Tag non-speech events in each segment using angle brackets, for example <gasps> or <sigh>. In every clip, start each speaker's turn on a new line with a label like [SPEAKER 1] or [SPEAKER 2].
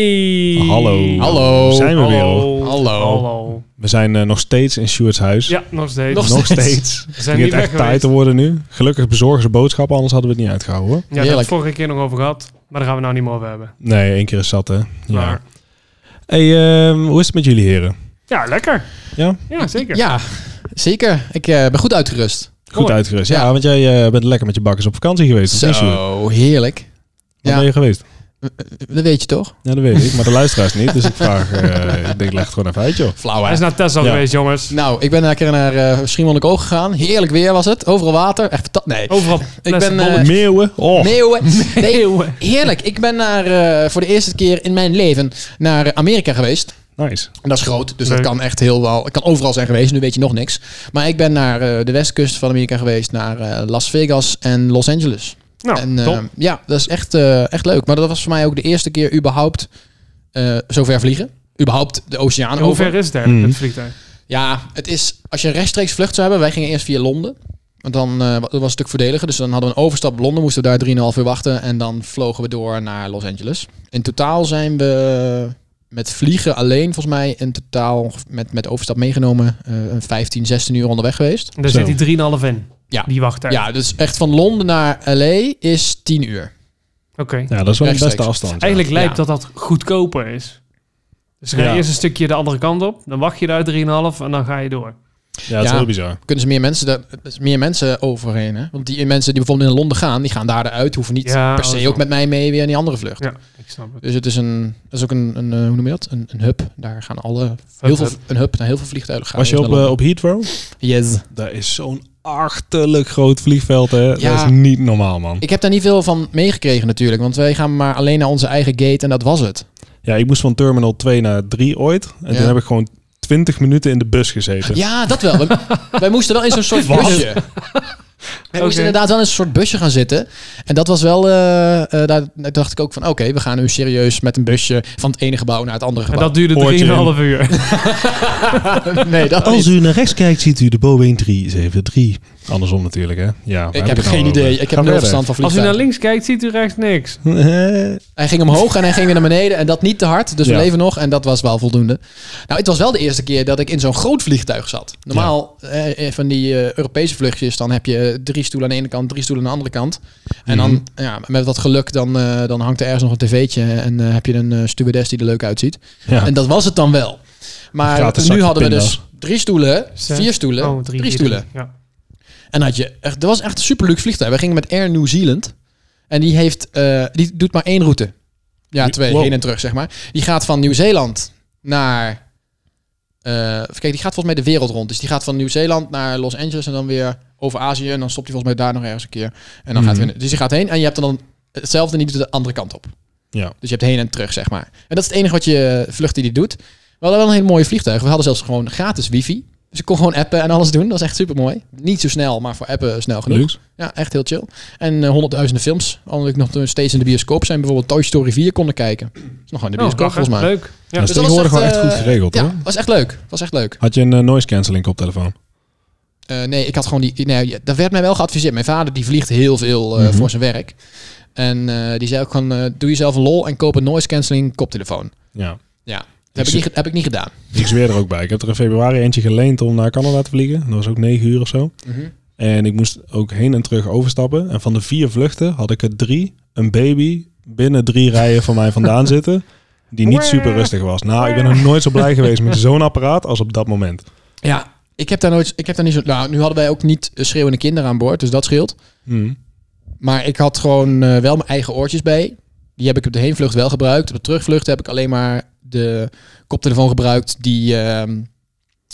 [SPEAKER 1] Hey.
[SPEAKER 2] Hallo.
[SPEAKER 3] Hallo.
[SPEAKER 2] Zijn we weer, hoor.
[SPEAKER 1] Hallo.
[SPEAKER 3] Hallo.
[SPEAKER 1] Hallo.
[SPEAKER 2] We zijn eh, nog steeds in Stuart's huis.
[SPEAKER 1] Ja, nog steeds.
[SPEAKER 3] Nog
[SPEAKER 2] Nog
[SPEAKER 3] steeds.
[SPEAKER 2] steeds.
[SPEAKER 1] We
[SPEAKER 2] Het
[SPEAKER 1] zijn
[SPEAKER 2] begint
[SPEAKER 1] niet weg
[SPEAKER 2] echt tijd
[SPEAKER 1] geweest.
[SPEAKER 2] te worden nu. Gelukkig bezorgen ze boodschappen, anders hadden we het niet uitgehouden hoor.
[SPEAKER 1] Ja, daar hebben we het
[SPEAKER 3] Heerlijk.
[SPEAKER 1] vorige keer nog over gehad. Maar daar gaan we nou niet meer over hebben.
[SPEAKER 2] Nee, één keer is zat hè. Ja.
[SPEAKER 1] Maar,
[SPEAKER 2] Hey, ehm, hoe is het met jullie heren?
[SPEAKER 1] ja, lekker.
[SPEAKER 2] Ja?
[SPEAKER 1] Ja, zeker.
[SPEAKER 3] Ja, zeker. Ik eh, ben goed uitgerust.
[SPEAKER 2] Goed
[SPEAKER 1] Mooi.
[SPEAKER 2] uitgerust. Ja,
[SPEAKER 3] Ja.
[SPEAKER 2] want jij eh, bent lekker met je bakkers op vakantie geweest. of niet, Sjoerd? Waar
[SPEAKER 3] Zo, heerlijk. Ja.
[SPEAKER 2] ben je geweest?
[SPEAKER 3] Dat weet je toch?
[SPEAKER 2] Ja, dat weet ik. Maar de luisteraars niet. Dus ik vraag, eh, ik denk leg het gewoon even uit joh.
[SPEAKER 3] Flauw,
[SPEAKER 1] Hij
[SPEAKER 3] hè?
[SPEAKER 1] is naar Tesla
[SPEAKER 2] Ja.
[SPEAKER 1] geweest, jongens.
[SPEAKER 3] Nou, ik ben een keer naar eh Schiermonnikoog gegaan. Heerlijk weer was het. Overal water. Echt fantastisch. Nee.
[SPEAKER 1] Overal
[SPEAKER 3] ben,
[SPEAKER 1] plastic
[SPEAKER 3] eh,
[SPEAKER 1] bollen.
[SPEAKER 2] Meeuwen. Oh.
[SPEAKER 3] Meeuwen. <laughs> Nee,
[SPEAKER 1] Eeuwen.
[SPEAKER 3] heerlijk. Ik ben naar, eh, voor de eerste keer in mijn leven naar Amerika geweest.
[SPEAKER 2] Nice.
[SPEAKER 3] En dat is groot, dus
[SPEAKER 1] Leuk.
[SPEAKER 3] dat kan echt heel wel. Ik kan overal zijn geweest, nu weet je nog niks. Maar ik ben naar eh, de westkust van Amerika geweest, naar eh, Las Vegas en Los Angeles.
[SPEAKER 1] Nou,
[SPEAKER 3] en, eh,
[SPEAKER 1] top.
[SPEAKER 3] ja, dat is echt, eh, echt leuk. Maar dat was voor mij ook de eerste keer überhaupt eh zo ver vliegen. Überhaupt de oceaan
[SPEAKER 1] Hoe
[SPEAKER 3] over.
[SPEAKER 1] ver is het eigenlijk,
[SPEAKER 2] Mhm.
[SPEAKER 1] het vliegtuig?
[SPEAKER 3] Ja, het is, als je een rechtstreeks vlucht zou hebben, wij gingen eerst via Londen. Want dan eh, wa- dat was een stuk voordeliger. Dus dan hadden we een overstap op Londen, moesten we daar 3,5 uur wachten. En dan vlogen we door naar Los Angeles. In totaal zijn we met vliegen alleen, volgens mij, in totaal ongev- met, met overstap meegenomen, eh, een 15, 16 uur onderweg geweest.
[SPEAKER 1] Daar
[SPEAKER 2] Zo.
[SPEAKER 1] zit hij 3,5 in.
[SPEAKER 3] Ja.
[SPEAKER 1] Die wachttijd.
[SPEAKER 3] Ja, dus echt van Londen naar LA is 10 uur.
[SPEAKER 1] Oké.
[SPEAKER 2] Ja, dat is wel een beste
[SPEAKER 3] Rechtstreeks.
[SPEAKER 2] afstand. ja.
[SPEAKER 1] Eigenlijk lijkt
[SPEAKER 3] Ja.
[SPEAKER 1] dat dat goedkoper is. Dus ga je
[SPEAKER 2] Ja.
[SPEAKER 1] eerst een stukje de andere kant op. Dan wacht je daar 3,5 en dan ga je door.
[SPEAKER 2] Ja, dat is
[SPEAKER 3] Ja.
[SPEAKER 2] heel bizar.
[SPEAKER 3] Kunnen ze meer mensen, daar, er is meer mensen overheen? Hè? Want die mensen die bijvoorbeeld in Londen gaan, die gaan daar eruit, hoeven niet
[SPEAKER 1] Ja,
[SPEAKER 3] per
[SPEAKER 1] oh,
[SPEAKER 3] se
[SPEAKER 1] zo.
[SPEAKER 3] ook met mij mee weer in die andere vlucht.
[SPEAKER 1] Ja, ik snap het.
[SPEAKER 3] Dus het is een, dat is ook een, een eh, hoe noem je dat? Een, een hub. Daar gaan alle heel veel,
[SPEAKER 1] hub.
[SPEAKER 3] een hub naar heel veel vliegtuigen gaan. Dus
[SPEAKER 2] Was je op,
[SPEAKER 3] Naar
[SPEAKER 2] eh, op Heathrow?
[SPEAKER 3] Londen. yes.
[SPEAKER 2] Daar is zo'n achterlijk groot vliegveld, hè.
[SPEAKER 3] Ja.
[SPEAKER 2] Dat is niet normaal, man.
[SPEAKER 3] Ik heb daar niet veel van meegekregen natuurlijk, want wij gaan maar alleen naar onze eigen gate en dat was het.
[SPEAKER 2] Ja, ik moest van terminal 2 naar 3 ooit. En
[SPEAKER 3] Ja.
[SPEAKER 2] toen heb ik gewoon 20 minuten in de bus gezeten.
[SPEAKER 3] Ja, dat wel.
[SPEAKER 2] <laughs>
[SPEAKER 3] wij, wij moesten wel in zo'n soort busje. Wij
[SPEAKER 1] Oké.
[SPEAKER 3] moesten inderdaad wel in een soort busje gaan zitten. En dat was wel, eh, eh, daar daar dacht ik ook van, oké, we gaan nu serieus met een busje van het ene gebouw naar het andere
[SPEAKER 1] En
[SPEAKER 3] gebouw.
[SPEAKER 1] dat duurde 3,5
[SPEAKER 2] Oortje in.
[SPEAKER 3] <laughs>
[SPEAKER 1] uur.
[SPEAKER 3] nee,
[SPEAKER 1] Oh,
[SPEAKER 3] dat niet.
[SPEAKER 2] u naar rechts kijkt, ziet u de Boeing 373. Andersom natuurlijk, hè? Ja, waar
[SPEAKER 3] Ik
[SPEAKER 2] het
[SPEAKER 3] heb
[SPEAKER 2] nou
[SPEAKER 3] geen
[SPEAKER 2] over?
[SPEAKER 3] idee. Ik heb
[SPEAKER 2] Ga
[SPEAKER 3] nul
[SPEAKER 2] verder.
[SPEAKER 3] verstand van
[SPEAKER 1] Als u
[SPEAKER 3] vliegtuigen.
[SPEAKER 1] naar links kijkt, ziet u rechts niks.
[SPEAKER 3] Hij ging omhoog en hij ging weer naar beneden. En dat niet te hard. Dus
[SPEAKER 2] Ja.
[SPEAKER 3] we leven nog. En dat was wel voldoende. Nou, het was wel de eerste keer dat ik in zo'n groot vliegtuig zat. Normaal eh, eh, van die eh, Europese vluchtjes, dan heb je drie stoelen aan de ene kant, drie stoelen aan de andere kant. En dan,
[SPEAKER 2] Mhm.
[SPEAKER 3] ja, met wat geluk, dan, eh, dan hangt er ergens nog een tv'tje. En eh, heb je een eh, stewardess die er leuk uitziet.
[SPEAKER 2] <laughs> Ja.
[SPEAKER 3] En dat was het dan wel. Maar
[SPEAKER 2] Gratis
[SPEAKER 3] nu
[SPEAKER 2] zakje
[SPEAKER 3] hadden we
[SPEAKER 2] pinda's.
[SPEAKER 3] dus drie stoelen,
[SPEAKER 1] Zes.
[SPEAKER 3] vier stoelen,
[SPEAKER 1] Oh,
[SPEAKER 3] drie,
[SPEAKER 1] vier,
[SPEAKER 3] stoelen.
[SPEAKER 1] Ja.
[SPEAKER 3] En had je echt, dat was echt een superleuk vliegtuig. We gingen met Air New Zealand. En die, heeft, eh, die doet maar één route. Ja, twee,
[SPEAKER 2] Wow.
[SPEAKER 3] heen en terug, zeg maar. Die gaat van Nieuw-Zeeland naar... eh, even kijk, die gaat volgens mij de wereld rond. Dus die gaat van Nieuw-Zeeland naar Los Angeles en dan weer over Azië. En dan stopt hij volgens mij daar nog ergens een keer. En dan
[SPEAKER 2] Mhm.
[SPEAKER 3] gaat hij weer- Dus die gaat heen en je hebt dan hetzelfde en die doet de andere kant op.
[SPEAKER 2] Ja.
[SPEAKER 3] Dus je hebt heen en terug, zeg maar. En dat is het enige wat je eh, vlucht die die doet. We hadden wel een hele mooie vliegtuig. We hadden zelfs gewoon gratis wifi. Dus ik kon gewoon appen en alles doen. Dat is echt super mooi. Niet zo snel, maar voor appen snel genoeg.
[SPEAKER 2] Luxe.
[SPEAKER 3] Ja, echt heel chill. En eh, honderdduizenden films. Omdat ik nog steeds in de bioscoop zijn. Bijvoorbeeld Toy Story 4 konden kijken. Dat is nog gewoon in de
[SPEAKER 1] Oh,
[SPEAKER 3] bioscoop,
[SPEAKER 1] lachen.
[SPEAKER 3] volgens mij.
[SPEAKER 1] Leuk. Ja.
[SPEAKER 2] Dat is
[SPEAKER 3] dat was
[SPEAKER 2] tegenwoordig wel echt
[SPEAKER 3] eh,
[SPEAKER 2] goed geregeld,
[SPEAKER 3] Ja,
[SPEAKER 2] hoor.
[SPEAKER 3] was echt leuk. Was echt leuk.
[SPEAKER 2] Had je een eh, noise cancelling koptelefoon?
[SPEAKER 3] Eh, nee, ik had gewoon die. Nee, ja, dat werd mij wel geadviseerd. Mijn vader die vliegt heel veel eh,
[SPEAKER 2] Mhm.
[SPEAKER 3] voor zijn werk. En eh, die zei ook gewoon: eh, doe jezelf een lol en koop een noise cancelling koptelefoon.
[SPEAKER 2] Ja.
[SPEAKER 3] Dat heb ik, niet, ge- heb ik niet gedaan.
[SPEAKER 2] Ik zweer er ook bij. Ik heb er in februari eentje geleend om naar Canada te vliegen. Dat was ook 9 uur of zo. En ik moest ook heen en terug overstappen. En van de vier vluchten had ik er drie, een baby, binnen drie rijen van mij
[SPEAKER 1] <laughs>
[SPEAKER 2] vandaan zitten. Die niet super rustig was. Nou, ik ben nog nooit zo blij
[SPEAKER 1] <laughs>
[SPEAKER 2] geweest met zo'n apparaat als op dat moment.
[SPEAKER 3] Ja, ik heb daar nooit. Ik heb daar niet zo. Nou, nu hadden wij ook niet eh, schreeuwende kinderen aan boord, dus dat scheelt.
[SPEAKER 2] Hmm.
[SPEAKER 3] Maar ik had gewoon eh, wel mijn eigen oortjes bij. Die heb ik op de heenvlucht wel gebruikt. Op de terugvlucht heb ik alleen maar de koptelefoon gebruikt die, ehm,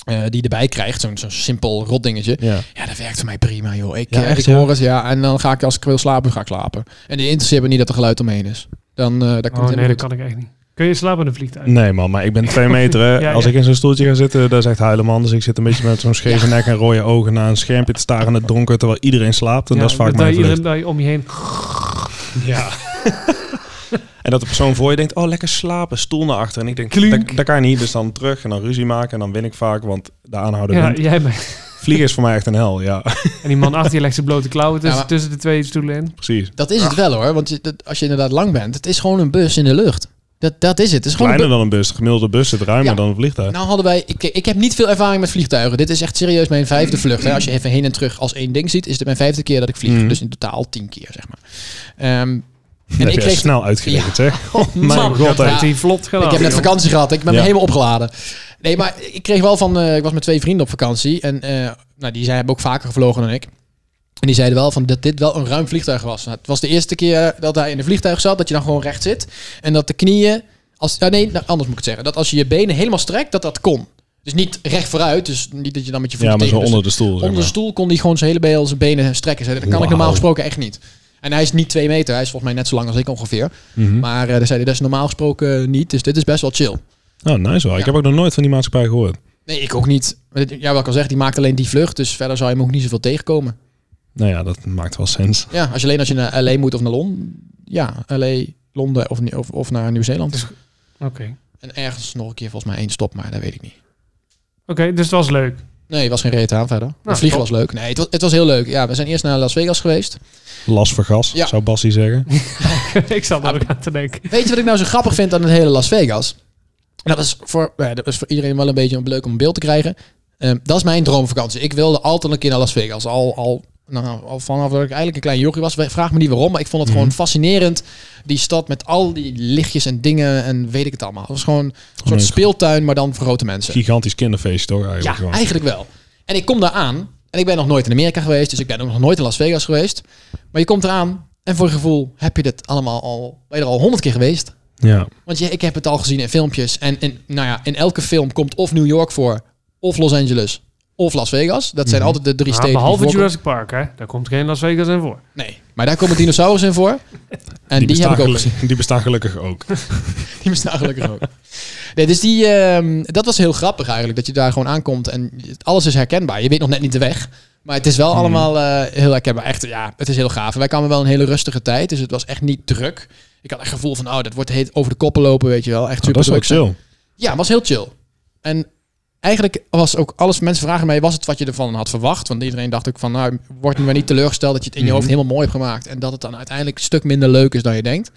[SPEAKER 3] eh, die je erbij krijgt. Zo'n zo'n simpel rotdingetje.
[SPEAKER 2] Ja.
[SPEAKER 3] Ja, dat werkt voor mij prima, joh. Ik,
[SPEAKER 2] Ja,
[SPEAKER 3] eh,
[SPEAKER 2] echt,
[SPEAKER 3] ik
[SPEAKER 2] ja.
[SPEAKER 3] hoor het, ja. En dan ga ik, als ik wil slapen, ga ik slapen. En die interesseert me niet dat er geluid omheen is. Dan eh, daar komt
[SPEAKER 1] Oh
[SPEAKER 3] het
[SPEAKER 1] nee,
[SPEAKER 3] helemaal
[SPEAKER 1] dat
[SPEAKER 3] goed.
[SPEAKER 1] kan ik echt niet. Kun je slapen in een
[SPEAKER 3] Mm,
[SPEAKER 1] vliegtuig?
[SPEAKER 2] Nee man, maar ik ben twee meter.
[SPEAKER 1] <laughs>
[SPEAKER 2] Hè.
[SPEAKER 1] Ja,
[SPEAKER 2] Als
[SPEAKER 1] ja.
[SPEAKER 2] ik in zo'n stoeltje ga zitten, dat is echt huilen man. Dus ik zit een beetje met zo'n scheve nek en rode ogen naar een schermpje te staren in het donker terwijl iedereen slaapt. En
[SPEAKER 1] Ja,
[SPEAKER 2] dat is vaak
[SPEAKER 1] dat
[SPEAKER 2] mijn
[SPEAKER 1] je
[SPEAKER 2] vlucht.
[SPEAKER 1] iedereen dat je om je heen.
[SPEAKER 2] Ja.
[SPEAKER 3] <laughs>
[SPEAKER 2] en dat de persoon voor je denkt, oh lekker slapen, stoel naar achter. En ik denk,
[SPEAKER 1] Klink.
[SPEAKER 2] dat, dat kan niet. Dus dan terug en dan ruzie maken en dan win ik vaak, want de aanhouder
[SPEAKER 1] Ja,
[SPEAKER 2] wint.
[SPEAKER 1] jij bent.
[SPEAKER 2] Vliegen is voor mij echt een hel, ja. <laughs>
[SPEAKER 1] En die man achter je legt zijn blote klauwen tussen,
[SPEAKER 3] Ja, maar-
[SPEAKER 1] tussen de twee stoelen in.
[SPEAKER 2] Precies.
[SPEAKER 3] Dat is het wel hoor, want je- dat- als je inderdaad lang bent, het is gewoon een bus in de lucht. Dat, dat is het. Het is gewoon een
[SPEAKER 2] Kleiner dan een bus. De gemiddelde bus zit ruimer
[SPEAKER 3] Ja.
[SPEAKER 2] dan een vliegtuig.
[SPEAKER 3] Nou hadden wij, ik, ik heb niet veel ervaring met vliegtuigen. Dit is echt serieus mijn vijfde vlucht. Hè. Als je even heen en terug als één ding ziet, is dit mijn vijfde keer dat ik vlieg.
[SPEAKER 2] Mhm.
[SPEAKER 3] Dus in totaal tien keer, zeg maar. Ehm,
[SPEAKER 2] dat heb
[SPEAKER 3] ik
[SPEAKER 2] je
[SPEAKER 3] kreeg-
[SPEAKER 2] snel uitgerekend,
[SPEAKER 3] <laughs>
[SPEAKER 2] zeg.
[SPEAKER 3] oh,
[SPEAKER 2] Mijn
[SPEAKER 3] man.
[SPEAKER 2] god, hè.
[SPEAKER 1] Heeft hij vlot gedaan.
[SPEAKER 3] Ik heb net
[SPEAKER 1] joh.
[SPEAKER 3] vakantie gehad. Ik ben
[SPEAKER 2] Ja.
[SPEAKER 3] helemaal opgeladen. Nee, maar ik kreeg wel van... eh, ik was met twee vrienden op vakantie. En eh, nou, die zijn, hebben ook vaker gevlogen dan ik. En die zeiden wel van dat dit wel een ruim vliegtuig was. Nou, het was de eerste keer dat hij in een vliegtuig zat. Dat je dan gewoon recht zit. En dat de knieën... Als, ah, nee, nou, anders moet ik het zeggen. Dat als je je benen helemaal strekt, dat dat kon. Dus niet recht vooruit. Dus niet dat je dan met je voeten
[SPEAKER 2] Ja, maar zo
[SPEAKER 3] tegen de
[SPEAKER 2] onder de stoel. zeg
[SPEAKER 3] Onder de
[SPEAKER 2] maar.
[SPEAKER 3] stoel kon hij gewoon zijn hele been, zijn benen strekken. Zei, Dat kan ik
[SPEAKER 2] Wauw.
[SPEAKER 3] normaal gesproken echt niet. En hij is niet twee meter. Hij is volgens mij net zo lang als ik ongeveer.
[SPEAKER 2] Mhm.
[SPEAKER 3] Maar eh, daar zei hij, dat is normaal gesproken eh, niet. Dus dit is best wel chill.
[SPEAKER 2] Nou, nice wel. Ik
[SPEAKER 3] Ja.
[SPEAKER 2] heb ook nog nooit van die maatschappij gehoord.
[SPEAKER 3] Nee, ik ook niet. Maar dit- Ja, wat ik al zeg, die maakt alleen die vlucht. Dus verder zou je hem ook niet zoveel tegenkomen.
[SPEAKER 2] Nou ja, dat maakt wel sens.
[SPEAKER 3] Ja, als je alleen als je naar L.A. moet of naar Londen. Ja, L.A., Londen of, of, of naar Nieuw-Zeeland.
[SPEAKER 1] Dus- Oké,
[SPEAKER 3] En ergens nog een keer volgens mij één stop, maar dat weet ik niet.
[SPEAKER 1] Oké, dus het was leuk. <laughs>
[SPEAKER 3] Nee, het was geen reet aan verder.
[SPEAKER 1] Nou,
[SPEAKER 3] het vliegen
[SPEAKER 1] top.
[SPEAKER 3] was leuk. Nee, het was, het was heel leuk. Ja, we zijn eerst naar Las Vegas geweest.
[SPEAKER 2] Las voor gas,
[SPEAKER 3] Ja.
[SPEAKER 2] zou Bassie zeggen.
[SPEAKER 1] ik zat er ook
[SPEAKER 3] Ah,
[SPEAKER 1] aan te denken.
[SPEAKER 3] Weet je wat ik nou zo grappig vind aan het hele Las Vegas? En dat is voor, nou ja, dat is voor iedereen wel een beetje leuk om een beeld te krijgen. Ehm, dat is mijn droomvakantie. Ik wilde altijd een keer naar Las Vegas. Al, al, nou, al vanaf dat ik eigenlijk een klein jochie was. Vraag me niet waarom, maar ik vond het gewoon fascinerend. Die stad met al die lichtjes en dingen en weet ik het allemaal. Het was gewoon een soort
[SPEAKER 2] leuk.
[SPEAKER 3] speeltuin, maar dan voor grote mensen.
[SPEAKER 2] Gigantisch kinderfeestje toch eigenlijk
[SPEAKER 3] Ja,
[SPEAKER 2] gewoon.
[SPEAKER 3] eigenlijk wel. En ik kom daar aan. En ik ben nog nooit in Amerika geweest. Dus ik ben ook nog nooit in Las Vegas geweest. Maar je komt eraan. En voor je gevoel heb je dit allemaal al... Ben je er al honderd keer geweest.
[SPEAKER 2] Ja.
[SPEAKER 3] Want je, ik heb het al gezien in filmpjes. En in, nou ja, in elke film komt of New York voor, of Los Angeles, of Las Vegas. Dat
[SPEAKER 2] Mhm.
[SPEAKER 3] zijn altijd de drie
[SPEAKER 1] Ja,
[SPEAKER 3] steden. die
[SPEAKER 1] Ah, behalve
[SPEAKER 3] voorkomen.
[SPEAKER 1] Jurassic Park, hè? Daar komt geen Las Vegas in voor.
[SPEAKER 3] Nee, maar daar komen dinosaurus in voor. En die, heb
[SPEAKER 2] bestaan
[SPEAKER 3] ik ook gezien. <laughs>
[SPEAKER 2] gelukkig- <laughs> die bestaan gelukkig ook.
[SPEAKER 3] Die bestaan gelukkig ook. Nee, dus die, ehm, dat was heel grappig eigenlijk. Dat je daar gewoon aankomt en alles is herkenbaar. Je weet nog net niet de weg. Maar het is
[SPEAKER 2] Mhm.
[SPEAKER 3] wel allemaal eh, heel herkenbaar. Echt, ja, het is heel gaaf. En wij kwamen wel een hele rustige tijd. Dus het was echt niet druk. Ik had echt het gevoel van, oh, dat wordt heet over de koppen lopen, weet je wel. Echt
[SPEAKER 2] Nou,
[SPEAKER 3] super
[SPEAKER 2] dat is ook
[SPEAKER 3] druk.
[SPEAKER 2] chill.
[SPEAKER 3] Ja, het was heel chill. En eigenlijk was ook alles... Mensen vragen mij, was het wat je ervan had verwacht? Want iedereen dacht ook van, nou, word nu maar niet teleurgesteld... dat je het in je
[SPEAKER 1] Mhm.
[SPEAKER 3] hoofd helemaal mooi hebt gemaakt... en dat het dan uiteindelijk een stuk minder leuk is dan je denkt.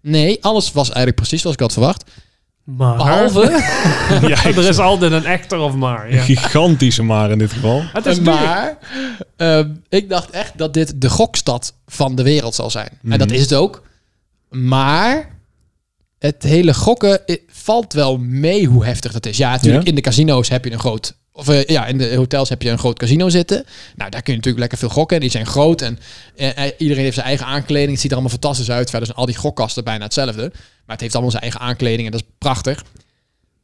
[SPEAKER 3] Nee, alles was eigenlijk precies zoals ik had verwacht.
[SPEAKER 1] Maar <laughs>
[SPEAKER 3] Behalve... <laughs>
[SPEAKER 2] ja, ik-
[SPEAKER 1] er is altijd een echter of maar.
[SPEAKER 2] Een
[SPEAKER 1] Ja.
[SPEAKER 2] gigantische maar in dit geval.
[SPEAKER 1] Het is duur.
[SPEAKER 3] maar ehm, ik dacht echt dat dit de gokstad van de wereld zal zijn. En
[SPEAKER 1] Mhm.
[SPEAKER 3] dat is het ook. Maar... Het hele gokken eh, valt wel mee hoe heftig dat is. Ja, natuurlijk
[SPEAKER 2] Ja?
[SPEAKER 3] in de casino's heb je een groot... Of eh, ja, in de hotels heb je een groot casino zitten. Nou, daar kun je natuurlijk lekker veel gokken. Die zijn groot en eh, eh, iedereen heeft zijn eigen aankleding. Het ziet er allemaal fantastisch uit. Verder zijn al die gokkasten bijna hetzelfde. Maar het heeft allemaal zijn eigen aankleding en dat is prachtig.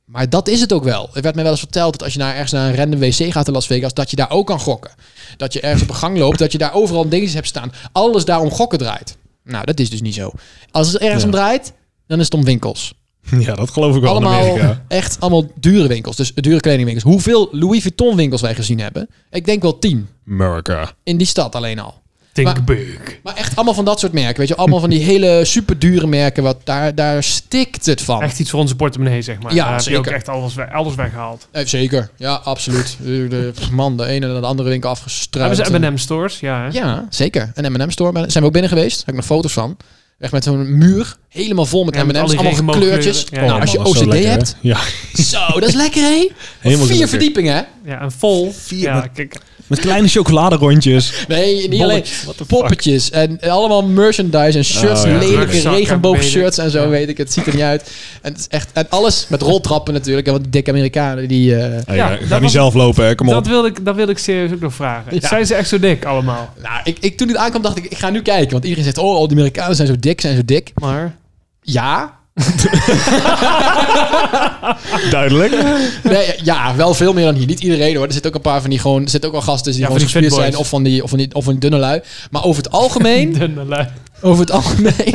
[SPEAKER 3] Maar dat is het ook wel. Er werd mij wel eens verteld dat als je naar ergens naar een random wc gaat in Las Vegas, dat je daar ook kan gokken. Dat je ergens op een gang loopt, dat je daar overal dingetjes hebt staan. Alles daar om gokken draait. Nou, dat is dus niet zo. Als het ergens
[SPEAKER 2] Ja.
[SPEAKER 3] om draait, dan is het om winkels.
[SPEAKER 2] Ja, dat geloof ik wel in
[SPEAKER 3] allemaal
[SPEAKER 2] Amerika.
[SPEAKER 3] echt allemaal dure winkels. Dus dure kledingwinkels. Hoeveel Louis Vuitton winkels wij gezien hebben? Ik denk wel tien.
[SPEAKER 2] America.
[SPEAKER 3] In die stad alleen al.
[SPEAKER 1] Think big.
[SPEAKER 3] Maar echt allemaal van dat soort merken. Weet je, allemaal van die hele super dure merken. Wat daar, daar stikt het van.
[SPEAKER 1] Echt iets voor onze portemonnee, zeg maar.
[SPEAKER 3] Ja,
[SPEAKER 1] Daar heb je
[SPEAKER 3] zeker.
[SPEAKER 1] ook echt alles, we- alles weggehaald.
[SPEAKER 3] Eh, zeker. Ja, absoluut. De- de- pff, Man, de ene naar de andere winkel
[SPEAKER 1] Hebben
[SPEAKER 3] afgestruimd.
[SPEAKER 1] ze M&M stores? Ja, hè?
[SPEAKER 3] Ja, zeker. Een M&M store. ben- Zijn we ook binnen geweest. Daar heb ik nog foto's van. Echt met zo'n muur. Helemaal vol met
[SPEAKER 1] Ja, met
[SPEAKER 3] M&M's.
[SPEAKER 1] al die
[SPEAKER 3] allemaal
[SPEAKER 1] regenboogkleuren.
[SPEAKER 3] kleurtjes.
[SPEAKER 1] Ja,
[SPEAKER 2] Oh,
[SPEAKER 1] ja.
[SPEAKER 3] nou, als je
[SPEAKER 2] man, dat is
[SPEAKER 3] OCD
[SPEAKER 2] wel lekker, hè?
[SPEAKER 3] hebt.
[SPEAKER 2] Ja,
[SPEAKER 3] Zo, dat is lekker, hè?
[SPEAKER 2] helemaal
[SPEAKER 3] Vier
[SPEAKER 2] gelukkig.
[SPEAKER 3] verdiepingen, hè?
[SPEAKER 1] Ja, en vol. ja,
[SPEAKER 2] met-
[SPEAKER 1] kijk.
[SPEAKER 2] Met kleine chocoladerondjes.
[SPEAKER 3] Nee, niet alleen.
[SPEAKER 2] Bolletjes. What the fuck?
[SPEAKER 3] Poppetjes en allemaal merchandise en shirts,
[SPEAKER 2] Oh, ja.
[SPEAKER 3] lelijke
[SPEAKER 1] Rugzakken,
[SPEAKER 3] regenboogshirts en zo,
[SPEAKER 1] weet ik.
[SPEAKER 3] weet ik. Het ziet er niet uit. En, het is echt, en alles met roltrappen natuurlijk, hè, want die dikke Amerikanen die... eh,
[SPEAKER 2] Hey,
[SPEAKER 1] Ja,
[SPEAKER 2] eh, ga
[SPEAKER 1] dat
[SPEAKER 2] niet
[SPEAKER 1] was-
[SPEAKER 2] zelf lopen, hè. Kom op.
[SPEAKER 1] Dat wil, ik, dat wil ik serieus ook nog vragen.
[SPEAKER 3] Ja.
[SPEAKER 1] Zijn ze echt zo dik allemaal?
[SPEAKER 3] nou, ik, ik, toen dit aankwam dacht ik, ik ga nu kijken. Want iedereen zegt, oh, al die Amerikanen zijn zo dik, zijn zo dik.
[SPEAKER 1] Maar
[SPEAKER 3] Ja,
[SPEAKER 2] Duidelijk.
[SPEAKER 3] nee, <laughs> ja, wel veel meer dan hier. Niet iedereen hoor. Er zitten ook een paar van die gewoon, er zitten ook wel gasten die
[SPEAKER 1] Ja,
[SPEAKER 3] gewoon
[SPEAKER 1] van die
[SPEAKER 3] gespierd zijn.
[SPEAKER 1] fatboys.
[SPEAKER 3] Of van die, of van die, of van die dunne lui. Maar
[SPEAKER 2] <laughs>
[SPEAKER 3] over het algemeen
[SPEAKER 1] dunne lui.
[SPEAKER 3] Over het <laughs> algemeen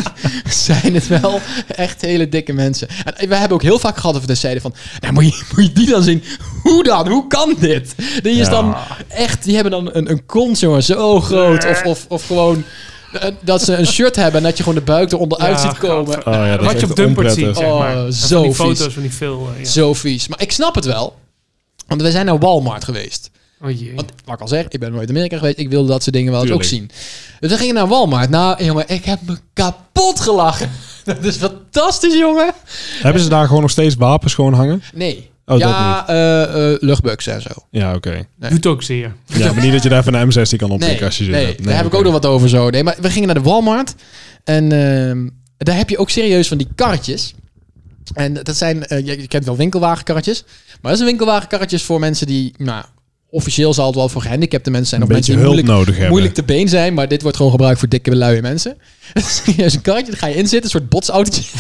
[SPEAKER 3] zijn het wel echt hele dikke mensen. En eh, we hebben ook heel vaak gehad over de zijde van... Nou, moet je, moet je die dan zien? Hoe dan? Hoe kan dit? Die, is
[SPEAKER 2] Ja.
[SPEAKER 3] dan echt, die hebben dan een, een kont, jongen, zo groot. Of, of, of gewoon eh, dat ze een shirt hebben en dat je gewoon de buik eronder uit
[SPEAKER 1] Ja,
[SPEAKER 3] ziet komen.
[SPEAKER 1] gadver-
[SPEAKER 2] Oh, ja, dat is
[SPEAKER 1] Wat je
[SPEAKER 2] echt
[SPEAKER 1] op Dumpert ziet,
[SPEAKER 2] onprettig.
[SPEAKER 1] zeg maar.
[SPEAKER 3] Oh,
[SPEAKER 1] En
[SPEAKER 3] zo
[SPEAKER 1] van die
[SPEAKER 3] vies.
[SPEAKER 1] foto's van die veel. eh, ja.
[SPEAKER 3] Zo vies. Maar ik snap het wel. Want we zijn naar Walmart geweest.
[SPEAKER 1] Oh jee.
[SPEAKER 3] Want, wat ik al zeg, ik ben nooit in Amerika geweest. Ik wilde dat soort dingen wel eens ook
[SPEAKER 2] Tuurlijk.
[SPEAKER 3] zien. Dus we gingen naar Walmart. Nou, jongen, ik heb me kapot gelachen. <laughs> Dat is fantastisch, jongen.
[SPEAKER 2] Hebben ze daar gewoon nog steeds wapens gewoon hangen?
[SPEAKER 3] Nee.
[SPEAKER 2] Oh, dat niet.
[SPEAKER 3] ja, eh, eh, luchtbugs en zo.
[SPEAKER 2] Ja, oké.
[SPEAKER 3] Nee.
[SPEAKER 1] Doet ook zeer.
[SPEAKER 2] Ja, maar niet dat je daar van een M16 kan oppikken
[SPEAKER 3] Nee,
[SPEAKER 2] als je zin
[SPEAKER 3] nee,
[SPEAKER 2] hebt.
[SPEAKER 3] daar heb ik ook nog wat over zo. Nee, maar we gingen naar de Walmart. En ehm, daar heb je ook serieus van die karretjes. En dat zijn, eh, je, je kent wel winkelwagenkarretjes. Maar dat zijn winkelwagenkarretjes voor mensen die, nou, officieel zal het wel voor gehandicapte mensen zijn.
[SPEAKER 2] Een
[SPEAKER 3] Of
[SPEAKER 2] beetje
[SPEAKER 3] mensen die
[SPEAKER 2] hulp
[SPEAKER 3] moeilijk,
[SPEAKER 2] nodig hebben.
[SPEAKER 3] moeilijk te been zijn. Maar dit wordt gewoon gebruikt voor dikke, luie mensen. <laughs> serieus een karretje, daar ga je in zitten, een soort botsautootje.
[SPEAKER 1] <laughs>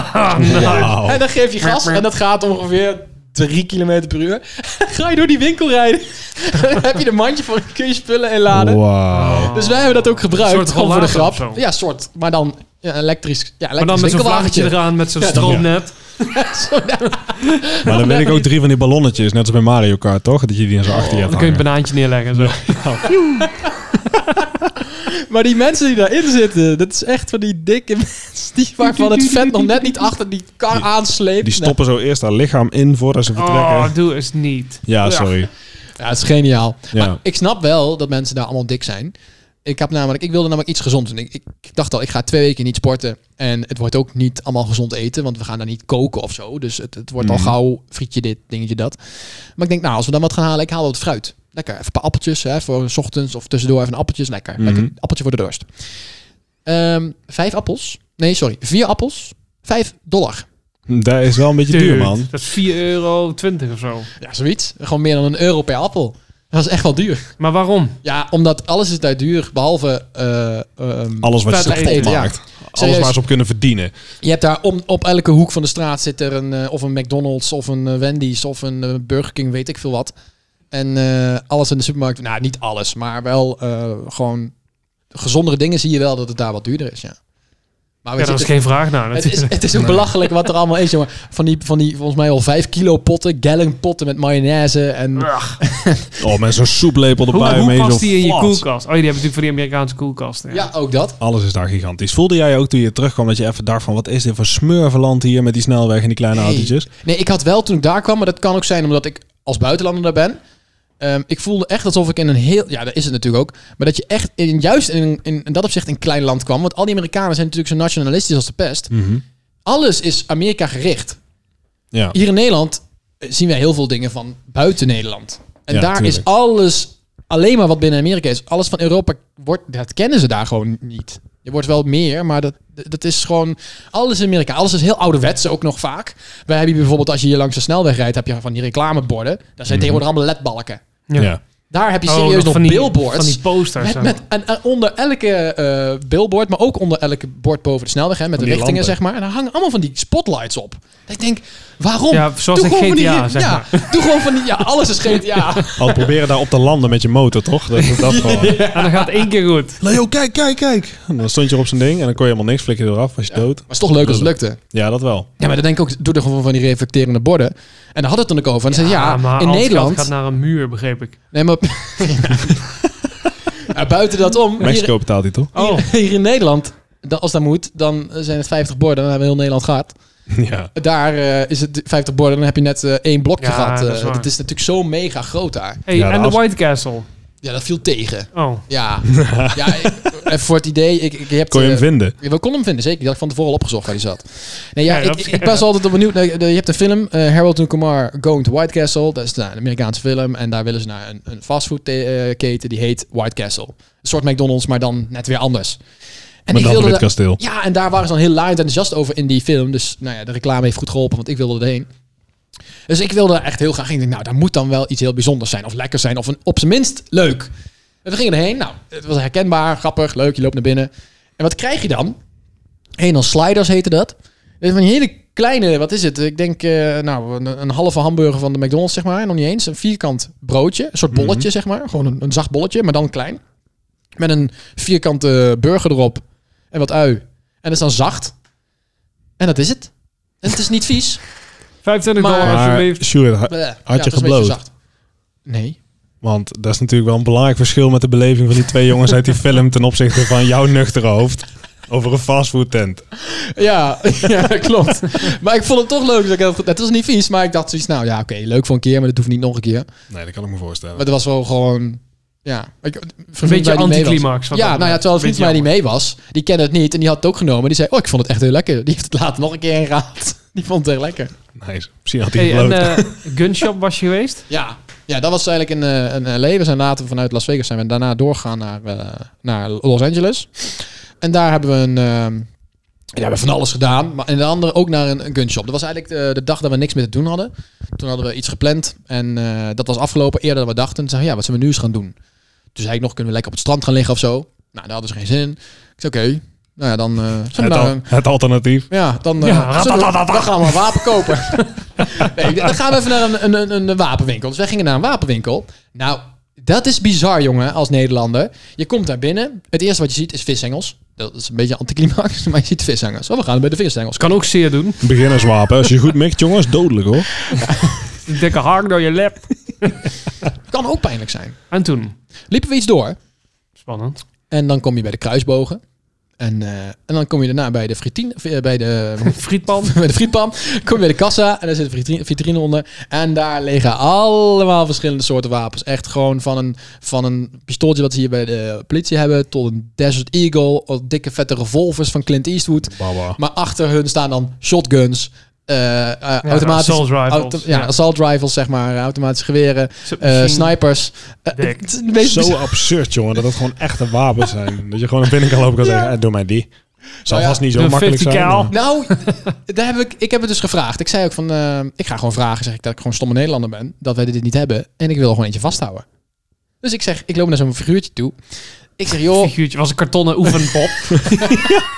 [SPEAKER 1] Nou.
[SPEAKER 2] Wauw.
[SPEAKER 3] En dan geef je gas en dat gaat ongeveer 3 km per uur. <laughs> Ga je door die winkel rijden. <laughs> dan heb je de mandje voor, kun je spullen inladen.
[SPEAKER 2] Wauw.
[SPEAKER 3] Dus wij hebben dat ook gebruikt.
[SPEAKER 1] Een soort
[SPEAKER 3] gewoon voor de
[SPEAKER 1] rollator
[SPEAKER 3] grap.
[SPEAKER 1] of zo.
[SPEAKER 3] Ja, soort. Maar dan ja, elektrisch. Ja,
[SPEAKER 1] Maar dan
[SPEAKER 3] elektrisch
[SPEAKER 1] met zo'n vlaggetje
[SPEAKER 3] winkelwagentje.
[SPEAKER 1] eraan, met zo'n
[SPEAKER 3] Ja,
[SPEAKER 1] stroomnet.
[SPEAKER 3] <laughs>
[SPEAKER 2] Maar dan ben ik ook drie van die ballonnetjes, net als bij Mario Kart, toch? Dat je die in zo'n achter Oh, je hebt
[SPEAKER 1] Dan kun je een
[SPEAKER 2] hangen.
[SPEAKER 1] banaantje neerleggen en zo.
[SPEAKER 3] Maar die mensen die daarin zitten, dat is echt van die dikke <laughs> mensen die, waarvan het vet nog net niet achter die kar
[SPEAKER 2] Die-
[SPEAKER 3] aansleept.
[SPEAKER 2] Die stoppen zo eerst haar lichaam in voordat ze vertrekken.
[SPEAKER 1] Oh, doe eens niet.
[SPEAKER 2] ja, sorry.
[SPEAKER 3] Nee. Ja, het is geniaal.
[SPEAKER 2] Ja.
[SPEAKER 3] Maar ik snap wel dat mensen daar allemaal dik zijn. Ik, heb namelijk, ik wilde namelijk iets gezond doen. Ik, ik, ik dacht al, ik ga twee weken niet sporten. En het wordt ook niet allemaal gezond eten, want we gaan daar niet koken of zo. Dus het, het wordt al
[SPEAKER 2] Mm.
[SPEAKER 3] gauw frietje dit, dingetje dat. Maar ik denk, nou, als we dan wat gaan halen, ik haal wat fruit. Lekker, even een paar appeltjes hè, voor 's ochtends of tussendoor even een appeltjes. Lekker,
[SPEAKER 2] Mhm.
[SPEAKER 3] lekker appeltje voor de dorst. Ehm, vijf appels. Nee, sorry. Vier appels. Vijf dollar.
[SPEAKER 2] Dat is wel een beetje duur,
[SPEAKER 1] Dude,
[SPEAKER 2] man.
[SPEAKER 1] Dat is 4,20 euro of zo.
[SPEAKER 3] Ja, zoiets. Gewoon meer dan een euro per appel. Dat is echt wel duur.
[SPEAKER 1] Maar waarom?
[SPEAKER 3] Ja, omdat alles is daar duur, behalve... eh, ehm,
[SPEAKER 2] Alles wat je
[SPEAKER 1] Vet
[SPEAKER 2] slecht
[SPEAKER 1] eten,
[SPEAKER 3] ja.
[SPEAKER 2] maakt. Alles waar ze op kunnen verdienen.
[SPEAKER 3] je hebt daar om, op elke hoek van de straat zit er een, eh, of een McDonald's of een eh, Wendy's of een eh, Burger King, weet ik veel wat. En eh, alles in de supermarkt, nou niet alles, maar wel eh, gewoon gezondere dingen zie je wel dat het daar wat duurder is, ja. Maar we
[SPEAKER 1] Ja, daar is
[SPEAKER 3] zitten-
[SPEAKER 1] geen vraag naar
[SPEAKER 3] het, is,
[SPEAKER 1] natuurlijk.
[SPEAKER 3] het is ook
[SPEAKER 2] Nee.
[SPEAKER 3] belachelijk wat er allemaal is, jongen. Van die, van die volgens mij al 5 kilo potten, gallon potten met mayonaise en...
[SPEAKER 1] Ugh.
[SPEAKER 2] Oh, met zo'n soeplepel
[SPEAKER 1] Hoe,
[SPEAKER 2] erbij.
[SPEAKER 1] hoe
[SPEAKER 2] mee,
[SPEAKER 1] past
[SPEAKER 2] zo
[SPEAKER 1] die in je
[SPEAKER 2] flat.
[SPEAKER 1] koelkast? Oh, die hebben natuurlijk van die Amerikaanse Oh, koelkasten.
[SPEAKER 3] Ja, ook dat.
[SPEAKER 2] Alles is daar gigantisch. Voelde jij ook toen je terugkwam dat je even dacht van... wat is dit voor smurverland hier met die snelweg en die kleine
[SPEAKER 3] Nee.
[SPEAKER 2] autootjes?
[SPEAKER 3] Nee, ik had wel toen ik daar kwam, maar dat kan ook zijn omdat ik als buitenlander daar ben. Ehm, ik voelde echt alsof ik in een heel... Ja, dat is het natuurlijk ook. Maar dat je echt in, juist in, in, in dat opzicht een klein land kwam. Want al die Amerikanen zijn natuurlijk zo nationalistisch als de pest.
[SPEAKER 2] Mhm.
[SPEAKER 3] Alles is Amerika gericht.
[SPEAKER 2] Ja.
[SPEAKER 3] Hier in Nederland eh, zien wij heel veel dingen van buiten Nederland. En
[SPEAKER 2] Ja,
[SPEAKER 3] daar is
[SPEAKER 2] tuurlijk.
[SPEAKER 3] alles alleen maar wat binnen Amerika is. Alles van Europa, wordt, dat kennen ze daar gewoon niet. Je wordt wel meer, maar dat, dat is gewoon... Alles in Amerika. Alles is heel ouderwets ook nog vaak. Wij hebben hier bijvoorbeeld, als je hier langs de snelweg rijdt... heb je van die reclameborden. Daar
[SPEAKER 2] Mhm.
[SPEAKER 3] zijn tegenwoordig allemaal ledbalken.
[SPEAKER 2] Ja.
[SPEAKER 3] Daar heb je
[SPEAKER 1] Oh,
[SPEAKER 3] serieus nog
[SPEAKER 1] van die,
[SPEAKER 3] billboards.
[SPEAKER 1] Van die posters.
[SPEAKER 3] Met,
[SPEAKER 1] zo.
[SPEAKER 3] met- en, en onder elke eh, billboard, maar ook onder elke bord boven de snelweg, hè, met de
[SPEAKER 2] Van die lampen.
[SPEAKER 3] richtingen, zeg maar. En daar hangen allemaal van die spotlights op. Dat ik denk, waarom?
[SPEAKER 1] Ja, zoals in
[SPEAKER 3] gewoon van
[SPEAKER 1] GTA,
[SPEAKER 3] die,
[SPEAKER 1] zeg
[SPEAKER 3] ja, Doe gewoon van die, ja, alles is
[SPEAKER 1] <laughs>
[SPEAKER 3] GTA.
[SPEAKER 2] Al proberen daar op te landen met je motor, toch? Dat,
[SPEAKER 1] <laughs>
[SPEAKER 2] dat gewoon.
[SPEAKER 1] En dat gaat één keer goed.
[SPEAKER 2] Leo, kijk, kijk, kijk. En dan stond je op zijn ding en dan kon je helemaal niks, flik je eraf, was je dood.
[SPEAKER 3] Maar is toch leuk als het lukte.
[SPEAKER 2] Ja, dat wel.
[SPEAKER 3] Ja, maar dan denk ik ook, doe er gewoon van die reflecterende borden. En daar had het dan ook over. En dan zei
[SPEAKER 1] Ah, maar
[SPEAKER 3] ja, in
[SPEAKER 1] al het geld
[SPEAKER 3] Nederland...
[SPEAKER 1] gaat naar een muur, begreep ik. <laughs>
[SPEAKER 3] Nee, maar... Ja, buiten dat om... hier-
[SPEAKER 2] Mexico betaalt die toch? <laughs>
[SPEAKER 1] Oh,
[SPEAKER 3] Hier, hier in Nederland, dan, als dat moet, dan eh, zijn het 50 borden. Dan hebben we heel Nederland gehad.
[SPEAKER 2] Ja.
[SPEAKER 3] Daar eh, is het 50 borden, dan heb je net eh, één blokje
[SPEAKER 1] Ja, dat
[SPEAKER 3] gehad. Het
[SPEAKER 1] is
[SPEAKER 3] is,
[SPEAKER 1] waar.
[SPEAKER 3] natuurlijk zo mega groot daar.
[SPEAKER 1] hey,
[SPEAKER 2] Ja, de
[SPEAKER 1] en de
[SPEAKER 2] af-
[SPEAKER 1] White Castle.
[SPEAKER 3] Ja, dat viel tegen.
[SPEAKER 1] Oh,
[SPEAKER 3] Ja, ja ik- even voor het idee. Ik, ik, je hebt,
[SPEAKER 2] Kon je hem
[SPEAKER 3] eh,
[SPEAKER 2] vinden?
[SPEAKER 3] ja, we konden hem vinden, zeker. Die had ik van tevoren al opgezocht waar hij zat. Nee, ja,
[SPEAKER 1] Ja, dat
[SPEAKER 3] ik,
[SPEAKER 1] is-
[SPEAKER 3] ik was altijd al benieuwd. Nou, je hebt een film, eh, Harold and Kumar Going to White Castle. Dat is nou, een Amerikaanse film. En daar willen ze naar een, een fastfoodketen. Die heet White Castle. Een soort McDonald's, maar dan net weer anders. En
[SPEAKER 2] Maar dan
[SPEAKER 3] ik wilde
[SPEAKER 2] van dit
[SPEAKER 3] daar-
[SPEAKER 2] kasteel.
[SPEAKER 3] ja, en daar waren ze dan heel laaiend enthousiast over in die film. Dus nou ja, de reclame heeft goed geholpen, want ik wilde erheen. Dus ik wilde er echt heel graag heen. Ik denk, nou, daar moet dan wel iets heel bijzonders zijn. Of lekker zijn, of een, op zijn minst leuk. En we gingen erheen. Nou, het was herkenbaar, grappig, leuk. Je loopt naar binnen. En wat krijg je dan? Een dan sliders heette dat. Dit is een hele kleine, wat is het? Ik denk, eh, nou, een, een halve hamburger van de McDonald's, zeg maar. Nog niet eens. Een vierkant broodje. Een soort bolletje, zeg maar. Gewoon een, een zacht bolletje, maar dan klein. Met een vierkante burger erop. En wat ui. En dat is dan zacht. En dat is het. En het is niet vies.
[SPEAKER 1] 25
[SPEAKER 3] Maar-
[SPEAKER 1] dollar
[SPEAKER 2] Maar
[SPEAKER 1] alsjeblieft.
[SPEAKER 2] Sjoerd, ha-
[SPEAKER 3] Bleh.
[SPEAKER 2] je
[SPEAKER 3] het is een beetje
[SPEAKER 2] gebloot?
[SPEAKER 3] zacht. Nee.
[SPEAKER 2] want dat is natuurlijk wel een belangrijk verschil met de beleving van die <laughs> twee jongens uit die film ten opzichte van jouw nuchtere hoofd over een fastfood tent.
[SPEAKER 3] Ja, <laughs> ja, klopt. maar ik vond het toch leuk. Dus ik had, het was niet vies, maar ik dacht zoiets. Nou ja, oké, leuk voor een keer, maar dat hoeft niet nog een keer.
[SPEAKER 2] Nee, dat kan ik me
[SPEAKER 3] Maar
[SPEAKER 2] voorstellen.
[SPEAKER 3] dat was wel gewoon... Ja. Ik- een
[SPEAKER 1] Een
[SPEAKER 3] vriend
[SPEAKER 1] beetje
[SPEAKER 3] van mij die mee was-
[SPEAKER 1] anticlimax. wat
[SPEAKER 3] Ja,
[SPEAKER 1] dat
[SPEAKER 3] nou ja, terwijl een vriend
[SPEAKER 1] betreft.
[SPEAKER 3] van mij
[SPEAKER 1] Beetje
[SPEAKER 3] die mee was, die kende het niet en die had het ook genomen. Die zei, oh, ik vond het echt heel lekker. Die heeft het later nog een keer geraad. <laughs> Die vond het echt lekker.
[SPEAKER 2] Nice. Misschien had hij
[SPEAKER 1] jammer.
[SPEAKER 2] hey,
[SPEAKER 1] Hey, en eh, gunshop was je geweest?
[SPEAKER 3] Ja, ja dat was eigenlijk in, eh, in LA. We zijn later vanuit Las Vegas zijn we daarna doorgegaan naar, eh, naar Los Angeles. En daar hebben we een... ehm, ja, we hebben van alles gedaan. Maar en de andere ook naar een, een gunshop. Dat was eigenlijk de, de dag dat we niks meer te doen hadden. Toen hadden we iets gepland. En eh, dat was afgelopen eerder dan we dachten. Toen zeiden we, ja, wat zullen we nu eens gaan doen? Toen zei ik nog, kunnen we lekker op het strand gaan liggen of zo? Nou, daar hadden ze geen zin in. Ik zei, oké. Nou ja, dan... eh zullen
[SPEAKER 2] het,
[SPEAKER 3] we naar
[SPEAKER 2] al-
[SPEAKER 3] een,
[SPEAKER 2] het alternatief.
[SPEAKER 3] ja, <laughs> dan, eh,
[SPEAKER 1] Ja,
[SPEAKER 3] zullen we, dan gaan we een wapen kopen. <laughs> nee, dan gaan we even naar een, een, een, een wapenwinkel. Dus wij gingen naar een wapenwinkel. Nou, dat is bizar, jongen, als Nederlander. Je komt daar binnen. Het eerste wat je ziet is vishengels. Dat is een beetje anticlimax, <laughs> maar je ziet vishengels. Oh, we gaan bij de vishengels.
[SPEAKER 1] Kan ook zeer doen.
[SPEAKER 2] Beginnerswapen. Als je goed mikt, jongens, dodelijk hoor.
[SPEAKER 1] Een dikke haak door je lap.
[SPEAKER 3] kan ook pijnlijk zijn.
[SPEAKER 1] En toen?
[SPEAKER 3] Liepen we iets door.
[SPEAKER 1] Spannend.
[SPEAKER 3] En dan kom je bij de kruisbogen. En, eh, en dan kom je daarna bij de fritine, of, eh, bij de, <laughs>
[SPEAKER 1] Frietpan.
[SPEAKER 3] bij de frietpan. Kom je bij de kassa en daar zit een vitrine, vitrine onder. En daar liggen allemaal verschillende soorten wapens. Echt gewoon van een, van een pistooltje wat ze hier bij de politie hebben... tot een Desert Eagle, of dikke vette revolvers van Clint Eastwood.
[SPEAKER 2] Baba.
[SPEAKER 3] Maar achter hun staan dan shotguns... eh eh automatische-
[SPEAKER 1] assault rifles.
[SPEAKER 3] auto- ja,
[SPEAKER 1] Ja.
[SPEAKER 3] assault rifles, zeg maar. Automatische geweren, eh, snipers. Eh,
[SPEAKER 1] Dik.
[SPEAKER 3] het is de meest
[SPEAKER 2] Zo absurd, jongen, dat het gewoon echte wapens zijn. Dat je gewoon naar binnen kan lopen en kan zeggen, eh, doe mij die. Zal
[SPEAKER 3] Nou ja,
[SPEAKER 2] vast niet zo
[SPEAKER 1] een
[SPEAKER 2] makkelijk zijn.
[SPEAKER 1] verticaal.
[SPEAKER 2] maar-
[SPEAKER 3] Nou, <laughs> daar heb ik, ik heb het dus gevraagd. Ik zei ook van, eh, ik ga gewoon vragen, zeg ik, dat ik gewoon stomme Nederlander ben. Dat wij dit niet hebben. En ik wil er gewoon eentje vasthouden. Dus ik zeg, ik loop naar zo'n figuurtje toe. Ik zeg,
[SPEAKER 1] <laughs>
[SPEAKER 3] joh,
[SPEAKER 1] Figuurtje was een kartonnen
[SPEAKER 3] <laughs>
[SPEAKER 1] oefenpop.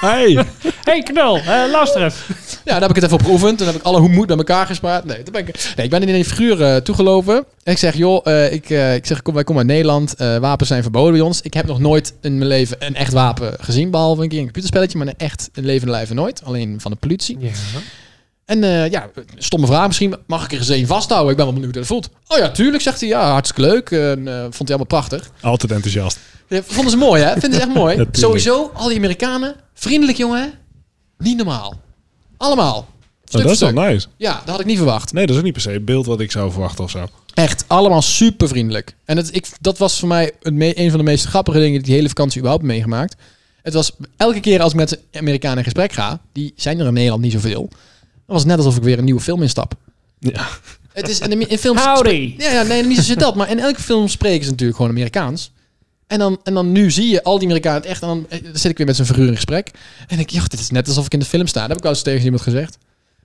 [SPEAKER 2] Hey,
[SPEAKER 1] hey, knul, eh, luister even.
[SPEAKER 3] ja, daar heb ik het even op geoefend. Toen heb ik alle hoe moet bij elkaar gespaard. Nee, toen ben ik, nee ik ben in een figuur eh, toegelopen. En ik zeg, joh, eh, ik, eh, ik zeg, kom, wij komen uit Nederland. Eh, wapens zijn verboden bij ons. Ik heb nog nooit in mijn leven een echt wapen gezien. Behalve een keer een computerspelletje, maar een echt een levende lijven nooit. Alleen van de politie. En eh, ja, stomme vraag misschien. Mag ik er eens een vasthouden? Ik ben wel benieuwd hoe dat voelt. Oh ja, tuurlijk, zegt hij. Ja, hartstikke leuk. En, eh, vond hij allemaal prachtig.
[SPEAKER 2] altijd enthousiast.
[SPEAKER 3] Ja, vonden ze mooi, hè? Vinden ze
[SPEAKER 2] <laughs>
[SPEAKER 3] echt mooi.
[SPEAKER 2] Natuurlijk.
[SPEAKER 3] Sowieso, al die Amerikanen. Vriendelijk, jongen. hè? Niet normaal. Allemaal. Stuk
[SPEAKER 2] Nou, dat is
[SPEAKER 3] voor
[SPEAKER 2] wel
[SPEAKER 3] stuk.
[SPEAKER 2] nice.
[SPEAKER 3] Ja, dat had ik niet verwacht.
[SPEAKER 2] Nee, dat is ook niet per se het beeld wat ik zou verwachten of zo.
[SPEAKER 3] Echt, allemaal super vriendelijk. En het, ik, dat was voor mij een, me- een van de meest grappige dingen die ik die hele vakantie überhaupt heb meegemaakt. Het was elke keer als ik met Amerikanen in gesprek ga, die zijn er in Nederland niet zoveel. Dan was het net alsof ik weer een nieuwe film instap.
[SPEAKER 2] Ja.
[SPEAKER 3] Het is in, in films.
[SPEAKER 1] Howdy.
[SPEAKER 3] Ja, ja, nee, niet zozeer dat. Maar in elke film spreken ze natuurlijk gewoon Amerikaans. En dan, en dan nu zie je al die Amerikanen het echt. En dan, eh, dan zit ik weer met zo'n figuur in gesprek. En ik, joh, dit is net alsof ik in de film sta. Dat heb ik wel eens tegen iemand gezegd.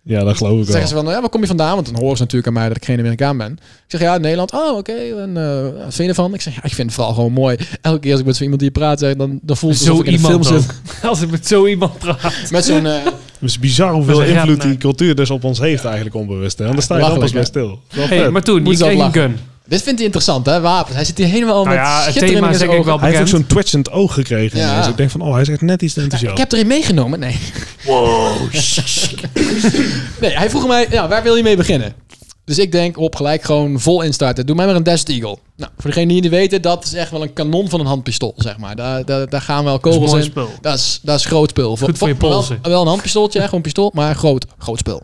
[SPEAKER 2] Ja, dat geloof ik
[SPEAKER 3] Dan zeggen ze
[SPEAKER 2] wel.
[SPEAKER 3] van, nou ja, waar kom je vandaan? Want dan horen ze natuurlijk aan mij dat ik geen Amerikaan ben. Ik zeg, ja, Nederland. Oh, oké. En eh, wat vind je ervan? Ik zeg, ja, ik vind het vooral gewoon mooi. Elke keer als ik met zo iemand die praat, zeg, dan, dan voelt het
[SPEAKER 1] Zo
[SPEAKER 3] alsof ik in de film
[SPEAKER 1] iemand
[SPEAKER 3] zit.
[SPEAKER 1] ook. Als ik met zo iemand praat.
[SPEAKER 3] Met zo'n... eh, <laughs>
[SPEAKER 2] Het is bizar hoeveel
[SPEAKER 1] Maar ze
[SPEAKER 2] invloed
[SPEAKER 1] raden-
[SPEAKER 2] die cultuur dus op ons heeft eigenlijk onbewust. Hè? En daar sta je dan pas
[SPEAKER 3] Belachelijk,
[SPEAKER 2] bij stil. Wel
[SPEAKER 1] Hey,
[SPEAKER 2] vet.
[SPEAKER 1] maar toen,
[SPEAKER 3] Moet
[SPEAKER 1] je
[SPEAKER 3] zelf
[SPEAKER 1] kreeg een
[SPEAKER 3] lachen.
[SPEAKER 1] gun.
[SPEAKER 3] dit vindt hij interessant, hè? Wapens. Hij zit hier helemaal
[SPEAKER 1] Nou
[SPEAKER 3] met
[SPEAKER 1] ja, het
[SPEAKER 3] schitterende
[SPEAKER 1] thema is denk ik wel
[SPEAKER 2] hij heeft ook
[SPEAKER 1] bekend.
[SPEAKER 2] zo'n twitchend oog gekregen.
[SPEAKER 3] Ja.
[SPEAKER 2] ineens. Ik denk van, oh, hij is echt net iets te enthousiast.
[SPEAKER 3] Ik heb erin meegenomen, nee.
[SPEAKER 2] Wow.
[SPEAKER 3] <laughs> Nee, hij vroeg mij, ja, waar wil je mee beginnen? Dus ik denk, op gelijk gewoon vol instarten. Doe mij maar een Desert Eagle. Nou, voor degenen die het niet weten, dat is echt wel een kanon van een handpistool, zeg maar. Daar, daar, daar gaan wel
[SPEAKER 1] is
[SPEAKER 3] kogels
[SPEAKER 1] mooi
[SPEAKER 3] in.
[SPEAKER 1] spul.
[SPEAKER 3] Dat is, dat is groot spul.
[SPEAKER 1] Goed voor je
[SPEAKER 3] wel-
[SPEAKER 1] polsen.
[SPEAKER 3] Wel, een handpistooltje, hè, gewoon pistool, maar groot, groot spul.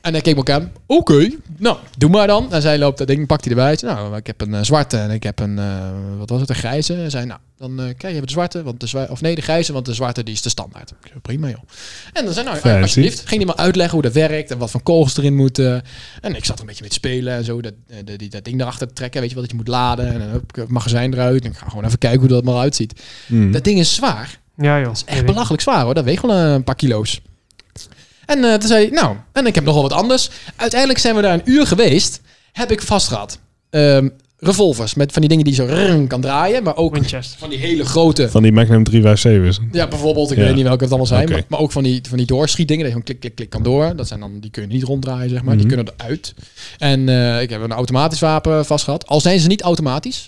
[SPEAKER 3] En hij keek me ook aan. Oké, nou, doe maar dan. En zij loopt dat ding, pakt hij erbij. Ik zei, nou, ik heb een eh, zwarte en ik heb een, eh, wat was het, een grijze. En zei, nou, dan eh kijk, je hebt de zwarte, want de zwa- of nee, de grijze, want de zwarte die is de standaard. Ik zei, prima joh. En dan zei, nou,
[SPEAKER 2] Fancy.
[SPEAKER 3] alsjeblieft, ging hij me uitleggen hoe dat werkt en wat voor kogels erin moeten. En ik zat er een beetje mee te spelen en zo, dat, eh, dat, die- dat ding erachter trekken, weet je wel, dat je moet laden. En dan hup, het magazijn eruit. En ik ga gewoon even kijken hoe dat maar uitziet.
[SPEAKER 1] Hmm.
[SPEAKER 3] Dat ding is zwaar.
[SPEAKER 1] Ja, joh.
[SPEAKER 3] Dat is echt belachelijk zwaar hoor. Dat weegt wel een paar kilo's. En eh, toen zei hij, nou, en ik heb nogal wat anders. Uiteindelijk zijn we daar een uur geweest. Heb ik vast gehad. Ehm, revolvers met van die dingen die zo rrrn kan draaien. Maar ook
[SPEAKER 1] Winchester.
[SPEAKER 3] van die hele grote.
[SPEAKER 2] Van die Magnum 357's.
[SPEAKER 3] Ja, bijvoorbeeld. Ik
[SPEAKER 2] Ja.
[SPEAKER 3] weet niet welke het allemaal zijn.
[SPEAKER 2] Oké.
[SPEAKER 3] Maar, maar ook van die, van die doorschietdingen. Dat je gewoon klik, klik, klik kan door. Dat zijn dan, die kun je niet ronddraaien, zeg maar.
[SPEAKER 2] Mhm.
[SPEAKER 3] Die kunnen eruit. En eh, ik heb een automatisch wapen vast gehad. Al zijn ze niet automatisch.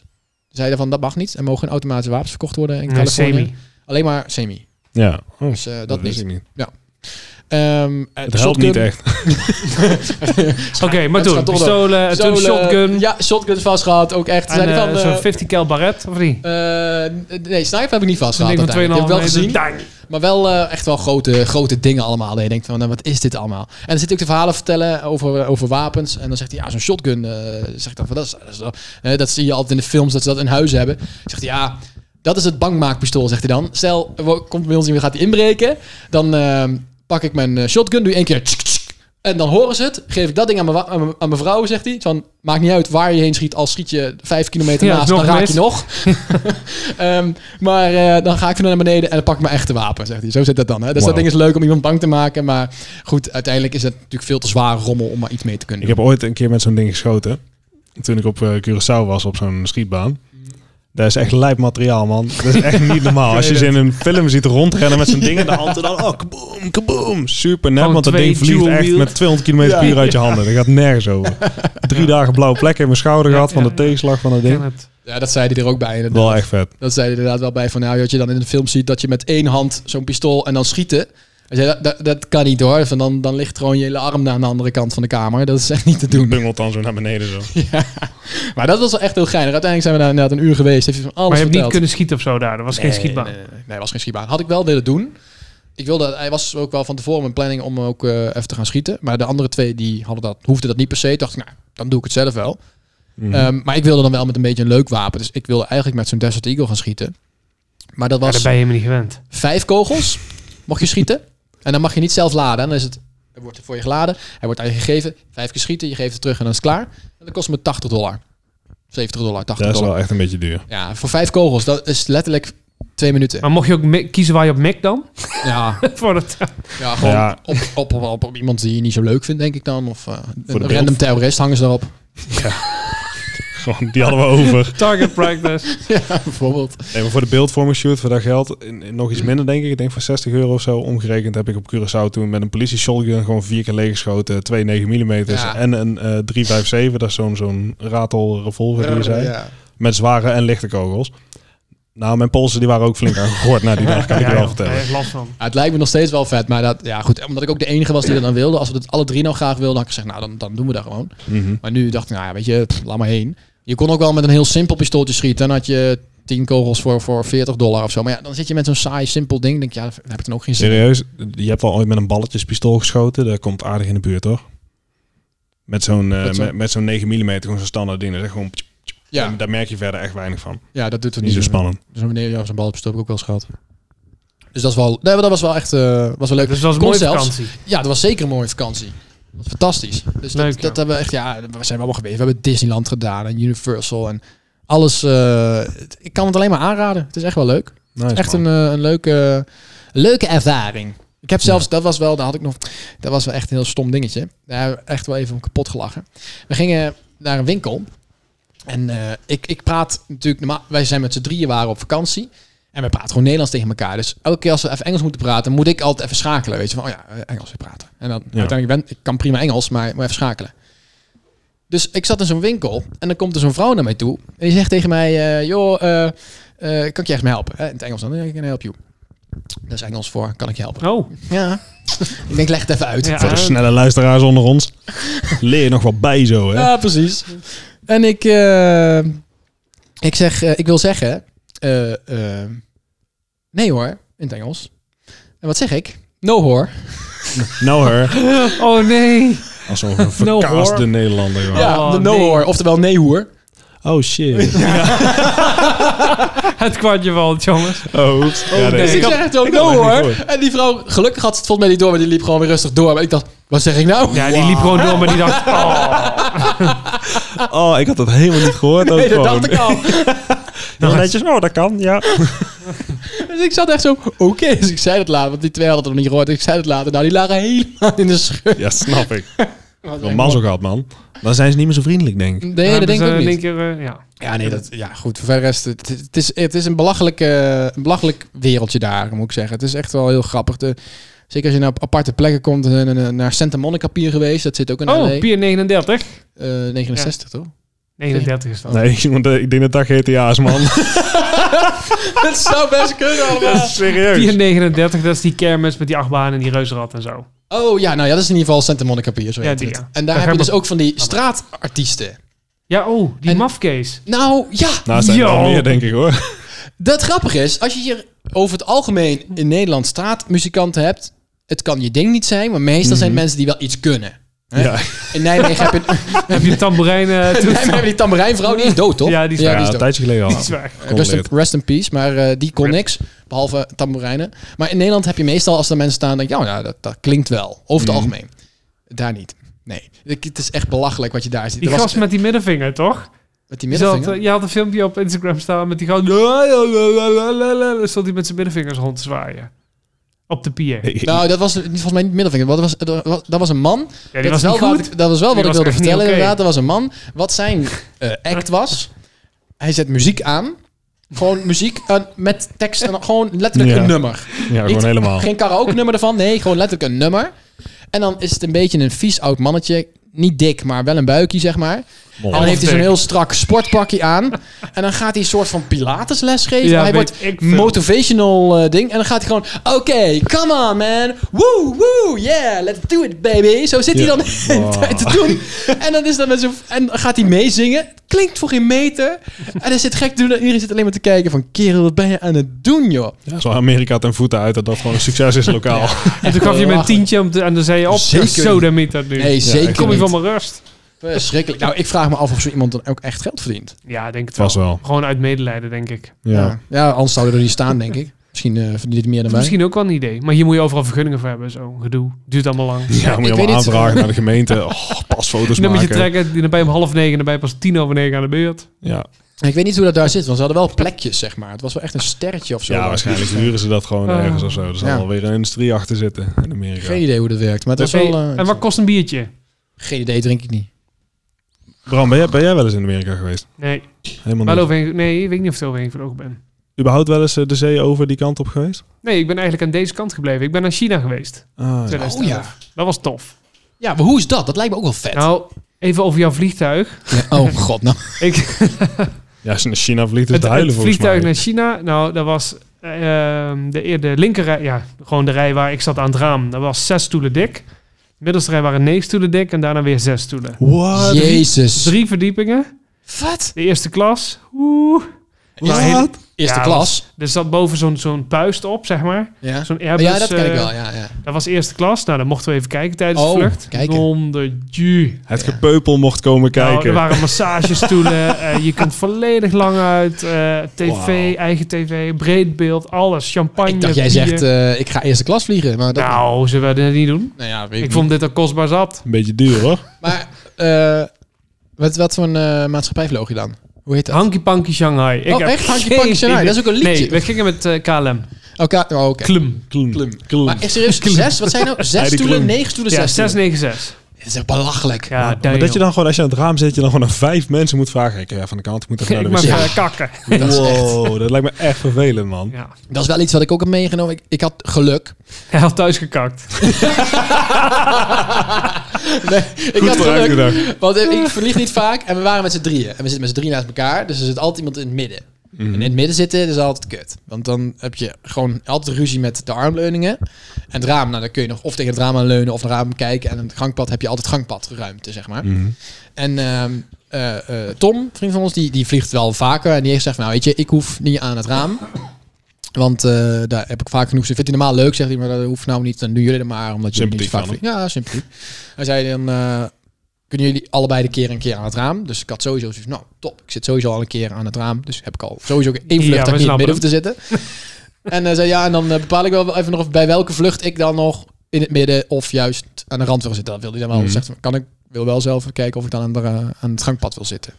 [SPEAKER 3] Ze zeiden van, dat mag niet. Er mogen geen automatische wapens verkocht worden in
[SPEAKER 1] Nee,
[SPEAKER 3] Californië.
[SPEAKER 1] semi.
[SPEAKER 3] Alleen maar semi.
[SPEAKER 2] Ja. Oh,
[SPEAKER 3] Dus eh, dat
[SPEAKER 2] wist
[SPEAKER 3] niet.
[SPEAKER 2] ik niet.
[SPEAKER 3] Ehm, eh,
[SPEAKER 2] Het helpt niet echt.
[SPEAKER 1] Oké, maar
[SPEAKER 3] het
[SPEAKER 1] toen,
[SPEAKER 3] gaat door.
[SPEAKER 1] pistolen, toen
[SPEAKER 3] Pistolen,
[SPEAKER 1] shotgun.
[SPEAKER 3] eh, Ja, shotguns vastgehad, ook echt.
[SPEAKER 1] En
[SPEAKER 3] Zeiden
[SPEAKER 1] eh,
[SPEAKER 3] van, eh,
[SPEAKER 1] zo'n 50 cal baret, of niet?
[SPEAKER 3] eh, nee, sniper heb ik niet
[SPEAKER 1] Zo'n
[SPEAKER 3] vastgehad.
[SPEAKER 1] ding van 2,5
[SPEAKER 3] uiteindelijk. Ik heb
[SPEAKER 1] meter.
[SPEAKER 3] wel gezien.
[SPEAKER 1] Dang.
[SPEAKER 3] Maar wel eh, echt wel grote, grote dingen allemaal. En je denkt van, nou, wat is dit allemaal? En dan zit hij ook de verhalen vertellen over, over wapens. En dan zegt hij, ja, zo'n shotgun. eh, zegt dan van, dat, is, dat, is wel- eh, dat zie je altijd in de films, dat ze dat in huis hebben. Zegt hij, ja, dat is het bankmaakpistool, zegt hij dan. Stel, er wo- komt bij ons iemand, gaat hij inbreken. Dan eh, pak ik mijn eh, shotgun, doe één keer... tsk, tsk. en dan horen ze het. Geef ik dat ding aan mijn, wa- aan mijn, aan mijn vrouw, zegt hij. Van, maakt niet uit waar je heen schiet. Al schiet je vijf kilometer
[SPEAKER 1] Ja,
[SPEAKER 3] naast,
[SPEAKER 1] nog
[SPEAKER 3] dan raak je
[SPEAKER 1] mis.
[SPEAKER 3] nog. Ehm, maar eh, dan ga ik weer naar beneden en dan pak ik mijn echte wapen, zegt hij. Zo zit dat dan. Hè? Dus dat
[SPEAKER 2] Wauw.
[SPEAKER 3] ding is leuk om iemand bang te maken. Maar goed, uiteindelijk is het natuurlijk veel te zwaar rommel om maar iets mee te kunnen
[SPEAKER 2] Ik
[SPEAKER 3] doen.
[SPEAKER 2] heb ooit een keer met zo'n ding geschoten. Toen ik op eh, Curaçao was, op zo'n schietbaan. Dat is echt lijp materiaal, man. Dat is echt niet normaal. Als je ze in een film ziet rondrennen met zo'n ding in de hand. En dan, oh, kaboom, kaboom. Super net,
[SPEAKER 1] Gewoon
[SPEAKER 2] want dat
[SPEAKER 1] twee
[SPEAKER 2] ding vliegt
[SPEAKER 1] dual
[SPEAKER 2] echt
[SPEAKER 1] wield.
[SPEAKER 2] met 200 km per
[SPEAKER 3] Ja.
[SPEAKER 2] uur uit je handen. Dat gaat nergens over. Drie dagen blauwe plekken in mijn schouder
[SPEAKER 1] Ja,
[SPEAKER 2] gehad van
[SPEAKER 1] ja,
[SPEAKER 2] de
[SPEAKER 1] ja.
[SPEAKER 2] tegenslag van dat
[SPEAKER 1] Ken
[SPEAKER 2] ding.
[SPEAKER 1] het.
[SPEAKER 3] Ja, dat zei hij er ook bij. Inderdaad.
[SPEAKER 2] Wel echt vet.
[SPEAKER 3] Dat zei hij inderdaad wel bij van nou, dat je dan in de film ziet dat je met één hand zo'n pistool en dan schieten. Hij zei, dat, dat, dat kan niet hoor. Van dan, dan ligt gewoon je hele arm aan de andere kant van de kamer. Dat is echt niet te doen.
[SPEAKER 2] Bungelt dan zo naar beneden zo.
[SPEAKER 3] Ja. Maar dat was wel echt heel geinig. Uiteindelijk zijn we daar inderdaad een uur geweest. Heeft hij van alles
[SPEAKER 1] Maar je hebt niet
[SPEAKER 3] verteld.
[SPEAKER 1] kunnen schieten of zo daar. Er was geen schietbaan.
[SPEAKER 3] Nee, nee, nee. Nee, was geen schietbaan. Had ik wel willen doen. Ik wilde, hij was ook wel van tevoren mijn planning om ook eh, even te gaan schieten. Maar de andere twee die hadden dat, hoefden dat niet per se. Dacht ik, nou, dan doe ik het zelf wel.
[SPEAKER 2] Mhm.
[SPEAKER 3] Ehm, maar ik wilde dan wel met een beetje een leuk wapen. Dus ik wilde eigenlijk met zo'n Desert Eagle gaan schieten. Maar dat
[SPEAKER 1] Ja,
[SPEAKER 3] was
[SPEAKER 1] daar ben je helemaal niet gewend.
[SPEAKER 3] vijf kogels. Mocht je schieten. En dan mag je niet zelf laden. En dan is het, er wordt voor je geladen. Hij wordt aan je gegeven. Vijf keer schieten. Je geeft het terug en dan is het klaar. En dat kost me 80 dollar. 70 dollar, 80
[SPEAKER 2] dat is
[SPEAKER 3] dollar.
[SPEAKER 2] wel echt een beetje duur.
[SPEAKER 3] Ja, voor vijf kogels. Dat is letterlijk twee minuten.
[SPEAKER 1] Maar mocht je ook mi- kiezen waar je op mik dan?
[SPEAKER 3] Ja,
[SPEAKER 1] Voor dat,
[SPEAKER 3] <laughs> Ja, gewoon
[SPEAKER 2] Ja.
[SPEAKER 3] Op, op, op, op, op iemand die je niet zo leuk vindt, denk ik dan. Of eh, een
[SPEAKER 2] beeld.
[SPEAKER 3] random terrorist hangen
[SPEAKER 2] <laughs>
[SPEAKER 3] ze daarop.
[SPEAKER 2] <laughs> Gewoon, die hadden we over.
[SPEAKER 1] target practice.
[SPEAKER 3] ja, bijvoorbeeld.
[SPEAKER 2] Nee, maar voor de beeldvorming shoot, voor dat geld, in, in nog iets minder denk ik. Ik denk voor 60 euro of zo omgerekend heb ik op Curaçao toen met een politie shotgun gewoon vier keer leeggeschoten. Twee 9 mm
[SPEAKER 3] Ja.
[SPEAKER 2] en een eh 357, dat is zo'n zo'n ratel revolver die je zei. Met zware en lichte kogels. Nou, mijn polsen die waren ook flink aangegord na die dag, kan ik je
[SPEAKER 1] Ja,
[SPEAKER 2] wel
[SPEAKER 1] joh,
[SPEAKER 2] vertellen.
[SPEAKER 1] Daar heb ik last van.
[SPEAKER 3] Ja, het lijkt me nog steeds wel vet, maar dat, ja goed, omdat ik ook de enige was die dat dan wilde. Als we dat alle drie nou graag wilden, had ik gezegd, nou dan, dan doen we dat gewoon.
[SPEAKER 2] Mhm.
[SPEAKER 3] Maar nu dacht ik, nou ja, weet je, pff, laat maar heen. Je kon ook wel met een heel simpel pistooltje schieten. Dan had je 10 kogels voor, voor 40 dollar of zo. Maar ja, dan zit je met zo'n saai, simpel ding. Denk je, ja, daar heb ik dan ook geen zin in.
[SPEAKER 2] Serieus, je hebt al ooit met een balletjespistool geschoten. Dat komt aardig in de buurt, hoor. Met zo'n eh,
[SPEAKER 3] Met zo'n-
[SPEAKER 2] met, met zo'n 9 mm, gewoon zo'n standaard ding. Dat is echt gewoon...
[SPEAKER 3] Ja,
[SPEAKER 2] En Daar merk je verder echt weinig van.
[SPEAKER 3] ja dat doet het
[SPEAKER 2] Niet zo
[SPEAKER 3] meer.
[SPEAKER 2] spannend.
[SPEAKER 3] Dus meneer Jan zijn bal op heb ik ook wel eens gehad. Dus dat, is wel, nee, maar dat was wel echt eh, was wel leuk.
[SPEAKER 1] Dus dat was een
[SPEAKER 3] Kon
[SPEAKER 1] mooie
[SPEAKER 3] zelfs.
[SPEAKER 1] vakantie.
[SPEAKER 3] Ja, dat was zeker een mooie vakantie. Dat was Fantastisch. Dus dat,
[SPEAKER 1] Leuk, ja.
[SPEAKER 3] dat hebben we echt, ja, we zijn allemaal geweest. We hebben Disneyland gedaan en Universal en alles. eh, het- ik kan het alleen maar aanraden. Het is echt wel leuk.
[SPEAKER 2] Nice,
[SPEAKER 3] echt
[SPEAKER 2] man.
[SPEAKER 3] een, eh, een leuke, leuke ervaring. Ik heb zelfs, dat was wel, daar had ik nog, dat was wel echt een heel stom dingetje. Daar hebben we echt wel even om kapot gelachen. We gingen naar een winkel. En eh, ik, ik praat natuurlijk, normaal, wij zijn met z'n drieën waren op vakantie. En we praten gewoon Nederlands tegen elkaar. Dus elke keer als we even Engels moeten praten, moet ik altijd even schakelen. Weet je, van oh ja, eh, Engels weer praten. En dan uiteindelijk ben ik kan prima Engels, maar ik moet even schakelen. Dus ik zat in zo'n winkel en dan komt er zo'n vrouw naar mij toe. En die zegt tegen mij, eh, joh, eh, eh, kan ik je echt mee helpen? Eh, in het Engels dan, ik kan help you. Dat is Engels voor, kan ik je helpen?
[SPEAKER 1] Oh,
[SPEAKER 3] Ja. <laughs> ik denk, leg het even uit. <laughs>
[SPEAKER 1] Ja.
[SPEAKER 2] Voor de snelle luisteraars onder ons. Leer je nog wat bij zo, hè?
[SPEAKER 3] Ja, precies. En ik, eh, ik zeg, eh, ik wil zeggen, eh, eh, nee hoor, in het Engels. En wat zeg ik? No hoor.
[SPEAKER 2] Nou, hoor.
[SPEAKER 1] oh nee.
[SPEAKER 2] Als
[SPEAKER 3] <laughs>
[SPEAKER 2] zo'n verkaasde
[SPEAKER 1] Nou, hoor.
[SPEAKER 2] Nederlander, joh.
[SPEAKER 3] Ja,
[SPEAKER 1] Oh,
[SPEAKER 3] de no
[SPEAKER 1] nee.
[SPEAKER 3] hoor, oftewel nee hoer.
[SPEAKER 2] Oh, shit.
[SPEAKER 1] Het kwartje valt, jongens.
[SPEAKER 2] Oh, ja,
[SPEAKER 1] nee.
[SPEAKER 3] Dus ik
[SPEAKER 1] had-
[SPEAKER 3] zeg het ook
[SPEAKER 2] ik
[SPEAKER 3] no
[SPEAKER 2] had het echt
[SPEAKER 3] hoor.
[SPEAKER 2] niet gehoord.
[SPEAKER 3] En die vrouw, gelukkig had ze het volgens mij niet door, maar die liep gewoon weer rustig door. Maar ik dacht, wat zeg ik nou?
[SPEAKER 1] Ja, die liep gewoon door, maar die dacht... Oh,
[SPEAKER 2] Oh, ik had dat helemaal niet gehoord. ook
[SPEAKER 3] <laughs> <laughs> Nee, dat
[SPEAKER 2] gewoon.
[SPEAKER 3] dacht ik al.
[SPEAKER 2] Heel netjes. Oh, dat kan, ja.
[SPEAKER 3] Dus ik zat echt zo, oké. Dus ik zei het later, want die twee hadden het nog niet gehoord. Ik zei het later. Nou, die lagen helemaal in de scheur.
[SPEAKER 2] Ja, snap
[SPEAKER 3] <laughs>
[SPEAKER 2] ik. Wel man zo gehad, man. Dan zijn ze niet meer zo vriendelijk, denk ik.
[SPEAKER 3] Nee, dat denk ik ook niet.
[SPEAKER 1] Keer, eh, ja.
[SPEAKER 3] Ja, nee, dat, ja, goed. Voor de rest, het, het is, het is een, belachelijk, eh, een belachelijk wereldje daar, moet ik zeggen. Het is echt wel heel grappig. De, zeker als je naar op aparte plekken komt, eh, naar- naar Santa Monica Pier geweest. Dat zit ook in LA.
[SPEAKER 1] Oh, Pier 39.
[SPEAKER 3] Eh, 69, toch? <laughs>
[SPEAKER 1] 39 is dat.
[SPEAKER 2] <laughs>
[SPEAKER 3] Oh. <laughs>
[SPEAKER 2] Nee, want eh, ik denk dat dat GTA is, man.
[SPEAKER 3] Het zou best kunnen allemaal.
[SPEAKER 2] <laughs> Serieus?
[SPEAKER 1] 439, dat is die kermis met die achtbaan en die reuzenrad en zo.
[SPEAKER 3] Oh ja, nou ja, dat is in ieder geval Santa Monica Pier. Zo
[SPEAKER 1] Ja,
[SPEAKER 3] heet
[SPEAKER 1] die,
[SPEAKER 3] het.
[SPEAKER 1] ja.
[SPEAKER 3] En
[SPEAKER 1] Daar
[SPEAKER 3] daar heb
[SPEAKER 1] gaan
[SPEAKER 3] je dus
[SPEAKER 1] we-
[SPEAKER 3] ook van die straatartiesten.
[SPEAKER 1] Ja, oh, die
[SPEAKER 3] En-
[SPEAKER 1] mafcase.
[SPEAKER 3] Nou ja,
[SPEAKER 2] Nou, zijn er wel
[SPEAKER 1] Yo.
[SPEAKER 2] meer, denk ik hoor.
[SPEAKER 3] dat grappige is, als je hier over het algemeen in Nederland straatmuzikanten hebt, het kan je ding niet zijn, maar meestal zijn
[SPEAKER 1] Mhm.
[SPEAKER 3] het mensen die wel iets kunnen. Hè?
[SPEAKER 2] Ja.
[SPEAKER 3] In Nijmegen heb je,
[SPEAKER 1] Heb je eh, tamboerijnen?
[SPEAKER 3] <laughs> in Nijmegen heb je die tamboerijnvrouw, die is dood toch?
[SPEAKER 1] Ja, die is
[SPEAKER 2] Ja,
[SPEAKER 3] die is
[SPEAKER 2] een
[SPEAKER 3] dood.
[SPEAKER 2] tijdje geleden al. Kon
[SPEAKER 3] Rest in,
[SPEAKER 2] dit.
[SPEAKER 3] rest in peace, maar eh, die kon niks, behalve tamboerijnen. Maar in Nederland heb je meestal, als er mensen staan, denk je, oh, nou, dat, dat klinkt wel, over
[SPEAKER 1] Mm.
[SPEAKER 3] het algemeen. Daar niet. Nee, Ik- het is echt belachelijk wat je daar ziet.
[SPEAKER 1] Die
[SPEAKER 3] Er was-
[SPEAKER 1] gast met die middenvinger, toch?
[SPEAKER 3] met die
[SPEAKER 1] Je, zat,
[SPEAKER 3] middelvinger.
[SPEAKER 1] eh, je had een filmpje op Instagram staan met die gast. Dan stond hij met zijn middenvingers rond te zwaaien. Op de pier.
[SPEAKER 2] Nee,
[SPEAKER 3] Nou, dat was niet- volgens mij niet middelvinger. want Dat was, dat was, dat was een man.
[SPEAKER 1] Ja, die
[SPEAKER 3] dat,
[SPEAKER 1] was
[SPEAKER 3] is
[SPEAKER 1] niet
[SPEAKER 3] wel wat
[SPEAKER 1] goed.
[SPEAKER 3] ik, dat was wel
[SPEAKER 1] Die
[SPEAKER 3] wat ik
[SPEAKER 1] was
[SPEAKER 3] wilde
[SPEAKER 1] echt niet
[SPEAKER 3] vertellen,
[SPEAKER 1] oké.
[SPEAKER 3] inderdaad. Dat was een man. Wat zijn eh, act was. Hij zet muziek aan. Gewoon muziek eh, met tekst. En gewoon letterlijk
[SPEAKER 2] Ja.
[SPEAKER 3] een nummer.
[SPEAKER 2] Ja,
[SPEAKER 3] Niet-
[SPEAKER 2] gewoon helemaal.
[SPEAKER 3] Geen karaoke nummer ervan. Nee, gewoon letterlijk een nummer. En dan is het een beetje een vies oud mannetje. Niet dik, maar wel een buikje, zeg maar.
[SPEAKER 2] Mooi.
[SPEAKER 3] En dan heeft hij zo'n
[SPEAKER 1] dik.
[SPEAKER 3] heel strak sportpakje aan. En dan gaat hij een soort van Pilatesles geven.
[SPEAKER 1] Ja,
[SPEAKER 3] hij
[SPEAKER 1] weet
[SPEAKER 3] wordt
[SPEAKER 1] ik veel.
[SPEAKER 3] motivational eh, ding. En dan gaat hij gewoon... Oké, come on man. Woo, woo, yeah. Let's do it, baby. Zo zit
[SPEAKER 2] Ja.
[SPEAKER 3] hij dan de hele
[SPEAKER 2] Wow.
[SPEAKER 3] tijd te doen. En dan, is dat met zo'n- en dan gaat hij meezingen. Het Klinkt voor geen meter. En hij zit gek te doen. En iedereen zit alleen maar te kijken van... Kerel, wat ben je aan het doen, joh?
[SPEAKER 2] Ja, zo Amerika ten voeten uit dat dat gewoon een succes is lokaal.
[SPEAKER 1] En toen gaf je me een tientje om te- en dan zei je op.
[SPEAKER 3] Zeker niet.
[SPEAKER 1] Zo, dan dat nu.
[SPEAKER 3] Nee, zeker
[SPEAKER 1] Kom je
[SPEAKER 3] niet.
[SPEAKER 1] van mijn rust?
[SPEAKER 3] Verschrikkelijk. Nou, ik vraag me af of zo iemand dan ook echt geld verdient.
[SPEAKER 1] Ja, denk het wel.
[SPEAKER 2] Vast wel.
[SPEAKER 1] Gewoon uit medelijden, denk ik.
[SPEAKER 2] Ja.
[SPEAKER 3] ja anders zouden er niet staan, denk ik. Misschien eh, verdient het meer dan wij.
[SPEAKER 1] Misschien ook wel een idee. Maar hier moet je overal vergunningen voor hebben. Zo, gedoe. Duurt allemaal lang.
[SPEAKER 2] Ja, moet je
[SPEAKER 3] ik weet
[SPEAKER 2] allemaal
[SPEAKER 3] niet.
[SPEAKER 2] aanvragen naar de gemeente. Oh, pasfoto's
[SPEAKER 1] Dan moet je
[SPEAKER 2] maken.
[SPEAKER 1] trekken. Dan ben je om half negen. Dan ben je pas tien over negen aan de beurt.
[SPEAKER 2] Ja,
[SPEAKER 3] Ik weet niet hoe dat daar zit, want ze hadden wel plekjes, zeg maar. Het was wel echt een sterretje of zo.
[SPEAKER 2] ja waarschijnlijk huren ze dat gewoon
[SPEAKER 1] Ah.
[SPEAKER 2] ergens of zo. Er zal
[SPEAKER 3] Ja.
[SPEAKER 2] wel weer een industrie achter zitten in Amerika.
[SPEAKER 3] Geen idee hoe dat werkt, maar het was
[SPEAKER 1] Hey,
[SPEAKER 3] wel... eh,
[SPEAKER 1] en wat kost een biertje?
[SPEAKER 3] Geen idee, drink ik niet.
[SPEAKER 2] Bram, ben jij, ben jij wel eens in Amerika geweest?
[SPEAKER 1] Nee,
[SPEAKER 2] Helemaal
[SPEAKER 1] wel
[SPEAKER 2] niet.
[SPEAKER 1] overheen, nee, ik weet niet of ik er overheen vlogen ben.
[SPEAKER 2] Überhaupt wel eens eh, de zee over die kant op geweest?
[SPEAKER 1] Nee, ik ben eigenlijk aan deze kant gebleven. Ik ben naar China geweest.
[SPEAKER 2] Ah, ja.
[SPEAKER 1] 2011. Dat was tof.
[SPEAKER 3] Oh, Ja, maar hoe is dat? Dat lijkt me ook wel vet.
[SPEAKER 1] Nou, even over jouw vliegtuig.
[SPEAKER 3] Ja, oh
[SPEAKER 1] <laughs>
[SPEAKER 3] god, nou.
[SPEAKER 1] Ik,
[SPEAKER 2] ja, als je naar China vliegt is het,
[SPEAKER 1] het,
[SPEAKER 2] huilen
[SPEAKER 1] het
[SPEAKER 2] volgens
[SPEAKER 1] vliegtuig
[SPEAKER 2] mij.
[SPEAKER 1] naar China. Nou, dat was eh, ehm, de, eer- de linkerrij. Ja, gewoon de rij waar ik zat aan het raam. Dat was zes stoelen dik. De middelste rij waren negen stoelen dik. En daarna weer zes stoelen.
[SPEAKER 2] What?
[SPEAKER 3] Jezus.
[SPEAKER 1] Ah, Drie verdiepingen.
[SPEAKER 3] Wat?
[SPEAKER 1] De eerste klas. Oeh.
[SPEAKER 2] What?
[SPEAKER 1] Nou, hele-
[SPEAKER 3] Eerste
[SPEAKER 1] Ja,
[SPEAKER 3] klas.
[SPEAKER 1] Er zat boven zo'n zo'n puist op, zeg maar.
[SPEAKER 3] Ja.
[SPEAKER 1] Zo'n
[SPEAKER 3] Oh,
[SPEAKER 1] Airbus.
[SPEAKER 3] ja, dat ken ik
[SPEAKER 1] eh,
[SPEAKER 3] wel, ja. ja.
[SPEAKER 1] Dat was eerste klas. Nou, dan mochten we even kijken tijdens
[SPEAKER 3] Oh,
[SPEAKER 1] de vlucht.
[SPEAKER 3] kijken.
[SPEAKER 1] Dondertje.
[SPEAKER 2] Het gepeupel mocht komen
[SPEAKER 1] Nou, er
[SPEAKER 2] kijken.
[SPEAKER 1] waren massagestoelen.
[SPEAKER 3] <laughs>
[SPEAKER 1] eh, je kunt volledig lang uit. eh, tv,
[SPEAKER 2] Wauw.
[SPEAKER 1] eigen tv, breed beeld, alles. Champagne,
[SPEAKER 3] Ik dacht, jij
[SPEAKER 1] bier.
[SPEAKER 3] zegt, eh, ik ga eerste klas vliegen. Maar dat,
[SPEAKER 1] nou, ze werden het niet doen.
[SPEAKER 3] nou ja, weet
[SPEAKER 1] Ik
[SPEAKER 3] ik
[SPEAKER 1] vond dit al kostbaar zat.
[SPEAKER 2] Een beetje duur hoor.
[SPEAKER 3] niet. Maar, eh, wat, wat voor een eh, maatschappij vloog je dan? Hoe heet dat?
[SPEAKER 1] Hanky Panky Shanghai. Ik
[SPEAKER 3] oh,
[SPEAKER 1] heb
[SPEAKER 3] echt? Hanky
[SPEAKER 1] geen
[SPEAKER 3] Panky Shanghai.
[SPEAKER 1] idee.
[SPEAKER 3] Dat is ook een
[SPEAKER 1] Nee,
[SPEAKER 3] liedje.
[SPEAKER 1] we gingen met eh, KLM.
[SPEAKER 3] Oké, oh, oké.
[SPEAKER 1] Klum.
[SPEAKER 2] Klum.
[SPEAKER 3] Klum.
[SPEAKER 2] Klum.
[SPEAKER 3] Maar is er eens zes? Wat zijn nou? Zes
[SPEAKER 2] Heidi
[SPEAKER 3] stoelen,
[SPEAKER 2] Klum.
[SPEAKER 3] negen stoelen,
[SPEAKER 1] Ja,
[SPEAKER 3] zes stoelen.
[SPEAKER 1] 696.
[SPEAKER 3] Dit is echt belachelijk.
[SPEAKER 1] Ja,
[SPEAKER 2] Maar
[SPEAKER 1] damn.
[SPEAKER 2] dat je dan gewoon, als je aan het raam zit, je dan gewoon aan vijf mensen moet vragen. Ik ga even aan de kant, ik moet even naar
[SPEAKER 1] <laughs> <laughs> Ik
[SPEAKER 2] de
[SPEAKER 1] mag
[SPEAKER 2] wc.
[SPEAKER 3] Ja.
[SPEAKER 1] eh, kakken.
[SPEAKER 3] Dat, is echt,
[SPEAKER 2] Wow, dat lijkt me echt vervelend, man.
[SPEAKER 1] Ja.
[SPEAKER 3] dat is wel iets wat ik ook heb meegenomen. Ik, ik had geluk.
[SPEAKER 1] Hij had thuis gekakt.
[SPEAKER 3] Nee, ik
[SPEAKER 2] Goed
[SPEAKER 3] had
[SPEAKER 2] vooruit
[SPEAKER 3] geluk.
[SPEAKER 2] gedacht.
[SPEAKER 3] Want ik ik verlieg niet vaak. En we waren met z'n drieën. En we zitten met z'n drieën naast elkaar. Dus er zit altijd iemand in het midden. En in het midden zitten is altijd kut. Want dan heb je gewoon altijd ruzie met de armleuningen. En het raam, nou dan kun je nog of tegen het raam aan leunen of naar het raam kijken. En aan het gangpad heb je altijd gangpadruimte, zeg maar.
[SPEAKER 2] Mhm.
[SPEAKER 3] En ehm, eh, eh, Tom, vriend van ons, die, die vliegt wel vaker. En die heeft gezegd van, nou weet je, ik hoef niet aan het raam. Want eh, daar heb ik vaak genoeg zin. Vindt hij normaal leuk, zegt hij, maar dat hoeft nou niet. Dan doen jullie het maar, omdat jullie niet zo vaak
[SPEAKER 2] Sympathiek
[SPEAKER 3] vliegen. Ja, sympathiek. Hij zei dan, eh, kunnen jullie allebei de keer een keer aan het raam? Dus ik had sowieso zoiets nou top, ik zit sowieso al een keer aan het raam. Dus heb ik al sowieso één
[SPEAKER 1] Ja, we
[SPEAKER 3] vlucht dat ik niet in het
[SPEAKER 1] snappen
[SPEAKER 3] midden hoef te zitten. en hij zei, ja, en dan eh, bepaal ik wel even nog of bij welke vlucht ik dan nog in het midden of juist aan de rand wil zitten. Dat wilde hij dan wel.
[SPEAKER 2] Mhm.
[SPEAKER 3] Zegt, hij, kan ik wil wel zelf even kijken of ik dan aan, de, eh, aan het gangpad wil zitten.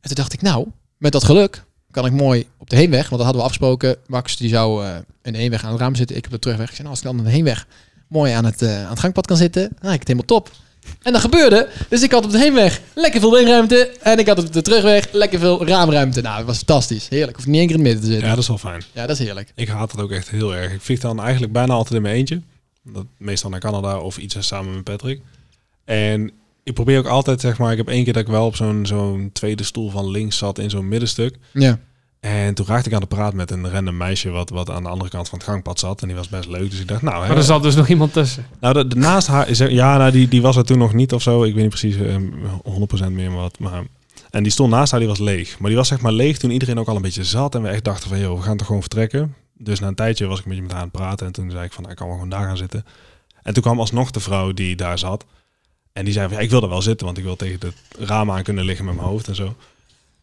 [SPEAKER 3] En toen dacht ik, nou, met dat geluk kan ik mooi op de heenweg, want dat hadden we afgesproken. Max die zou eh, in de heenweg aan het raam zitten, ik op de terugweg. Ik zei, nou, als ik dan aan de heenweg mooi aan het, eh, aan het gangpad kan zitten, dan heb ik het helemaal top. En dat gebeurde. Dus ik had op de heenweg lekker veel windruimte. En ik had op de terugweg lekker veel raamruimte. Nou, dat was fantastisch. Heerlijk. Ik hoef niet één keer in het midden
[SPEAKER 2] Ja,
[SPEAKER 3] te zitten.
[SPEAKER 2] dat is wel fijn.
[SPEAKER 3] Ja, dat is heerlijk.
[SPEAKER 2] Ik haat dat ook echt heel erg. Ik vlieg dan eigenlijk bijna altijd in mijn eentje. Dat, meestal naar Canada of iets samen met Patrick. En ik probeer ook altijd, zeg maar, ik heb één keer dat ik wel op zo'n zo'n tweede stoel van links zat in zo'n middenstuk.
[SPEAKER 3] Ja.
[SPEAKER 2] En toen raakte ik aan de praat met een random meisje wat, wat aan de andere kant van het gangpad zat. En die was best leuk. Dus ik dacht, nou, hè,
[SPEAKER 1] Maar er zat dus nog iemand tussen.
[SPEAKER 2] nou de, de- naast haar is er- ja, nou, die, die was er toen nog niet of zo. Ik weet niet precies eh, 100% meer wat. Maar, en die stond naast haar, die was leeg. Maar die was zeg maar leeg toen iedereen ook al een beetje zat. En we echt dachten van, joh, we gaan toch gewoon vertrekken. Dus na een tijdje was ik een beetje met haar aan het praten. En toen zei ik van, nou, ik kan wel gewoon daar gaan zitten. En toen kwam alsnog de vrouw die daar zat. En die zei van, ja, ik wil er wel zitten, want ik wil tegen het raam aan kunnen liggen met mijn hoofd en zo.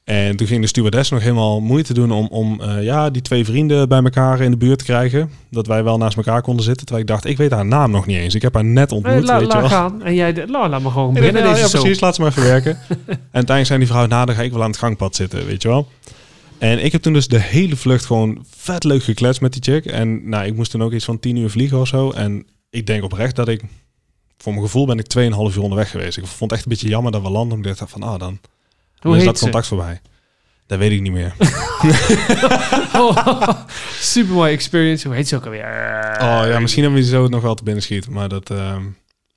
[SPEAKER 2] En toen ging de stewardess nog helemaal moeite doen om, om eh, ja, die twee vrienden bij elkaar in de buurt te krijgen. Dat wij wel naast elkaar konden zitten. Terwijl ik dacht, ik weet haar naam nog niet eens. Ik heb haar net ontmoet,
[SPEAKER 1] Nee, laat
[SPEAKER 2] weet je
[SPEAKER 1] laat
[SPEAKER 2] wel.
[SPEAKER 1] gaan. En jij, de- la, laat me gewoon
[SPEAKER 2] Ik dacht,
[SPEAKER 1] binnen
[SPEAKER 2] nou,
[SPEAKER 1] deze
[SPEAKER 2] ja,
[SPEAKER 1] show.
[SPEAKER 2] precies, laat ze maar even werken. <laughs> en uiteindelijk zijn die vrouw na, dan ga ik wel aan het gangpad zitten, weet je wel. En ik heb toen dus de hele vlucht gewoon vet leuk gekletst met die chick. En nou, ik moest toen ook iets van tien uur vliegen of zo. En ik denk oprecht dat ik, voor mijn gevoel ben ik 2,5 uur onderweg geweest. Ik vond het echt een beetje jammer dat we landen. omdat Ik dacht van, ah, dan, dan
[SPEAKER 1] Hoe heet
[SPEAKER 2] is Dus dat
[SPEAKER 1] ze?
[SPEAKER 2] contact voorbij. Dat weet ik niet meer.
[SPEAKER 1] <laughs> Oh, <laughs> supermooie experience. Hoe heet ze ook alweer?
[SPEAKER 2] Oh ja, misschien hebben we die zo nog wel te binnen schiet. Maar dat... ehm,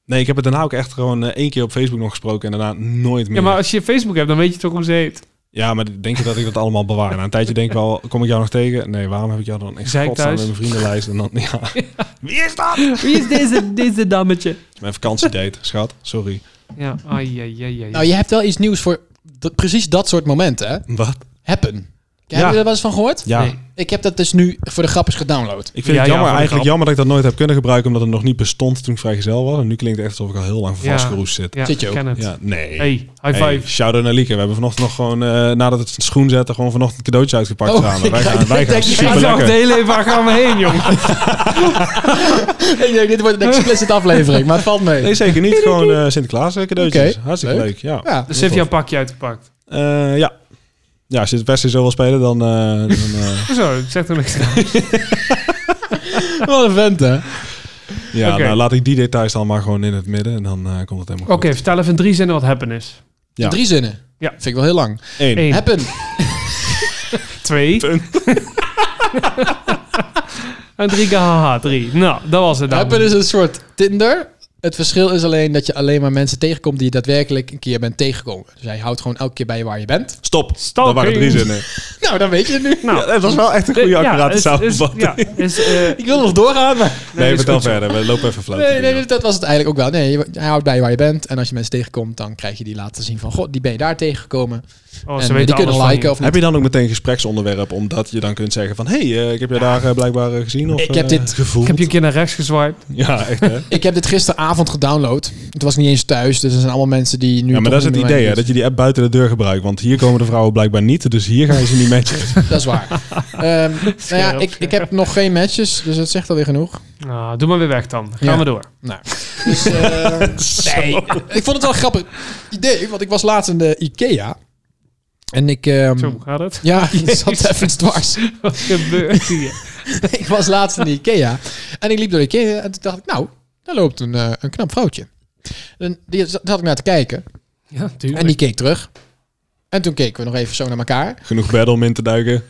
[SPEAKER 2] Nee, ik heb het daarna ook echt gewoon eh, één keer op Facebook nog gesproken en daarna nooit meer.
[SPEAKER 1] Ja, maar als je Facebook hebt, dan weet je toch hoe ze heet.
[SPEAKER 2] Ja, maar denk je dat ik dat allemaal bewaar? Na een tijdje denk ik wel, kom ik jou nog tegen? Nee, waarom heb ik jou dan in
[SPEAKER 1] Zei ik
[SPEAKER 2] godsnaam in
[SPEAKER 1] thuis?
[SPEAKER 2] mijn vriendenlijst? En dan, <laughs> ja. Wie is dat?
[SPEAKER 1] Wie is deze, deze dammetje?
[SPEAKER 2] Mijn vakantiedate, schat. Sorry.
[SPEAKER 1] Ja, ai, ai, ai, ai.
[SPEAKER 3] Nou, je hebt wel iets nieuws voor dat- precies dat soort momenten, hè?
[SPEAKER 2] Wat?
[SPEAKER 3] Happen. Hebben
[SPEAKER 2] Ja.
[SPEAKER 3] jullie er wel eens van gehoord?
[SPEAKER 2] Ja.
[SPEAKER 1] Nee.
[SPEAKER 3] Ik heb dat dus nu voor de grap eens <laughs> gedownload.
[SPEAKER 2] Ik vind
[SPEAKER 1] Ja,
[SPEAKER 2] het
[SPEAKER 1] ja,
[SPEAKER 2] jammer,
[SPEAKER 1] voor de grap.
[SPEAKER 2] eigenlijk jammer dat ik dat nooit heb kunnen gebruiken, omdat het nog niet bestond toen ik vrijgezel was. En nu klinkt het echt alsof ik al heel lang
[SPEAKER 1] Ja.
[SPEAKER 2] vastgeroest zit.
[SPEAKER 1] ja,
[SPEAKER 3] Zit je
[SPEAKER 1] ik
[SPEAKER 3] ook?
[SPEAKER 1] ken het.
[SPEAKER 2] Ja, nee.
[SPEAKER 1] Hey, high five.
[SPEAKER 2] Hey, shout-out naar Lieke. We hebben vanochtend nog gewoon, eh, nadat het schoen zetten, gewoon vanochtend een cadeautje uitgepakt
[SPEAKER 3] Oh,
[SPEAKER 2] samen. Wij
[SPEAKER 1] <laughs>
[SPEAKER 3] ik
[SPEAKER 2] gaan, wij gaan
[SPEAKER 3] denk- ik
[SPEAKER 1] Ik dacht
[SPEAKER 2] super
[SPEAKER 1] de
[SPEAKER 2] lekker.
[SPEAKER 1] hele even, waar gaan we heen, jongen?
[SPEAKER 3] Ik denk, dit wordt een <laughs> explicit aflevering, maar het valt mee.
[SPEAKER 2] Nee, zeker niet. Gewoon eh, Sinterklaas eh, cadeautjes.
[SPEAKER 3] Oké,
[SPEAKER 2] Hartstikke
[SPEAKER 3] leuk.
[SPEAKER 2] leuk. Ja.
[SPEAKER 3] Ja.
[SPEAKER 1] Dus heeft jouw pakje uitgepakt.
[SPEAKER 2] Eh, ja. Ja, als je het beste zo wil spelen, dan... eh,
[SPEAKER 1] <laughs>
[SPEAKER 2] dan eh,
[SPEAKER 1] Zo, ik zeg er niks aan.
[SPEAKER 3] Wat een vent, hè?
[SPEAKER 2] ja,
[SPEAKER 1] Oké.
[SPEAKER 2] nou, laat ik die details dan maar gewoon in het midden en dan eh, komt het helemaal
[SPEAKER 1] Oké,
[SPEAKER 2] goed.
[SPEAKER 1] vertel even in drie zinnen wat happen is.
[SPEAKER 2] Ja.
[SPEAKER 3] Drie zinnen.
[SPEAKER 1] Ja.
[SPEAKER 3] Vind ik wel heel lang.
[SPEAKER 2] Eén.
[SPEAKER 1] Eén,
[SPEAKER 3] Happen.
[SPEAKER 1] twee... en drie haha, drie. Nou, dat was het dan.
[SPEAKER 3] Happen is een soort Tinder. Het verschil is alleen dat je alleen maar mensen tegenkomt die je daadwerkelijk een keer bent tegengekomen. Dus hij houdt gewoon elke keer bij je waar je bent. <laughs>
[SPEAKER 2] Stop.
[SPEAKER 1] Stalking.
[SPEAKER 2] Dat waren drie zinnen.
[SPEAKER 3] Nou, dan weet je het nu.
[SPEAKER 1] <laughs> Nou,
[SPEAKER 2] Ja, dat was wel <laughs> echt een goede accurate
[SPEAKER 1] is- is-
[SPEAKER 2] samenvatting.
[SPEAKER 1] Ja,
[SPEAKER 2] <laughs>
[SPEAKER 1] is, eh,
[SPEAKER 3] Ik wil nog doorgaan, maar...
[SPEAKER 2] nee,
[SPEAKER 1] is
[SPEAKER 2] vertel
[SPEAKER 1] goed zo.
[SPEAKER 2] verder. We lopen even flauw.
[SPEAKER 3] Nee, nee, dat was het eigenlijk ook wel. Nee, je- hij houdt bij je waar je bent. En als je mensen tegenkomt, dan krijg je die laten zien van... God, die ben je daar tegengekomen.
[SPEAKER 1] Oh,
[SPEAKER 3] en
[SPEAKER 1] ze weten
[SPEAKER 3] eh, die
[SPEAKER 1] alles
[SPEAKER 3] kunnen
[SPEAKER 1] van
[SPEAKER 3] liken
[SPEAKER 1] je.
[SPEAKER 3] of niet.
[SPEAKER 2] Heb je dan ook meteen een gespreksonderwerp, omdat je dan kunt zeggen van... Hé, hey, eh, ik heb je daar eh, blijkbaar eh, gezien of
[SPEAKER 3] Ik heb
[SPEAKER 2] eh,
[SPEAKER 3] dit-
[SPEAKER 1] Ik
[SPEAKER 2] gevoeld.
[SPEAKER 1] heb je een keer naar rechts geswiped.
[SPEAKER 2] <laughs> Ja, echt hè.
[SPEAKER 3] Ik heb dit gisteravond gedownload. Het was niet eens thuis, dus er zijn allemaal mensen die nu...
[SPEAKER 2] Ja, maar
[SPEAKER 3] toch
[SPEAKER 2] dat is het
[SPEAKER 3] niet meer
[SPEAKER 2] idee, hè,
[SPEAKER 3] weten.
[SPEAKER 2] dat je die app buiten de deur gebruikt. Want hier komen de vrouwen blijkbaar niet, dus hier ga je ze niet matchen.
[SPEAKER 3] Dat is
[SPEAKER 2] <laughs>
[SPEAKER 3] waar. Ehm, nou ja,
[SPEAKER 1] Scherp,
[SPEAKER 3] ik, ik heb nog geen matches, dus dat zegt alweer genoeg.
[SPEAKER 1] Nou, doe maar weer weg dan. Gaan
[SPEAKER 3] Ja.
[SPEAKER 1] we door.
[SPEAKER 3] Nou, dus, eh,
[SPEAKER 2] <laughs>
[SPEAKER 3] nee. Ik vond het wel een grappig idee, want ik was laatst in de Ikea. En ik... ehm,
[SPEAKER 1] Zo gaat het. <laughs>
[SPEAKER 3] ja, ik zat even dwars.
[SPEAKER 1] Wat gebeurt hier?
[SPEAKER 3] ik was laatst in de Ikea. En ik liep door de Ikea en toen dacht ik, nou, daar loopt een, eh, een knap vrouwtje. En die zat zat ik naar te kijken.
[SPEAKER 1] Ja, tuurlijk.
[SPEAKER 3] En die keek terug. En toen keken we nog even zo naar elkaar.
[SPEAKER 2] Genoeg bed om in
[SPEAKER 1] <laughs>
[SPEAKER 2] te duiken.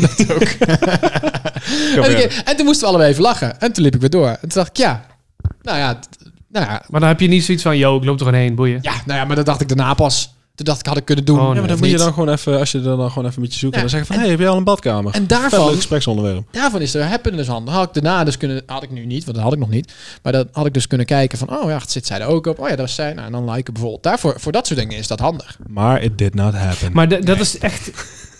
[SPEAKER 2] dat ook.
[SPEAKER 3] En, toen keek- en toen moesten we allebei even lachen. En toen liep ik weer door. En toen dacht ik, ja, nou ja, t- nou ja,
[SPEAKER 1] Maar dan heb je niet zoiets van, yo, ik loop er gewoon heen, boeien.
[SPEAKER 3] ja, nou ja, maar dat dacht ik daarna pas. Toen dacht ik, had ik kunnen doen.
[SPEAKER 1] Oh, nee.
[SPEAKER 2] Ja, maar
[SPEAKER 3] Of
[SPEAKER 2] dan moet je
[SPEAKER 3] niet.
[SPEAKER 2] dan gewoon even, als je er dan gewoon even met je zoekt
[SPEAKER 3] Ja,
[SPEAKER 2] en dan zeggen van, hé, hey, heb jij al een badkamer? Vet
[SPEAKER 3] En
[SPEAKER 2] leuk
[SPEAKER 3] daarvan,
[SPEAKER 2] gespreksonderwerp.
[SPEAKER 3] daarvan is er happen dus handig. Had ik daarna dus kunnen, had ik nu niet, want dat had ik nog niet. Maar dan had ik dus kunnen kijken van, oh ja, zit zij er ook op? Oh ja, dat is zij. Nou, en dan liken bijvoorbeeld. Daarvoor, voor dat soort dingen is dat handig.
[SPEAKER 2] Maar it did not happen.
[SPEAKER 1] Maar d- dat is echt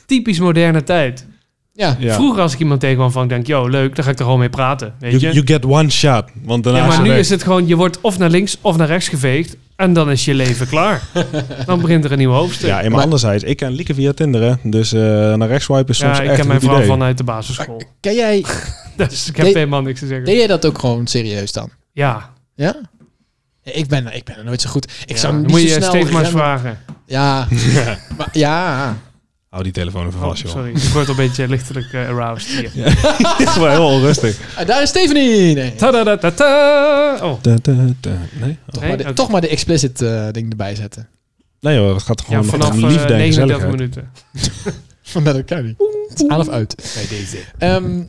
[SPEAKER 1] typisch moderne tijd.
[SPEAKER 3] Ja,
[SPEAKER 2] ja.
[SPEAKER 1] Vroeger als ik iemand tegenkwam van, ik denk, yo, leuk, dan ga ik er gewoon mee praten. Weet
[SPEAKER 2] you,
[SPEAKER 1] je?
[SPEAKER 2] you get one shot. Want daarna
[SPEAKER 1] ja, maar
[SPEAKER 2] is
[SPEAKER 1] nu
[SPEAKER 2] het
[SPEAKER 1] is het gewoon, je wordt of naar links of naar rechts geveegd. En dan is je leven
[SPEAKER 2] <laughs>
[SPEAKER 1] klaar. dan begint er een nieuw hoofdstuk.
[SPEAKER 2] weg. Ja, en maar
[SPEAKER 3] Maar-
[SPEAKER 2] anderzijds, ik ken Lieke via Tinder, hè. Dus eh, naar rechts swipen is
[SPEAKER 1] Ja,
[SPEAKER 2] soms
[SPEAKER 1] ik
[SPEAKER 2] echt
[SPEAKER 1] ken
[SPEAKER 2] een
[SPEAKER 1] mijn
[SPEAKER 2] goed
[SPEAKER 1] vrouw
[SPEAKER 2] idee. Ah,
[SPEAKER 1] vanuit de basisschool.
[SPEAKER 3] Ken jij,
[SPEAKER 1] <laughs> Dus ik heb
[SPEAKER 3] Deed-
[SPEAKER 1] helemaal niks te zeggen.
[SPEAKER 3] deed jij dat ook gewoon serieus dan?
[SPEAKER 1] Ja,
[SPEAKER 3] Ja? Ik ben, ik ben er nooit zo goed. Ik
[SPEAKER 1] Ja,
[SPEAKER 3] zou
[SPEAKER 1] dan
[SPEAKER 3] niet
[SPEAKER 1] moet
[SPEAKER 3] zo
[SPEAKER 1] je
[SPEAKER 3] snel
[SPEAKER 1] steeds maar eens
[SPEAKER 3] remmen.
[SPEAKER 1] vragen.
[SPEAKER 3] Ja, <laughs> maar, ja.
[SPEAKER 2] Hou die telefoon even
[SPEAKER 1] Oh,
[SPEAKER 2] vast, joh. <laughs>
[SPEAKER 1] sorry, ik word al een beetje lichtelijk eh, aroused <laughs> hier.
[SPEAKER 2] Dit is
[SPEAKER 1] <laughs>
[SPEAKER 2] wel heel onrustig.
[SPEAKER 3] En Ah, daar is Stephanie. Nee. Toch,
[SPEAKER 1] Ta-da-da-da-ta! Oh,
[SPEAKER 2] Da, da, da. Nee? Oh.
[SPEAKER 1] nee,
[SPEAKER 3] maar de,
[SPEAKER 1] oké.
[SPEAKER 3] toch maar de explicit eh, ding erbij
[SPEAKER 1] <laughs>
[SPEAKER 3] zetten.
[SPEAKER 2] Nee, joh, dat gaat
[SPEAKER 1] ja,
[SPEAKER 2] gewoon
[SPEAKER 1] vanaf
[SPEAKER 2] om
[SPEAKER 1] eh,
[SPEAKER 2] liefde en
[SPEAKER 1] 39
[SPEAKER 2] gezelligheid.
[SPEAKER 1] minuten. Nou,
[SPEAKER 3] Van dat kan niet. Het is Aan of uit.
[SPEAKER 1] Bij deze.
[SPEAKER 3] Ehm,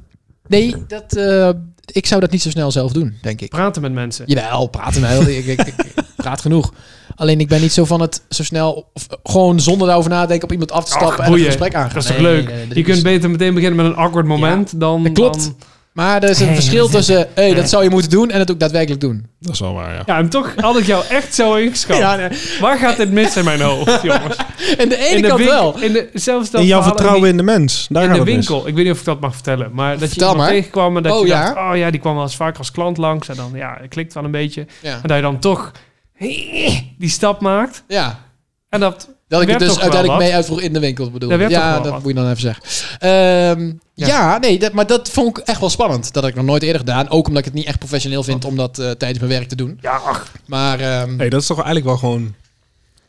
[SPEAKER 3] nee, dat, eh, ik zou dat niet zo snel zelf doen, denk ik. nou
[SPEAKER 1] Praten met mensen.
[SPEAKER 3] Jawel, praten wel. ik, ik, ik praat genoeg. Alleen ik ben niet zo van het zo snel, of eh, gewoon zonder daarover nadenken, op iemand af te
[SPEAKER 1] Ach,
[SPEAKER 3] stappen en een
[SPEAKER 1] boeien.
[SPEAKER 3] gesprek aan.
[SPEAKER 1] Dat is toch
[SPEAKER 3] Nee,
[SPEAKER 1] leuk?
[SPEAKER 3] nee, nee, dat
[SPEAKER 1] je
[SPEAKER 3] is-
[SPEAKER 1] kunt beter meteen beginnen met een awkward moment dan...
[SPEAKER 3] dat klopt.
[SPEAKER 1] dan-
[SPEAKER 3] Maar er is een
[SPEAKER 1] Nee,
[SPEAKER 3] verschil
[SPEAKER 1] dat is-
[SPEAKER 3] tussen, hé, hey, dat zou je moeten doen en het ook daadwerkelijk doen.
[SPEAKER 2] Dat is wel waar, ja.
[SPEAKER 1] ja, en toch had ik jou echt zo ingeschat.
[SPEAKER 3] nee.
[SPEAKER 1] Waar gaat dit mis in mijn
[SPEAKER 3] <laughs>
[SPEAKER 1] hoofd, jongens?
[SPEAKER 3] En de ene
[SPEAKER 1] in
[SPEAKER 3] kant
[SPEAKER 1] winkel-
[SPEAKER 3] wel.
[SPEAKER 1] In de, zelfs dat
[SPEAKER 2] In jouw
[SPEAKER 1] verhaal-
[SPEAKER 2] vertrouwen in de mens. Daar
[SPEAKER 1] in
[SPEAKER 2] gaat
[SPEAKER 1] de
[SPEAKER 2] het mis.
[SPEAKER 1] winkel. Ik weet niet of ik dat mag vertellen. Maar dat
[SPEAKER 3] Vertel
[SPEAKER 1] je iemand
[SPEAKER 3] maar.
[SPEAKER 1] tegenkwam en dat
[SPEAKER 3] Oh,
[SPEAKER 1] je
[SPEAKER 3] ja?
[SPEAKER 1] dacht... Oh ja, die kwam wel eens vaak als klant langs. En dan, ja, het klikt wel een beetje.
[SPEAKER 3] Ja.
[SPEAKER 1] En dat je dan toch <laughs> die stap maakt.
[SPEAKER 3] ja.
[SPEAKER 1] En dat...
[SPEAKER 3] Dat ik het
[SPEAKER 1] Werkt toch
[SPEAKER 3] dus
[SPEAKER 1] wel wat?
[SPEAKER 3] uiteindelijk mee uitvroeg in de winkel bedoel.
[SPEAKER 1] Daar
[SPEAKER 3] ik.
[SPEAKER 1] werkt toch
[SPEAKER 3] Ja,
[SPEAKER 1] wel
[SPEAKER 3] dat
[SPEAKER 1] wat?
[SPEAKER 3] moet je dan even zeggen. Ehm, ja.
[SPEAKER 1] Ja.
[SPEAKER 3] nee, dat, maar dat vond ik echt wel spannend. Dat had ik nog nooit eerder gedaan. Ook omdat ik het niet echt professioneel vind om dat eh, tijdens mijn werk te doen.
[SPEAKER 1] Ja, ach.
[SPEAKER 3] Maar ehm,
[SPEAKER 2] Hey, dat is toch eigenlijk wel gewoon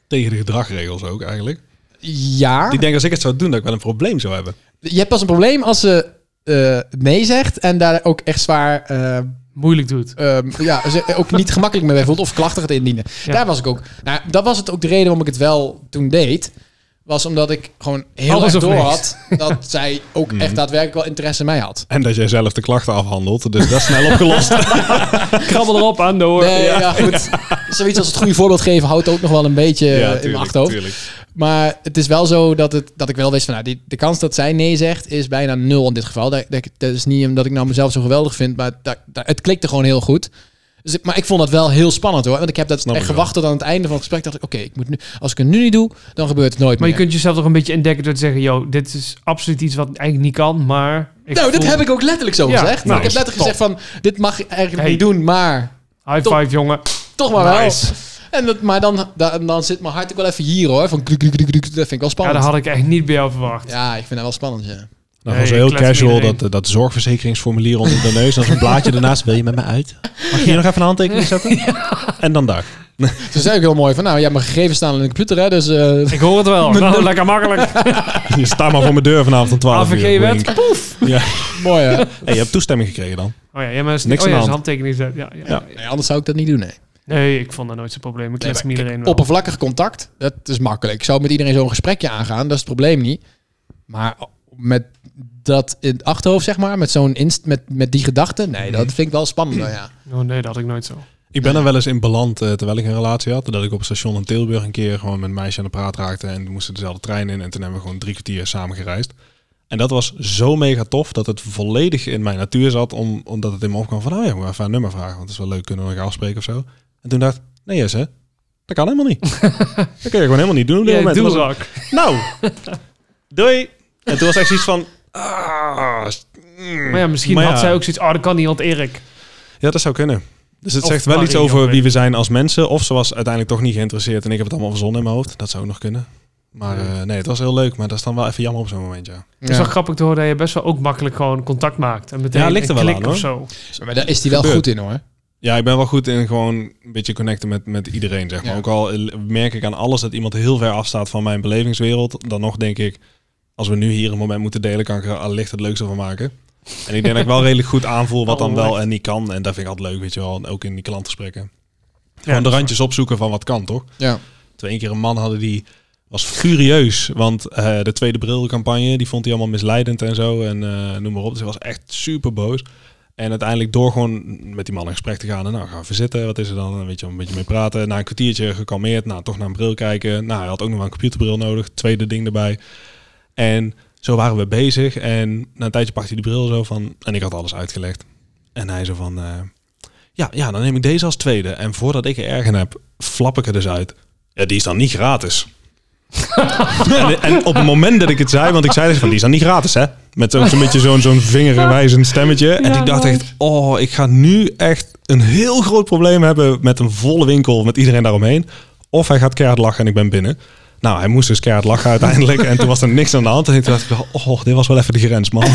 [SPEAKER 2] tegen de gedragregels ook
[SPEAKER 3] Ah.
[SPEAKER 2] eigenlijk.
[SPEAKER 3] ja,
[SPEAKER 2] Ik denk als ik het zou doen, dat ik wel een probleem zou hebben.
[SPEAKER 3] je hebt pas een probleem als ze eh, nee zegt en daar ook echt zwaar... ehm,
[SPEAKER 1] Moeilijk
[SPEAKER 2] <laughs>
[SPEAKER 1] doet.
[SPEAKER 3] ehm, ja, ze ook niet gemakkelijk mee voelt of klachten gaat indienen.
[SPEAKER 1] Ja.
[SPEAKER 3] Daar was ik ook. Nou, dat was het ook de reden waarom ik het wel toen deed. Was omdat ik gewoon heel
[SPEAKER 1] Alles
[SPEAKER 3] erg
[SPEAKER 1] of
[SPEAKER 3] door
[SPEAKER 1] niks.
[SPEAKER 3] had dat
[SPEAKER 1] <laughs>
[SPEAKER 3] zij ook echt daadwerkelijk wel interesse in mij had.
[SPEAKER 2] En dat jij zelf de klachten afhandelt, dus dat is snel
[SPEAKER 3] <laughs>
[SPEAKER 2] opgelost.
[SPEAKER 1] Krabbel erop aan de oor.
[SPEAKER 3] Nee, ja.
[SPEAKER 2] <laughs>
[SPEAKER 3] goed. Zoiets als het goede voorbeeld geven houdt ook nog wel een beetje eh, in mijn
[SPEAKER 2] tuurlijk,
[SPEAKER 3] achterhoofd.
[SPEAKER 2] tuurlijk.
[SPEAKER 3] Maar het is wel zo dat, het, dat ik wel wist van nou, die, de kans dat zij nee zegt is bijna nul in dit geval. Dat, dat, dat is niet omdat ik nou mezelf zo geweldig vind, maar dat, dat- het klikte gewoon heel goed. Dus ik- maar ik vond dat wel heel spannend hoor. Want ik heb dat
[SPEAKER 2] Snap
[SPEAKER 3] echt
[SPEAKER 2] ik wel.
[SPEAKER 3] gewacht tot aan het einde van het gesprek. Dacht ik, oké, ik moet nu, als ik het nu niet doe, dan gebeurt het nooit
[SPEAKER 1] Maar je
[SPEAKER 3] meer.
[SPEAKER 1] kunt jezelf toch een beetje ontdekken door te zeggen... Yo, dit is absoluut iets wat eigenlijk niet kan, maar... Ik
[SPEAKER 3] nou, dat
[SPEAKER 1] voel-
[SPEAKER 3] heb ik ook letterlijk zo
[SPEAKER 1] Ja,
[SPEAKER 3] gezegd.
[SPEAKER 1] nou,
[SPEAKER 3] ik heb letterlijk
[SPEAKER 1] top.
[SPEAKER 3] gezegd van, dit mag je eigenlijk
[SPEAKER 1] Hey.
[SPEAKER 3] niet doen, maar
[SPEAKER 1] High
[SPEAKER 3] Top.
[SPEAKER 1] five, jongen.
[SPEAKER 3] toch maar
[SPEAKER 1] Nice.
[SPEAKER 3] wel. En dat, maar dan, dan, dan zit mijn hart ook wel even hier hoor. Van kluk, kluk, kluk, kluk. dat vind ik wel
[SPEAKER 1] Ja,
[SPEAKER 3] spannend.
[SPEAKER 1] dat
[SPEAKER 3] Ja,
[SPEAKER 1] had ik echt niet bij jou verwacht.
[SPEAKER 3] ik vind dat wel spannend, ja.
[SPEAKER 2] Nou,
[SPEAKER 1] Nee,
[SPEAKER 2] gewoon zo
[SPEAKER 1] ik
[SPEAKER 2] heel
[SPEAKER 1] klets
[SPEAKER 2] casual
[SPEAKER 1] iedereen.
[SPEAKER 2] dat, dat zorgverzekeringsformulier onder de neus. En zo'n blaadje daarnaast. Wil je met me uit? Mag je hier nog even een handtekening
[SPEAKER 3] <laughs>
[SPEAKER 2] zetten? En dan daar.
[SPEAKER 3] Toen zei ik heel mooi van, nou, jij hebt mijn gegevens staan in de computer, hè, dus... eh, <laughs>
[SPEAKER 1] Ik hoor het wel.
[SPEAKER 3] Met
[SPEAKER 1] Nou,
[SPEAKER 3] de-
[SPEAKER 1] lekker
[SPEAKER 3] <laughs>
[SPEAKER 1] makkelijk.
[SPEAKER 2] Je staat maar voor mijn deur vanavond om 12 uur.
[SPEAKER 1] AVG-wet.
[SPEAKER 2] Wink.
[SPEAKER 1] Poef.
[SPEAKER 3] mooi, hè?
[SPEAKER 2] Hey, je hebt toestemming gekregen dan.
[SPEAKER 1] Oh ja, jij maar
[SPEAKER 2] Niks
[SPEAKER 1] oh,
[SPEAKER 2] aan
[SPEAKER 1] ja,
[SPEAKER 2] de hand.
[SPEAKER 1] zijn handtekening zet. Ja, ja.
[SPEAKER 2] Ja.
[SPEAKER 3] Nee, anders zou ik dat niet doen, nee.
[SPEAKER 1] Nee, ik vond dat nooit zo'n probleem. Ik klets
[SPEAKER 3] maar
[SPEAKER 1] me iedereen wel.
[SPEAKER 3] Oppervlakkig contact, dat is makkelijk. Ik zou met iedereen zo'n gesprekje aangaan, dat is het probleem niet. Maar met dat in het achterhoofd, zeg maar, met, zo'n inst met, met die gedachte, nee,
[SPEAKER 1] Mhm.
[SPEAKER 3] dat vind ik wel spannend, nou ja.
[SPEAKER 1] Oh nee, dat had ik nooit zo.
[SPEAKER 2] Ik ben er wel eens in beland eh, terwijl ik een relatie had. Dat ik op het station in Tilburg een keer gewoon met een meisje aan de praat raakte. En we moesten dezelfde trein in. En toen hebben we gewoon drie kwartier samen gereisd. En dat was zo mega tof dat het volledig in mijn natuur zat. Om, omdat het in me opkwam van, nou ja, moet even een nummer vragen. Want het is wel leuk, kunnen we elkaar afspreken of zo. En toen dacht ik, nee Jesse, dat kan
[SPEAKER 1] <laughs>
[SPEAKER 2] helemaal niet. dat kun je gewoon helemaal niet doen op dit
[SPEAKER 1] Ja,
[SPEAKER 2] moment.
[SPEAKER 1] doe
[SPEAKER 2] Toen was
[SPEAKER 1] zak.
[SPEAKER 2] het, nou,
[SPEAKER 1] <laughs>
[SPEAKER 2] doei. En toen was echt zoiets van, ah, mm.
[SPEAKER 1] Maar ja, misschien
[SPEAKER 2] Maar
[SPEAKER 1] had
[SPEAKER 2] ja.
[SPEAKER 1] zij ook zoiets... Oh, dat kan niet, want Erik.
[SPEAKER 2] Ja, dat zou kunnen. Dus het
[SPEAKER 1] Of
[SPEAKER 2] zegt wel iets
[SPEAKER 1] Marie,
[SPEAKER 2] over
[SPEAKER 1] jongen.
[SPEAKER 2] wie we zijn als mensen. Of ze was uiteindelijk toch niet geïnteresseerd en ik heb het allemaal verzonnen in mijn hoofd. Dat zou ook nog kunnen. Maar
[SPEAKER 1] Ja.
[SPEAKER 2] eh, nee, het was heel leuk. Maar dat is dan wel even jammer op zo'n moment, ja.
[SPEAKER 1] Het is wel grappig te horen dat je best wel ook makkelijk gewoon contact maakt. En meteen
[SPEAKER 2] Ja, ligt er
[SPEAKER 1] een
[SPEAKER 2] wel
[SPEAKER 1] klik
[SPEAKER 2] aan,
[SPEAKER 1] of zo.
[SPEAKER 3] Maar daar is die wel
[SPEAKER 2] Gebeurt.
[SPEAKER 3] goed in, hoor.
[SPEAKER 2] Ja, ik ben wel goed in gewoon een beetje connecten met, met iedereen, zeg maar.
[SPEAKER 3] Ja.
[SPEAKER 2] Ook al eh, merk ik aan alles dat iemand heel ver afstaat van mijn belevingswereld. Dan nog denk ik, als we nu hier een moment moeten delen, kan ik er allicht het leukste van maken. En ik denk dat ik wel redelijk goed aanvoel wat
[SPEAKER 1] Oh,
[SPEAKER 2] dan wel en niet kan. En dat vind ik altijd leuk, weet je wel. En ook in die klantgesprekken. Gewoon de randjes opzoeken van wat kan, toch?
[SPEAKER 3] Ja.
[SPEAKER 2] Twee keer een man hadden die was furieus, want eh, de tweede brilcampagne die vond hij allemaal misleidend en zo en eh, noem maar op. Dus hij was echt super boos. En uiteindelijk door gewoon met die man in gesprek te gaan en nou gaan we zitten, wat is er dan? Weet je, een beetje mee praten. Na een kwartiertje gekalmeerd, nou toch naar een bril kijken. Nou, hij had ook nog wel een computerbril nodig, tweede ding erbij. En zo waren we bezig en na een tijdje pakte hij die bril zo van en ik had alles uitgelegd. En hij zo van, eh, ja, ja, dan neem ik deze als tweede. En voordat ik er erg in heb, flap ik er dus uit. Ja, die is dan niet gratis. <laughs> en, en op het moment dat ik het zei, want ik zei dus van, die is dan niet gratis, hè? Met zo'n zo'n beetje zo'n zo'n vingerwijzend stemmetje. En
[SPEAKER 1] Ja,
[SPEAKER 2] ik dacht echt,
[SPEAKER 1] nice.
[SPEAKER 2] oh, ik ga nu echt een heel groot probleem hebben met een volle winkel, met iedereen daaromheen. Of hij gaat keihard lachen en ik ben binnen. Nou, hij moest dus keihard lachen uiteindelijk. En toen was er niks aan de hand. En ik dacht, oh, dit was wel even de grens, man.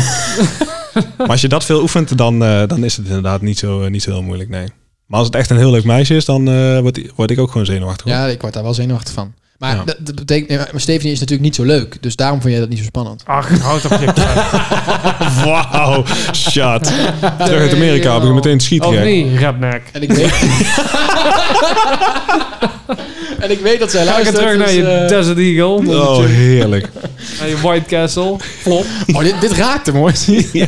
[SPEAKER 2] Maar als je dat veel oefent, dan, eh, dan is het inderdaad niet zo, eh, niet zo heel moeilijk, nee. Maar als het echt een heel leuk meisje is, dan eh, word, i- word ik ook gewoon zenuwachtig. hoor.
[SPEAKER 3] Ja, ik word daar wel zenuwachtig van. Maar
[SPEAKER 2] Ja.
[SPEAKER 3] dat, dat betekent, nee, maar Stephanie is natuurlijk niet zo leuk, dus daarom vond jij dat niet zo spannend.
[SPEAKER 1] Ach, houd op
[SPEAKER 2] <laughs>
[SPEAKER 1] je praat.
[SPEAKER 2] Wauw, shot. Terug uit Amerika heb ik meteen schiet
[SPEAKER 1] Of
[SPEAKER 2] gek.
[SPEAKER 1] niet, redneck.
[SPEAKER 3] <laughs> En ik weet... En ik weet dat zij
[SPEAKER 1] Ga ik
[SPEAKER 3] luistert.
[SPEAKER 1] terug naar
[SPEAKER 3] dus,
[SPEAKER 1] je
[SPEAKER 3] eh,
[SPEAKER 1] Desert Eagle.
[SPEAKER 2] Oh, heerlijk.
[SPEAKER 1] Naar je White Castle. Flop.
[SPEAKER 3] <laughs> Oh, dit, dit raakt hem hoor.
[SPEAKER 1] Ja,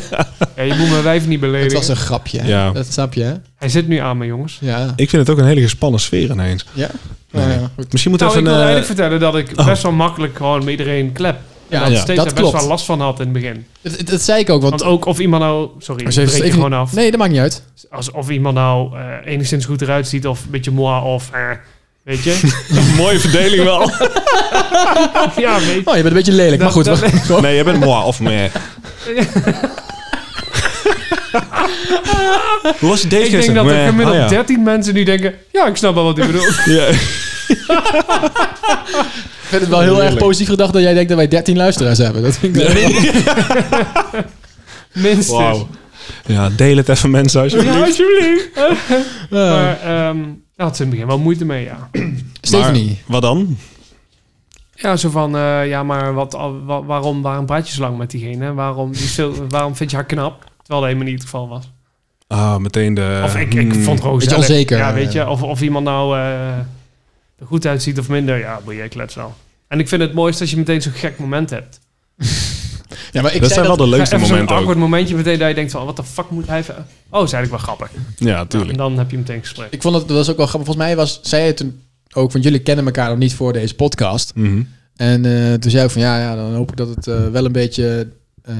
[SPEAKER 1] je moet mijn wijf niet
[SPEAKER 3] Het
[SPEAKER 1] beledigen.
[SPEAKER 3] was een grapje. hè?
[SPEAKER 2] Ja.
[SPEAKER 3] Dat snap je, hè?
[SPEAKER 1] Hij zit nu aan me, jongens.
[SPEAKER 3] Ja.
[SPEAKER 2] Ik vind het ook een hele gespannen sfeer ineens.
[SPEAKER 3] Ja.
[SPEAKER 2] Nee.
[SPEAKER 3] Nou ja, goed.
[SPEAKER 2] Misschien moet
[SPEAKER 1] Nou, ik
[SPEAKER 2] even...
[SPEAKER 1] wil
[SPEAKER 2] eh,
[SPEAKER 1] eigenlijk vertellen dat ik
[SPEAKER 2] Oh.
[SPEAKER 1] best wel makkelijk gewoon met iedereen klep.
[SPEAKER 3] Ja,
[SPEAKER 1] dat
[SPEAKER 2] ja.
[SPEAKER 1] steeds
[SPEAKER 3] dat
[SPEAKER 1] daar best
[SPEAKER 3] klopt.
[SPEAKER 1] wel last van had in het begin.
[SPEAKER 3] Dat, dat, dat zei ik ook, want...
[SPEAKER 1] Want ook of iemand nou... Sorry, ik
[SPEAKER 3] Maar ze
[SPEAKER 1] breek
[SPEAKER 3] heeft-
[SPEAKER 1] je
[SPEAKER 3] ik-
[SPEAKER 1] gewoon af.
[SPEAKER 3] Nee, dat maakt niet uit.
[SPEAKER 1] Als, of iemand nou eh, enigszins goed eruit ziet of een beetje moi of... eh, weet je? <laughs>
[SPEAKER 2] eh, Mooie verdeling wel.
[SPEAKER 1] ja, weet je.
[SPEAKER 3] Oh, je bent een beetje lelijk, maar
[SPEAKER 1] Dat-
[SPEAKER 3] goed.
[SPEAKER 1] dat-
[SPEAKER 3] we-
[SPEAKER 2] Nee, jij bent moi
[SPEAKER 1] <laughs>
[SPEAKER 2] of meh. Hoe was je date
[SPEAKER 1] Ik denk
[SPEAKER 2] gisteren?
[SPEAKER 1] dat er
[SPEAKER 2] Meh.
[SPEAKER 1] gemiddeld
[SPEAKER 2] Ah, ja.
[SPEAKER 1] 13 mensen nu denken... Ja, ik snap wel wat u
[SPEAKER 2] <laughs>
[SPEAKER 1] bedoelt.
[SPEAKER 2] Ja.
[SPEAKER 3] <laughs> Ik vind het wel heel erg
[SPEAKER 2] Heerlijk.
[SPEAKER 3] positief gedacht dat jij denkt dat wij 13 luisteraars hebben. Dat vind ik wel-
[SPEAKER 1] Minstens.
[SPEAKER 2] Wauw. Ja, deel het even mensen alsjeblieft.
[SPEAKER 1] Ja, alsjeblieft.
[SPEAKER 2] Oh.
[SPEAKER 3] Eh,
[SPEAKER 1] Maar ehm daar had ze in het begin wel moeite mee, ja.
[SPEAKER 3] Stephanie.
[SPEAKER 2] Wat dan?
[SPEAKER 1] Ja, zo van, eh, ja, maar wat, al- wa- waarom, waarom praat je zo lang met diegene? Waarom, die is zo- waarom vind je haar knap? Terwijl dat helemaal niet het geval was.
[SPEAKER 2] Ah, meteen de...
[SPEAKER 1] Of ik, ik
[SPEAKER 2] Hmm.
[SPEAKER 1] vond het gewoon
[SPEAKER 3] Beetje
[SPEAKER 1] gezellig.
[SPEAKER 3] onzeker. eh.
[SPEAKER 1] Ja, weet je, of, of iemand nou eh, er goed uitziet of minder. Ja, boeien, ik klets wel. En ik vind het mooiste dat je meteen zo'n gek moment hebt.
[SPEAKER 3] Ja, maar ik
[SPEAKER 2] Dat
[SPEAKER 3] zei
[SPEAKER 2] zijn wel
[SPEAKER 3] dat...
[SPEAKER 2] de leukste
[SPEAKER 1] Even zo'n
[SPEAKER 2] momenten ook.
[SPEAKER 1] awkward momentje meteen dat je denkt van, wat de fuck moet hij even... Oh, is eigenlijk wel grappig.
[SPEAKER 2] Ja,
[SPEAKER 1] En
[SPEAKER 2] tuurlijk.
[SPEAKER 1] dan heb je meteen een gesprek.
[SPEAKER 3] Ik vond dat, dat was ook wel grappig. Volgens mij was zij het toen ook, want jullie kennen elkaar nog niet voor deze podcast.
[SPEAKER 2] Mhm.
[SPEAKER 3] En eh, toen zei ik van, ja, ja, dan hoop ik dat het eh, wel een beetje... eh,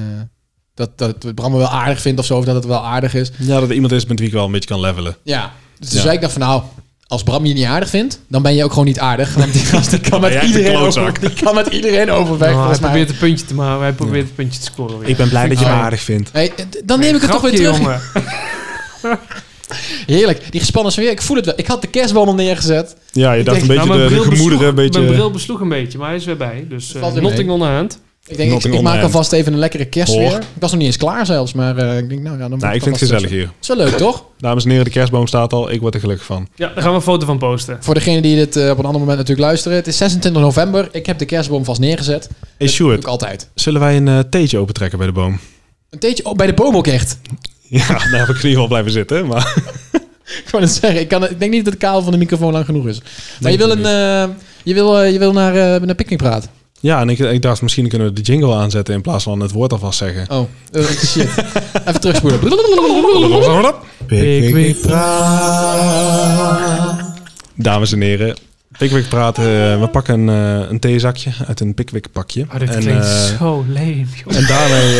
[SPEAKER 3] dat, dat Bram me wel aardig vindt of zo, of dat het wel aardig is.
[SPEAKER 2] Ja, dat er iemand is met wie ik wel een beetje kan levelen.
[SPEAKER 3] Ja. Dus toen
[SPEAKER 2] Ja.
[SPEAKER 3] zei ik dan van, nou, als Bram je niet aardig vindt, dan ben je ook gewoon niet aardig. Want die gast die
[SPEAKER 2] ben
[SPEAKER 3] kan, met
[SPEAKER 2] jij echt een
[SPEAKER 3] iedereen, over,
[SPEAKER 2] klootzak.
[SPEAKER 3] die kan met iedereen overweg,
[SPEAKER 1] Nou, hij
[SPEAKER 3] volgens mij.
[SPEAKER 1] probeert een puntje te maken, hij probeert een puntje te scoren. weer.
[SPEAKER 2] ben blij
[SPEAKER 3] dat je me
[SPEAKER 2] aardig vindt.
[SPEAKER 3] Hey, eh, d- dan neem ik het toch weer
[SPEAKER 1] Grapje,
[SPEAKER 3] terug.
[SPEAKER 1] jongen.
[SPEAKER 3] Heerlijk. Die gespannen sfeer. Ik voel het wel. Ik had de kerstboom al neergezet.
[SPEAKER 2] Ja, je
[SPEAKER 3] Ik
[SPEAKER 2] dacht
[SPEAKER 3] denk-
[SPEAKER 2] een beetje
[SPEAKER 1] Nou, mijn
[SPEAKER 2] de, de
[SPEAKER 1] bril
[SPEAKER 2] gemoederen
[SPEAKER 1] besloeg-
[SPEAKER 2] een beetje...
[SPEAKER 1] Mijn bril besloeg een beetje, maar hij is weer bij. Dus eh,
[SPEAKER 3] Valt weer
[SPEAKER 1] nothing
[SPEAKER 3] mee.
[SPEAKER 1] on the hand.
[SPEAKER 3] Ik denk, ik,
[SPEAKER 2] Nothing
[SPEAKER 3] ik
[SPEAKER 2] on
[SPEAKER 3] maak
[SPEAKER 2] hand.
[SPEAKER 3] alvast even een lekkere kerstsfeer.
[SPEAKER 2] Hoor.
[SPEAKER 3] Ik was nog niet eens klaar zelfs, maar eh, ik denk, nou ja, dan... moet
[SPEAKER 2] Nou, ik vind het
[SPEAKER 3] alvast
[SPEAKER 2] gezellig
[SPEAKER 3] even-
[SPEAKER 2] hier.
[SPEAKER 3] Het is wel leuk, toch?
[SPEAKER 2] Dames en heren, de kerstboom staat al. Ik word er gelukkig van.
[SPEAKER 1] Ja, daar gaan we een foto van posten.
[SPEAKER 3] Voor degenen die dit eh, op een ander moment natuurlijk luisteren. Het is 26 november. Ik heb de kerstboom vast neergezet. Dat
[SPEAKER 1] Eh,
[SPEAKER 2] Hey
[SPEAKER 3] doe ik
[SPEAKER 2] Stuart,
[SPEAKER 3] altijd.
[SPEAKER 2] zullen wij een eh, theetje opentrekken bij de
[SPEAKER 1] <laughs>
[SPEAKER 2] boom?
[SPEAKER 3] Een theetje... Oh, bij de boom ook echt.
[SPEAKER 2] <laughs> Ja, daar heb ik in ieder geval blijven zitten. Maar
[SPEAKER 3] <laughs>
[SPEAKER 2] <laughs>
[SPEAKER 3] Ik wou het zeggen. Ik, kan, ik denk niet dat de kabel van de microfoon lang genoeg is. Maar je
[SPEAKER 2] Denk
[SPEAKER 3] wil,
[SPEAKER 2] ik
[SPEAKER 3] een, eh, je, wil, eh, je wil naar, eh naar Picnic praten.
[SPEAKER 2] ja, en ik, ik dacht, misschien kunnen we de jingle aanzetten in plaats van het woord alvast zeggen.
[SPEAKER 3] Oh, eh, shit.
[SPEAKER 2] <laughs>
[SPEAKER 3] even terugspoelen. <laughs>
[SPEAKER 1] Pikwik
[SPEAKER 2] Dames en heren, Pickwick praten. eh, we pakken een, eh een theezakje uit een Pickwick pakje.
[SPEAKER 1] Oh, dit
[SPEAKER 2] en,
[SPEAKER 1] klinkt
[SPEAKER 2] eh,
[SPEAKER 1] zo Oh. leem, joh.
[SPEAKER 2] en daarmee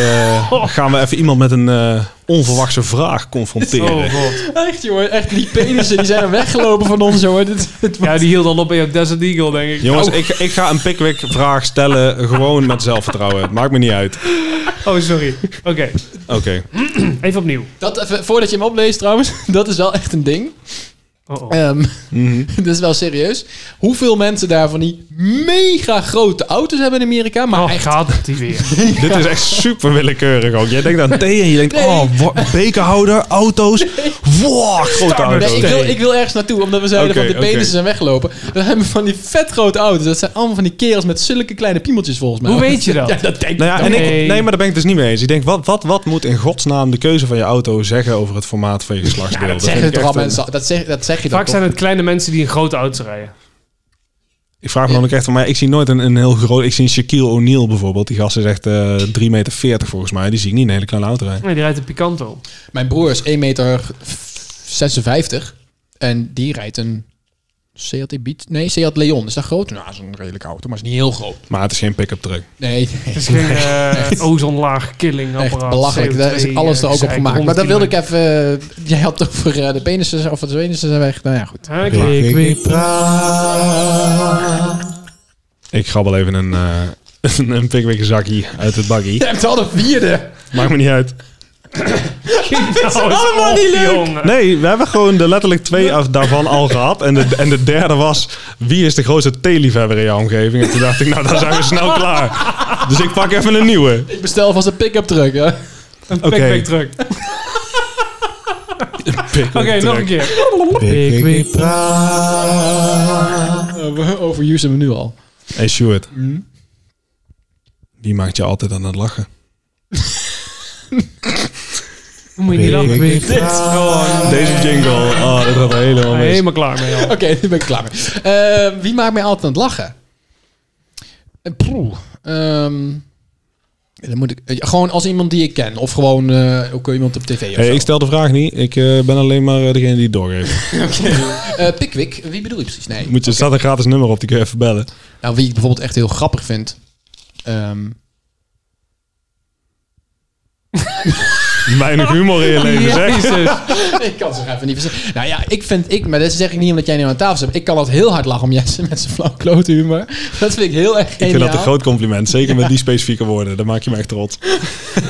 [SPEAKER 1] <laughs>
[SPEAKER 2] eh, gaan we even iemand met een eh, onverwachte vraag confronteren.
[SPEAKER 1] Oh god.
[SPEAKER 3] Echt jongen, echt die penissen die zijn er weggelopen van ons jongen. <laughs> Dit, dit
[SPEAKER 1] Ja, die hield al op bij jouw Desert Eagle, denk ik.
[SPEAKER 3] Oh.
[SPEAKER 2] Jongens, ik, ik ga een Pickwick vraag stellen gewoon met zelfvertrouwen. Maakt me niet uit.
[SPEAKER 1] Oh, sorry. Oké,
[SPEAKER 2] Oké.
[SPEAKER 1] even opnieuw.
[SPEAKER 3] Dat even, voordat je hem opleest trouwens, <laughs> dat is wel echt een ding.
[SPEAKER 1] Oh, oh.
[SPEAKER 3] Ehm
[SPEAKER 2] Mhm.
[SPEAKER 3] <laughs> dat is wel serieus. Hoeveel mensen daar van die mega grote auto's hebben in Amerika, maar
[SPEAKER 1] Oh,
[SPEAKER 3] echt...
[SPEAKER 1] gaat die
[SPEAKER 3] <laughs>
[SPEAKER 1] weer.
[SPEAKER 2] Dit is echt super willekeurig ook. Jij denkt aan thee en je denkt,
[SPEAKER 3] Nee.
[SPEAKER 2] oh, wa- bekerhouder, auto's. Wow, grote
[SPEAKER 1] Starbucks.
[SPEAKER 2] auto's.
[SPEAKER 3] Nee, ik wil, ik wil ergens naartoe, omdat we zeiden
[SPEAKER 2] Oké,
[SPEAKER 3] van de penissen
[SPEAKER 2] oké.
[SPEAKER 3] zijn weggelopen. Dan hebben we van die vet grote auto's. Dat zijn allemaal van die kerels met zulke kleine piemeltjes volgens mij.
[SPEAKER 1] Hoe weet je dat?
[SPEAKER 3] <laughs> Ja, dat denk ik.
[SPEAKER 2] Nou ja, en
[SPEAKER 1] Nee.
[SPEAKER 2] ik, nee, maar daar ben ik dus niet mee eens. Ik denk, wat, wat, wat moet in godsnaam de keuze van je auto zeggen over het formaat van je geslachtsdeel?
[SPEAKER 3] dat,
[SPEAKER 2] vind
[SPEAKER 3] zeggen
[SPEAKER 2] ik,
[SPEAKER 3] toch
[SPEAKER 2] echt
[SPEAKER 3] al
[SPEAKER 2] een-
[SPEAKER 3] mensen. Dat zeg, dat zeg je
[SPEAKER 1] Vaak
[SPEAKER 3] toch?
[SPEAKER 1] zijn het kleine mensen die in grote auto's rijden.
[SPEAKER 2] ik vraag me dan ook echt van, maar ik zie nooit een, een heel groot... Ik zie een Shaquille O'Neal bijvoorbeeld. Die gast is echt eh 3,40 meter volgens mij. Die zie ik niet in een hele kleine auto rijden.
[SPEAKER 1] Nee, die rijdt een Picanto.
[SPEAKER 3] Mijn broer is 1,56 meter 56 en die rijdt een Seat Beat. Nee, Seat Leon. Is dat groot? Nou, dat is een redelijke auto, maar is niet heel groot.
[SPEAKER 2] Maar het is geen pick-up truck.
[SPEAKER 3] Nee,
[SPEAKER 1] Het is geen eh ozonlaag killing
[SPEAKER 3] echt
[SPEAKER 1] apparaat.
[SPEAKER 3] belachelijk. Daar is
[SPEAKER 1] CO2,
[SPEAKER 3] alles er
[SPEAKER 1] eh,
[SPEAKER 3] ook op
[SPEAKER 1] gezeik,
[SPEAKER 3] gemaakt. Maar dat
[SPEAKER 1] 110
[SPEAKER 3] wilde ik even... <laughs> eh, jij had toch voor eh, de penissen of de penissen zijn weg. Nou ja, goed.
[SPEAKER 1] Hè, klaar.
[SPEAKER 2] Ik grabbel even een, eh <laughs> een, een Pickwick zakje uit het bakkie.
[SPEAKER 3] <laughs> Je hebt al de
[SPEAKER 1] <laughs>
[SPEAKER 3] vierde.
[SPEAKER 2] Maakt me niet uit.
[SPEAKER 3] <laughs>
[SPEAKER 1] Nou, het Oh, is
[SPEAKER 3] allemaal
[SPEAKER 1] op,
[SPEAKER 3] niet leuk.
[SPEAKER 1] jongen.
[SPEAKER 2] Nee, we hebben gewoon de letterlijk twee af- daarvan al gehad. En de, en de derde was, wie is de grootste theeliefhebber in jouw omgeving? En toen dacht ik, nou, dan zijn we snel klaar. Dus ik pak even een nieuwe.
[SPEAKER 3] Ik bestel vast een pick-up truck. Hè?
[SPEAKER 1] Een
[SPEAKER 2] Oké.
[SPEAKER 1] pikwik truck.
[SPEAKER 2] Oké,
[SPEAKER 1] Oké, nog een keer.
[SPEAKER 3] Eh, we overusen hem nu al.
[SPEAKER 2] Hey Stuart.
[SPEAKER 3] Hmm?
[SPEAKER 2] Wie maakt je altijd aan het lachen?
[SPEAKER 1] Moet je niet lachen.
[SPEAKER 2] Weet ik
[SPEAKER 1] Dit is gewoon-
[SPEAKER 2] Deze jingle, oh, dat gaat helemaal mis.
[SPEAKER 1] Helemaal klaar mee al.
[SPEAKER 3] Oké, <laughs> nu ben ik klaar. mee. Eh, wie maakt mij altijd aan het lachen? Eh, Poeh. Ehm, dan moet ik, eh, gewoon als iemand die ik ken. Of gewoon eh, ook iemand op tv of
[SPEAKER 2] Hey,
[SPEAKER 3] zo.
[SPEAKER 2] ik stel de vraag niet. Ik eh, ben alleen maar eh, degene die het
[SPEAKER 1] <laughs>
[SPEAKER 2] doorgeeft.
[SPEAKER 3] Eh, Pickwick, wie bedoel je precies? Nee.
[SPEAKER 2] Moet je, staat een gratis nummer op, die kun je even bellen.
[SPEAKER 3] Nou, wie ik bijvoorbeeld echt heel grappig vind. Ehm,
[SPEAKER 1] <laughs>
[SPEAKER 2] Weinig humor in je leven, zeg.
[SPEAKER 1] Jezus.
[SPEAKER 3] <laughs> ik kan ze nog even niet verzinnen. Nou ja, ik vind, ik, maar dat zeg ik niet omdat jij nu aan tafel zit. Ik kan altijd heel hard lachen om Jesse <laughs> met zijn flauw klote humor. Dat vind ik heel erg
[SPEAKER 2] Ik
[SPEAKER 3] geniaal.
[SPEAKER 2] vind dat een groot compliment. Zeker met die specifieke woorden. Daar maak je me echt trots.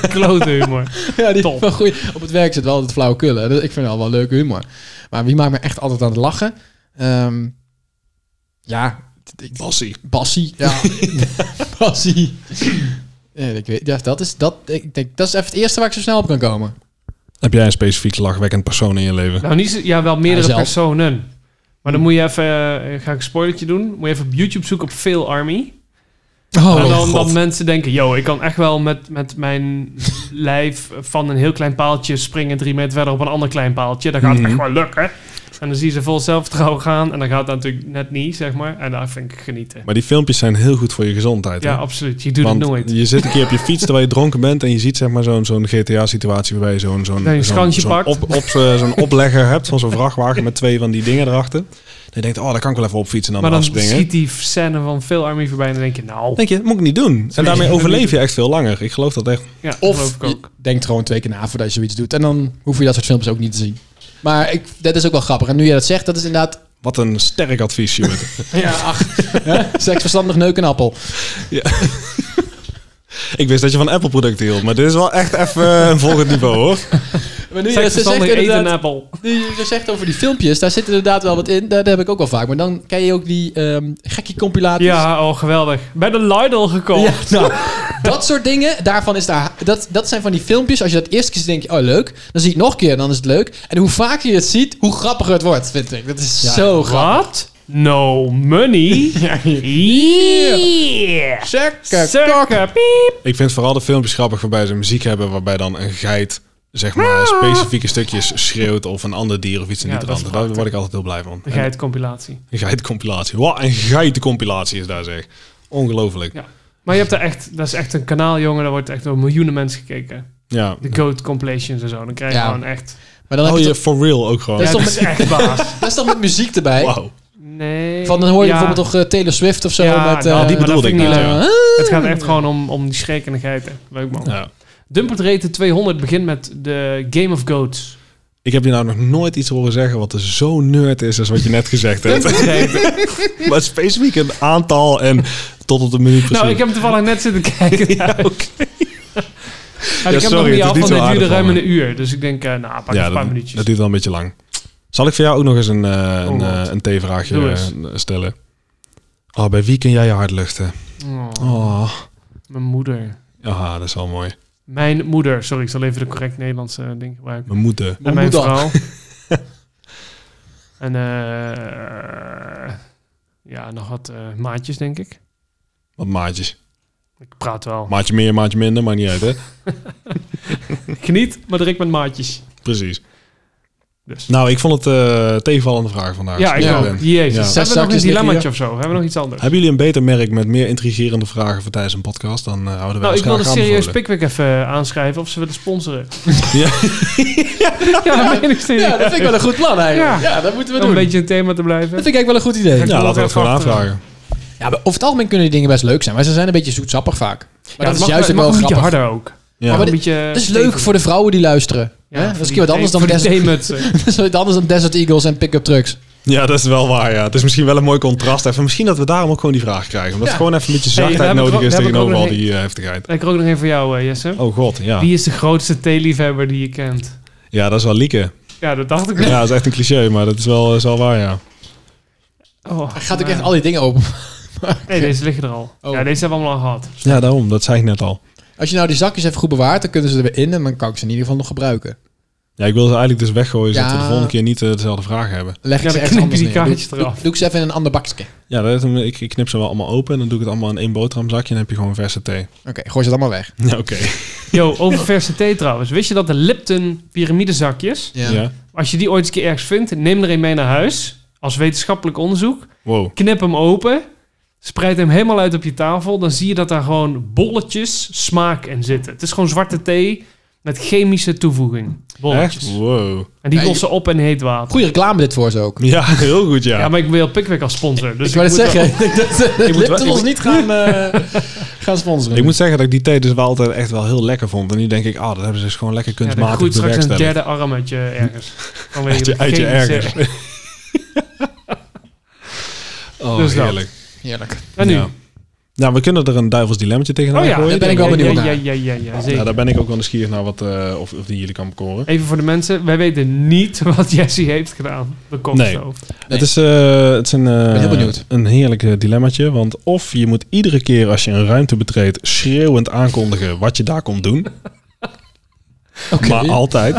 [SPEAKER 1] Klote humor.
[SPEAKER 3] Ja, die
[SPEAKER 1] Top.
[SPEAKER 3] wel goeie. Op het werk zit wel altijd flauwekul. hè. Dus ik vind het al wel leuke humor. Maar wie maakt me echt altijd aan het lachen? Ehm, ja,
[SPEAKER 2] Bassie. <laughs>
[SPEAKER 3] Bassie. Ja, Bassie. Ja, ik weet, ja, dat, is, dat, ik denk, dat is even het eerste waar ik zo snel op kan komen.
[SPEAKER 2] Heb jij een specifiek lachwekkend persoon in je leven?
[SPEAKER 1] Nou, niet, zo- ja, wel meerdere
[SPEAKER 3] Hijzelf.
[SPEAKER 1] personen. Maar
[SPEAKER 3] Hm.
[SPEAKER 1] dan moet je even, eh, ga ik een spoilertje doen, moet je even op YouTube zoeken op Fail Army. en
[SPEAKER 3] Oh,
[SPEAKER 1] dan,
[SPEAKER 2] God.
[SPEAKER 1] dan mensen denken, yo, ik kan echt wel met, met mijn <laughs> lijf van een heel klein paaltje springen drie meter verder op een ander klein paaltje. Dat gaat
[SPEAKER 3] Hm.
[SPEAKER 2] Mhm.
[SPEAKER 1] echt wel lukken. En dan zie je ze vol zelfvertrouwen gaan en dan gaat dat natuurlijk net niet, zeg maar. En daar vind ik genieten.
[SPEAKER 2] Maar die filmpjes zijn heel goed voor je gezondheid.
[SPEAKER 1] Ja,
[SPEAKER 2] hè?
[SPEAKER 1] absoluut. Je doet
[SPEAKER 2] Want
[SPEAKER 1] het nooit.
[SPEAKER 2] je zit een keer op je fiets terwijl je dronken bent en je ziet zeg maar zo'n zo'n GTA-situatie waarbij je zo'n zo'n
[SPEAKER 1] Dat je een
[SPEAKER 2] zo'n-
[SPEAKER 1] schansje
[SPEAKER 2] zo'n
[SPEAKER 1] pakt.
[SPEAKER 2] op, op, eh, zo'n oplegger hebt van zo'n vrachtwagen met twee van die dingen erachter. Dan je denkt, oh, daar kan ik wel even op fietsen en
[SPEAKER 1] Maar
[SPEAKER 2] dan,
[SPEAKER 1] dan
[SPEAKER 2] afspringen.
[SPEAKER 1] schiet die scène van Fail Army voorbij en dan denk je, nou,
[SPEAKER 2] Dan denk je, dat moet ik niet doen. En daarmee
[SPEAKER 1] <laughs>
[SPEAKER 2] overleef je echt veel langer. Ik geloof dat echt.
[SPEAKER 1] ja, geloof
[SPEAKER 3] of
[SPEAKER 1] ik
[SPEAKER 3] je
[SPEAKER 1] ook.
[SPEAKER 3] denkt gewoon twee keer na voordat je zoiets doet. En dan hoef je dat soort filmpjes ook niet te zien. Maar ik, dat is ook wel grappig. En nu jij dat zegt, dat
[SPEAKER 1] <laughs>
[SPEAKER 3] is inderdaad...
[SPEAKER 2] Wat een sterk advies, Stuart.
[SPEAKER 3] <laughs> Ja, ach. hè? Seks verstandig neuk en appel.
[SPEAKER 2] ik wist dat je van Apple-producten hield, maar dit is wel echt even eh, een volgend niveau, hoor.
[SPEAKER 1] Zeg
[SPEAKER 3] Maar nu jij dat zegt,
[SPEAKER 1] verstandig eten
[SPEAKER 3] inderdaad-
[SPEAKER 1] een appel.
[SPEAKER 3] Nu je dat zegt over die filmpjes, daar zit inderdaad wel wat in. Daar heb ik ook wel vaak. Maar dan ken je ook die ehm gekkie compilaties.
[SPEAKER 1] Ja, oh, geweldig. Bij de Lidl gekomen.
[SPEAKER 3] Ja, nou, dat soort dingen, daarvan is daar, dat, dat zijn van die filmpjes. Als je dat eerst keer ziet, denk je, oh leuk. Dan zie je het nog een keer, dan is het leuk. En hoe vaker je het ziet, hoe grappiger het wordt, vind ik. Dat is
[SPEAKER 1] Ja,
[SPEAKER 3] zo grappig.
[SPEAKER 1] Wat? No
[SPEAKER 3] <laughs>
[SPEAKER 1] money? yeah.
[SPEAKER 3] Zeker.
[SPEAKER 1] Sucker, piep.
[SPEAKER 2] Ik vind vooral de filmpjes grappig waarbij ze muziek hebben waarbij dan een geit zeg maar specifieke stukjes schreeuwt of een ander dier of iets in
[SPEAKER 1] Ja,
[SPEAKER 2] die
[SPEAKER 1] dat is
[SPEAKER 2] trant. Daar word ik altijd heel blij van.
[SPEAKER 1] De geitcompilatie.
[SPEAKER 2] Een geitencompilatie. Wat een geitencompilatie is daar zeg. Ongelooflijk.
[SPEAKER 1] Ja. Maar je hebt daar echt, dat is echt een kanaal, jongen. Daar wordt echt door miljoenen mensen gekeken.
[SPEAKER 2] Ja.
[SPEAKER 1] De goat compilations en zo. Dan krijg je
[SPEAKER 3] Ja.
[SPEAKER 1] gewoon echt.
[SPEAKER 3] Maar dan
[SPEAKER 2] Oh,
[SPEAKER 3] heb je
[SPEAKER 2] je
[SPEAKER 3] toch,
[SPEAKER 2] for real ook
[SPEAKER 1] Dat
[SPEAKER 2] gewoon.
[SPEAKER 1] is,
[SPEAKER 3] is toch met-
[SPEAKER 1] echt baas.
[SPEAKER 3] dat is dan met muziek erbij.
[SPEAKER 2] Wauw.
[SPEAKER 1] Nee.
[SPEAKER 3] Van dan hoor je
[SPEAKER 1] Ja,
[SPEAKER 3] bijvoorbeeld toch eh, Taylor Swift of zo
[SPEAKER 1] Ja,
[SPEAKER 3] met...
[SPEAKER 1] nou,
[SPEAKER 3] eh,
[SPEAKER 2] die
[SPEAKER 1] maar dat
[SPEAKER 2] bedoelde ik
[SPEAKER 1] vind ik
[SPEAKER 2] niet.
[SPEAKER 1] niet
[SPEAKER 2] Ja.
[SPEAKER 1] Het gaat echt gewoon om, om die schrekende geiten. Leuk man.
[SPEAKER 2] Ja.
[SPEAKER 1] Dumpert Rate 200 begint met de Game of
[SPEAKER 3] <laughs>
[SPEAKER 1] Goats.
[SPEAKER 2] Ik heb je nou nog nooit iets horen zeggen wat er zo nerd is als wat je net
[SPEAKER 1] <laughs>
[SPEAKER 2] gezegd
[SPEAKER 1] Nou,
[SPEAKER 2] hebt. maar specifiek een aantal en tot op de minuut precies.
[SPEAKER 1] Nou, ik heb hem toevallig net zitten kijken. ja, ik heb hem nog
[SPEAKER 2] sorry,
[SPEAKER 1] niet
[SPEAKER 2] het
[SPEAKER 1] af, want dit
[SPEAKER 2] is niet zo
[SPEAKER 1] duurde
[SPEAKER 2] aardig
[SPEAKER 1] ruim
[SPEAKER 2] van
[SPEAKER 1] een uur. Dus ik denk, eh, nou, pak
[SPEAKER 2] ja,
[SPEAKER 1] een paar
[SPEAKER 2] dat,
[SPEAKER 1] minuutjes.
[SPEAKER 2] dat duurt wel een beetje lang. Zal ik voor jou ook nog eens een, eh een,
[SPEAKER 1] Oh, wat.
[SPEAKER 2] eh, een T-vraagje
[SPEAKER 1] Doe eens.
[SPEAKER 2] eh, stellen? Oh, bij wie kun jij je hart luchten?
[SPEAKER 1] Oh,
[SPEAKER 2] Oh,
[SPEAKER 1] Mijn moeder.
[SPEAKER 2] ah, dat is wel mooi.
[SPEAKER 1] Mijn moeder. Sorry, ik zal even de correct Nederlandse eh, ding gebruiken.
[SPEAKER 2] Mijn moeder.
[SPEAKER 1] en
[SPEAKER 3] Mijn
[SPEAKER 1] mijn
[SPEAKER 3] moeder.
[SPEAKER 1] vrouw.
[SPEAKER 3] <laughs>
[SPEAKER 1] en eh ja, nog wat eh, maatjes, denk ik.
[SPEAKER 2] Wat maatjes.
[SPEAKER 1] Ik praat wel.
[SPEAKER 2] Maatje meer, maatje minder, maakt niet uit, hè?
[SPEAKER 1] Geniet, maar drink met maatjes.
[SPEAKER 2] Precies.
[SPEAKER 1] Dus.
[SPEAKER 2] Nou, ik vond het eh tegenvallende vraag vandaag.
[SPEAKER 1] ja, ik
[SPEAKER 2] Sorry,
[SPEAKER 1] ook.
[SPEAKER 2] Ben. Ja.
[SPEAKER 1] Jezus. Hebben we
[SPEAKER 2] Zes
[SPEAKER 1] nog een
[SPEAKER 3] zakjes
[SPEAKER 1] dilemmaatje of zo? Hebben we nog iets anders?
[SPEAKER 2] Hebben jullie een beter merk met meer intrigerende vragen voor tijdens een podcast? Dan eh, houden we
[SPEAKER 1] Nou,
[SPEAKER 2] ons
[SPEAKER 1] ik wilde
[SPEAKER 2] graag
[SPEAKER 1] serieus
[SPEAKER 2] aanbevolen.
[SPEAKER 1] Pickwick even eh, aanschrijven of ze willen
[SPEAKER 3] <laughs>
[SPEAKER 1] sponsoren.
[SPEAKER 2] Ja.
[SPEAKER 1] <laughs> ja, dat meen ik serieus.
[SPEAKER 3] Ja, dat vind ik wel een goed plan eigenlijk.
[SPEAKER 1] Ja.
[SPEAKER 3] Ja, dat moeten we
[SPEAKER 1] Om een
[SPEAKER 3] doen.
[SPEAKER 1] beetje een thema te
[SPEAKER 3] Dat
[SPEAKER 1] blijven.
[SPEAKER 3] vind ik eigenlijk wel een goed idee.
[SPEAKER 1] Ja,
[SPEAKER 2] Ja, laten we dat
[SPEAKER 1] even
[SPEAKER 2] gewoon
[SPEAKER 1] achter-
[SPEAKER 2] aanvragen.
[SPEAKER 3] Ja, maar over het algemeen kunnen die dingen best leuk zijn. Maar ze zijn een beetje zoetsappig vaak. Maar
[SPEAKER 1] Ja,
[SPEAKER 3] dat
[SPEAKER 1] het
[SPEAKER 3] is
[SPEAKER 1] mag-
[SPEAKER 3] juist
[SPEAKER 1] het
[SPEAKER 3] ook
[SPEAKER 1] mag
[SPEAKER 3] wel
[SPEAKER 1] een beetje
[SPEAKER 3] grappig.
[SPEAKER 1] harder ook.
[SPEAKER 2] Ja.
[SPEAKER 3] Ja, maar
[SPEAKER 1] een
[SPEAKER 3] dit-
[SPEAKER 1] beetje eh,
[SPEAKER 3] Dat is leuk voor de vrouwen die luisteren. hè? dat is een keer wat anders dan,
[SPEAKER 1] voor
[SPEAKER 3] Desert,
[SPEAKER 1] die theemutsen.
[SPEAKER 3] dat is wat anders dan Desert Eagles en pick-up trucks.
[SPEAKER 2] ja, dat is wel waar, ja. Het is misschien wel een mooi contrast. Even, misschien dat we daarom ook gewoon die vraag krijgen. Omdat
[SPEAKER 3] Ja.
[SPEAKER 2] het gewoon even een beetje
[SPEAKER 1] Hey, daar
[SPEAKER 2] zachtheid
[SPEAKER 1] heb ik
[SPEAKER 2] nodig
[SPEAKER 1] ook-
[SPEAKER 2] is
[SPEAKER 1] daar heb ik
[SPEAKER 2] tegenover
[SPEAKER 1] ook
[SPEAKER 2] al
[SPEAKER 1] nog
[SPEAKER 2] die eh, heftigheid.
[SPEAKER 1] Ik er ook nog één voor jou, eh, Jesse.
[SPEAKER 2] Oh god, ja.
[SPEAKER 1] Wie is de grootste theeliefhebber die je kent?
[SPEAKER 2] Ja, dat is wel lieke.
[SPEAKER 1] Ja, dat dacht ik wel.
[SPEAKER 2] Ja, dat is echt een cliché, maar dat is wel, is wel waar, ja.
[SPEAKER 1] Oh,
[SPEAKER 3] Hij gaat ook
[SPEAKER 1] maar-
[SPEAKER 3] echt al die <laughs> dingen open.
[SPEAKER 1] Nee, deze liggen er al.
[SPEAKER 3] Oh.
[SPEAKER 1] Ja, deze hebben we allemaal al gehad.
[SPEAKER 2] Ja, daarom. Dat zei ik net al.
[SPEAKER 3] Als je nou die zakjes even goed bewaart, dan kunnen ze er weer in. En dan kan ik ze in ieder geval nog gebruiken.
[SPEAKER 2] Ja, ik wil ze eigenlijk dus weggooien, zodat we
[SPEAKER 3] Ja.
[SPEAKER 2] de volgende keer niet eh, dezelfde vragen hebben.
[SPEAKER 3] Leg
[SPEAKER 1] Ja,
[SPEAKER 3] ik ze
[SPEAKER 1] dan
[SPEAKER 3] ergens
[SPEAKER 1] knip je
[SPEAKER 3] anders
[SPEAKER 1] die
[SPEAKER 3] neer. Doe,
[SPEAKER 1] kaartjes eraf.
[SPEAKER 3] doe ik ze even in een ander bakje.
[SPEAKER 2] Ja, dat, ik, ik knip ze wel allemaal open en dan doe ik het allemaal in één boterhamzakje en dan heb je gewoon verse thee.
[SPEAKER 3] Oké, gooi ze dan maar weg.
[SPEAKER 2] Ja, oké.
[SPEAKER 1] Yo, over verse thee trouwens. Wist je dat de Lipton piramidezakjes,
[SPEAKER 2] Ja.
[SPEAKER 1] als je die ooit eens een keer ergens vindt, neem er een mee naar huis. Als wetenschappelijk onderzoek.
[SPEAKER 2] Wow.
[SPEAKER 1] Knip hem open. Spreid hem helemaal uit op je tafel. Dan zie je dat daar gewoon bolletjes smaak in zitten. Het is gewoon zwarte thee met chemische toevoeging. Bolletjes.
[SPEAKER 2] Echt? Wow.
[SPEAKER 1] En die
[SPEAKER 3] Ja, je-
[SPEAKER 1] lossen op in heet water.
[SPEAKER 3] Goede reclame dit voor ze ook.
[SPEAKER 2] Ja, <laughs> heel goed, ja.
[SPEAKER 1] Ja, maar ik wil Pickwick als sponsor. Dus
[SPEAKER 3] ik wou
[SPEAKER 1] moet
[SPEAKER 3] het
[SPEAKER 1] wel-
[SPEAKER 3] zeggen. <laughs> Ik denk dat ze
[SPEAKER 2] moet
[SPEAKER 3] Lipton
[SPEAKER 2] wel-
[SPEAKER 3] ons niet gaan, eh, gaan sponsoren.
[SPEAKER 2] Ik moet zeggen dat ik die thee dus wel altijd echt wel heel lekker vond. En nu denk ik, ah, dat hebben ze dus gewoon lekker
[SPEAKER 1] Ja, er
[SPEAKER 2] kunstmatig
[SPEAKER 1] groeit straks een
[SPEAKER 2] bewerkstelligd.
[SPEAKER 1] derde arm uit je ergens.
[SPEAKER 2] <laughs>
[SPEAKER 1] Vanwege
[SPEAKER 2] Uit je,
[SPEAKER 1] de
[SPEAKER 2] uit je
[SPEAKER 1] chemische-
[SPEAKER 2] ergens. <laughs> oh,
[SPEAKER 1] Dus dat.
[SPEAKER 2] heerlijk.
[SPEAKER 3] Heerlijk.
[SPEAKER 1] En nu?
[SPEAKER 2] Ja. Nou, we kunnen er een duivels dilemmetje tegenaan
[SPEAKER 1] Oh ja,
[SPEAKER 2] gooien.
[SPEAKER 3] daar ben ik wel
[SPEAKER 1] Ja,
[SPEAKER 3] benieuwd
[SPEAKER 1] ja,
[SPEAKER 3] naar.
[SPEAKER 1] Ja, ja, ja, ja, zeker.
[SPEAKER 2] Ja, daar ben ik ook wel nieuwsgierig naar wat, eh, of, of die jullie kan bekoren.
[SPEAKER 1] Even voor de mensen, wij weten niet <laughs> wat Jesse heeft gedaan. De kokstoof.
[SPEAKER 2] Het is, eh, het is een, eh,
[SPEAKER 3] ben heel benieuwd.
[SPEAKER 2] een heerlijk eh, dilemmaatje. Want of je moet iedere keer als je een ruimte betreedt schreeuwend aankondigen wat je daar komt doen.
[SPEAKER 3] <laughs> Oké.
[SPEAKER 2] Maar
[SPEAKER 3] <laughs>
[SPEAKER 2] altijd.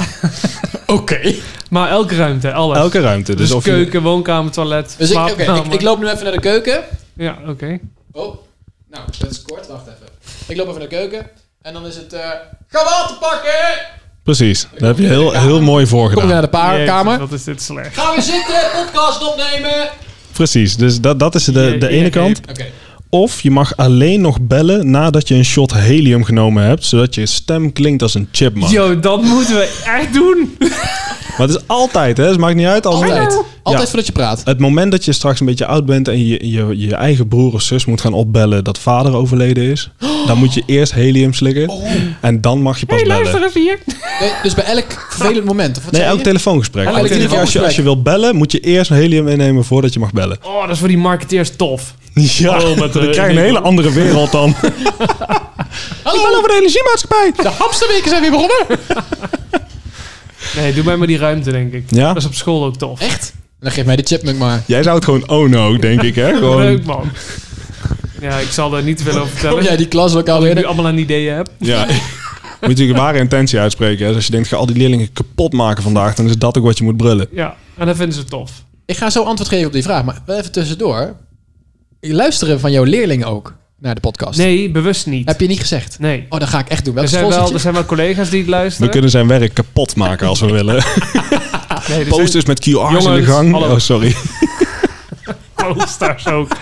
[SPEAKER 3] Oké. Dus
[SPEAKER 1] Maar elke ruimte, alles.
[SPEAKER 2] Elke ruimte. Dus,
[SPEAKER 1] dus
[SPEAKER 2] of je-
[SPEAKER 1] keuken, woonkamer, toilet,
[SPEAKER 3] Dus ik, oké,
[SPEAKER 1] slaapkamer.
[SPEAKER 3] ik, ik loop nu even naar de keuken.
[SPEAKER 1] Ja, oké.
[SPEAKER 3] Oh, nou, dat is kort. Wacht even. Ik loop even naar de keuken. En dan is het... eh ga water pakken!
[SPEAKER 2] precies. Daar heb je heel, heel mooi voor
[SPEAKER 3] Kom weer
[SPEAKER 2] gedaan.
[SPEAKER 3] naar de
[SPEAKER 1] Jezus,
[SPEAKER 3] paarkamer.
[SPEAKER 1] Wat is dit slecht.
[SPEAKER 3] Gaan we zitten, podcast opnemen. Oké.
[SPEAKER 2] Precies. Dus dat, dat is de, de
[SPEAKER 1] Jee,
[SPEAKER 2] ene
[SPEAKER 1] jee,
[SPEAKER 2] kant. Of je mag alleen nog bellen nadat je een shot helium genomen hebt. Zodat je stem klinkt als een chipmunk.
[SPEAKER 1] Yo, dat moeten we echt doen.
[SPEAKER 2] Maar het is altijd, hè? Dus het maakt niet uit. Als
[SPEAKER 3] Altijd. Altijd
[SPEAKER 2] Ja.
[SPEAKER 3] voordat je praat.
[SPEAKER 2] Het moment dat je straks een beetje oud bent en je, je, je eigen broer of zus moet gaan opbellen dat vader overleden
[SPEAKER 1] <gasps>
[SPEAKER 2] is, dan moet je eerst helium slikken en dan mag je pas
[SPEAKER 1] Oh. hey, luister
[SPEAKER 2] bellen.
[SPEAKER 1] even hier.
[SPEAKER 3] Nee, dus bij elk vervelend moment. Of wat
[SPEAKER 2] Nee,
[SPEAKER 3] zei
[SPEAKER 2] elk
[SPEAKER 3] je?
[SPEAKER 2] telefoongesprek.
[SPEAKER 1] Elk
[SPEAKER 2] Elke keer als je,
[SPEAKER 3] telefoongesprek.
[SPEAKER 2] als je wil bellen, moet je eerst helium innemen voordat je mag
[SPEAKER 1] <laughs>
[SPEAKER 2] bellen.
[SPEAKER 1] Oh, dat is voor die marketeers tof.
[SPEAKER 2] Ja,
[SPEAKER 1] Oh, met, eh,
[SPEAKER 2] dan krijg je een hele andere wereld
[SPEAKER 1] <laughs>
[SPEAKER 2] dan. Ik ben
[SPEAKER 3] Hallo,
[SPEAKER 2] over de energiemaatschappij.
[SPEAKER 3] de hamsterweken zijn weer begonnen.
[SPEAKER 1] Nee, doe mij maar die ruimte, denk ik.
[SPEAKER 2] Ja?
[SPEAKER 1] Dat is op school ook tof.
[SPEAKER 3] Echt? Dan geef mij de chipmunk maar.
[SPEAKER 2] Jij zou het gewoon oh no, denk ik, hè?
[SPEAKER 1] Leuk,
[SPEAKER 2] Gewoon,
[SPEAKER 1] man. Ja, ik zal daar niet te veel over
[SPEAKER 3] Kom
[SPEAKER 1] vertellen.
[SPEAKER 3] jij die klas ook
[SPEAKER 1] Als ik nu
[SPEAKER 3] alweer?
[SPEAKER 1] allemaal aan ideeën heb. <laughs>
[SPEAKER 2] ja. Moet je natuurlijk ware intentie uitspreken. Hè? Dus als je denkt, ga al die leerlingen kapot maken vandaag, dan is dat ook wat je moet brullen.
[SPEAKER 1] Ja, en dat vinden ze tof.
[SPEAKER 3] Ik ga zo antwoord geven op die vraag, maar wel even tussendoor. Luisteren van jouw leerlingen ook naar de podcast?
[SPEAKER 1] Nee, bewust niet.
[SPEAKER 3] Heb je niet gezegd?
[SPEAKER 1] Nee.
[SPEAKER 3] Oh, dat ga ik echt doen.
[SPEAKER 1] Er
[SPEAKER 3] Welke
[SPEAKER 1] zijn,
[SPEAKER 3] school zit
[SPEAKER 1] wel,
[SPEAKER 3] je?
[SPEAKER 1] er zijn wel collega's die het
[SPEAKER 2] We
[SPEAKER 1] luisteren.
[SPEAKER 2] kunnen zijn werk kapot maken als we <laughs> willen.
[SPEAKER 1] nee, er zijn
[SPEAKER 2] Posters met QR's in de
[SPEAKER 1] Jongens,
[SPEAKER 2] gang.
[SPEAKER 1] hallo.
[SPEAKER 2] Oh, sorry.
[SPEAKER 1] posters ook.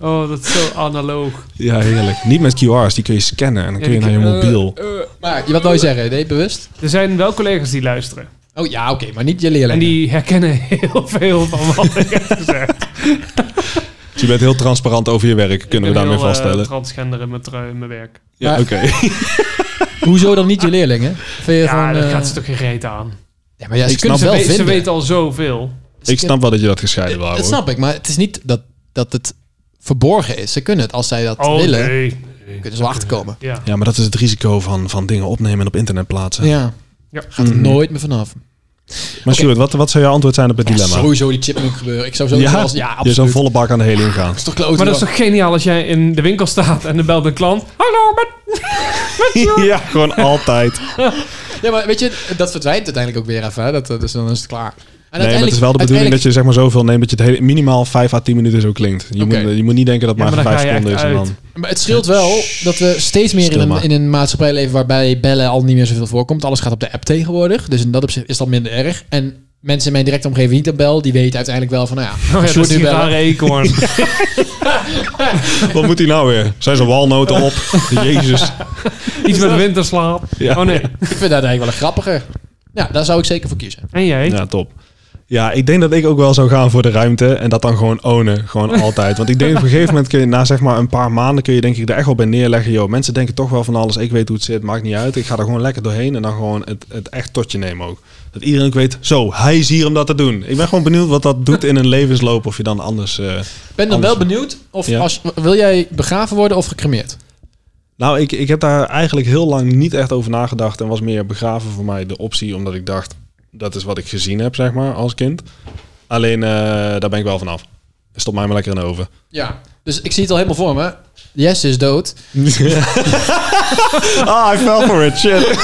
[SPEAKER 1] Oh, dat is zo analoog.
[SPEAKER 2] Ja, heerlijk. Niet met QR's, die kun je scannen en dan kun je
[SPEAKER 1] Ja, die
[SPEAKER 2] naar je
[SPEAKER 1] kun-
[SPEAKER 2] mobiel.
[SPEAKER 3] Maar je- wat wil je zeggen? Nee, bewust?
[SPEAKER 1] Er zijn wel collega's die luisteren.
[SPEAKER 3] Oh ja, oké, maar niet je
[SPEAKER 1] En
[SPEAKER 3] leerlingen.
[SPEAKER 1] die herkennen heel veel van wat ik heb gezegd.
[SPEAKER 2] Dus je bent heel transparant over je werk, kunnen we
[SPEAKER 1] Ik ben
[SPEAKER 2] daarmee
[SPEAKER 1] heel, eh,
[SPEAKER 2] vaststellen.
[SPEAKER 1] transgender in mijn, trui- in mijn werk.
[SPEAKER 2] ja,
[SPEAKER 3] Maar-
[SPEAKER 2] oké.
[SPEAKER 3] Hoezo dan niet je leerlingen? Vind je
[SPEAKER 1] Ah. Ja,
[SPEAKER 3] van,
[SPEAKER 1] dat
[SPEAKER 3] eh,
[SPEAKER 1] gaat ze toch geen reet aan.
[SPEAKER 3] ja, maar ja, ze
[SPEAKER 2] Ik
[SPEAKER 3] kunnen
[SPEAKER 2] snap-
[SPEAKER 3] ze
[SPEAKER 1] Ze,
[SPEAKER 3] wel
[SPEAKER 1] we- ze
[SPEAKER 3] vinden.
[SPEAKER 1] weten al zoveel.
[SPEAKER 3] Ze
[SPEAKER 2] Ik snap wel dat je dat gescheiden wil
[SPEAKER 3] kunnen- Dat
[SPEAKER 2] houden.
[SPEAKER 3] snap ik, maar het is niet dat, dat het verborgen is. Ze kunnen het, als zij dat
[SPEAKER 1] Oh,
[SPEAKER 3] willen,
[SPEAKER 1] nee.
[SPEAKER 3] kunnen ze wel achterkomen.
[SPEAKER 1] Ja.
[SPEAKER 2] Ja, maar dat is het risico van, van dingen opnemen en op internet plaatsen.
[SPEAKER 3] Ja.
[SPEAKER 1] Ja.
[SPEAKER 3] Gaat
[SPEAKER 2] Mhm.
[SPEAKER 3] er nooit meer vanaf.
[SPEAKER 2] Maar Stuart, wat, wat zou jouw antwoord zijn op het
[SPEAKER 3] Ja,
[SPEAKER 2] dilemma?
[SPEAKER 3] sowieso die chipmunk gebeuren. Ik zou sowieso als... Ja,
[SPEAKER 2] je
[SPEAKER 3] absoluut.
[SPEAKER 2] zou volle bak aan de helium gaan.
[SPEAKER 1] <laughs>
[SPEAKER 3] Dat is toch kloten,
[SPEAKER 1] Maar dat is
[SPEAKER 3] joh.
[SPEAKER 1] toch geniaal als jij in de winkel staat en er belt een klant. Hallo, met...
[SPEAKER 2] <laughs> ja, gewoon altijd.
[SPEAKER 3] Ja, maar weet je, dat verdwijnt uiteindelijk ook weer even. Hè? Dat, eh, dus dan is het klaar. En
[SPEAKER 2] Nee, maar het is wel de bedoeling dat je zeg maar zoveel neemt dat je het hele, minimaal 5 à 10 minuten zo klinkt. Je,
[SPEAKER 3] Oké.
[SPEAKER 2] moet, je moet niet denken dat
[SPEAKER 1] Ja,
[SPEAKER 2] het maar,
[SPEAKER 1] maar dan
[SPEAKER 2] 5
[SPEAKER 1] ga je
[SPEAKER 2] seconden is.
[SPEAKER 1] echt
[SPEAKER 2] En dan.
[SPEAKER 1] uit.
[SPEAKER 3] Maar het scheelt wel dat we steeds meer in
[SPEAKER 2] Stil
[SPEAKER 3] een,
[SPEAKER 2] maar.
[SPEAKER 3] in een maatschappij leven waarbij bellen al niet meer zoveel voorkomt. Alles gaat op de app tegenwoordig. Dus in dat opzicht is dat minder erg. En mensen in mijn directe omgeving die dat bel, die weten uiteindelijk wel van, nou ja,
[SPEAKER 1] <laughs> Oh ja,
[SPEAKER 3] Sjoerd
[SPEAKER 1] dat is
[SPEAKER 3] nu
[SPEAKER 1] die
[SPEAKER 3] bellen.
[SPEAKER 1] rare
[SPEAKER 2] <laughs>
[SPEAKER 1] eekhoorn.
[SPEAKER 2] Wat moet hij nou weer? Zijn zijn walnoten op? Jezus.
[SPEAKER 1] Iets met winterslaap.
[SPEAKER 2] Ja.
[SPEAKER 1] Oh nee.
[SPEAKER 3] Ik vind dat eigenlijk wel een grappiger. Ja, daar zou ik zeker voor kiezen.
[SPEAKER 1] En jij?
[SPEAKER 2] Ja, top. Ja, ik denk dat ik ook wel zou gaan voor de ruimte en dat dan gewoon ownen. Gewoon altijd. Want ik denk op een gegeven moment kun je na zeg maar een paar maanden kun je denk ik er echt wel bij neerleggen. Yo, mensen denken toch wel van alles. Ik weet hoe het zit, maakt niet uit. Ik ga er gewoon lekker doorheen en dan gewoon het, het echt tot je nemen ook. Dat iedereen ook weet, zo, hij is hier om dat te doen. Ik ben gewoon benieuwd wat dat doet in een levensloop. Of je dan anders... eh,
[SPEAKER 3] Ik ben dan
[SPEAKER 2] Anders.
[SPEAKER 3] wel benieuwd of
[SPEAKER 2] Ja.
[SPEAKER 3] als, wil jij begraven worden of gecremeerd?
[SPEAKER 2] Nou, ik, ik heb daar eigenlijk heel lang niet echt over nagedacht. En was meer begraven voor mij de optie, omdat ik dacht, dat is wat ik gezien heb, zeg maar, als kind. Alleen, eh, daar ben ik wel vanaf. Stop mij maar lekker in de oven.
[SPEAKER 3] Ja. Dus ik zie het al helemaal voor me. Jesse is dood.
[SPEAKER 2] ah, I fell for it, shit.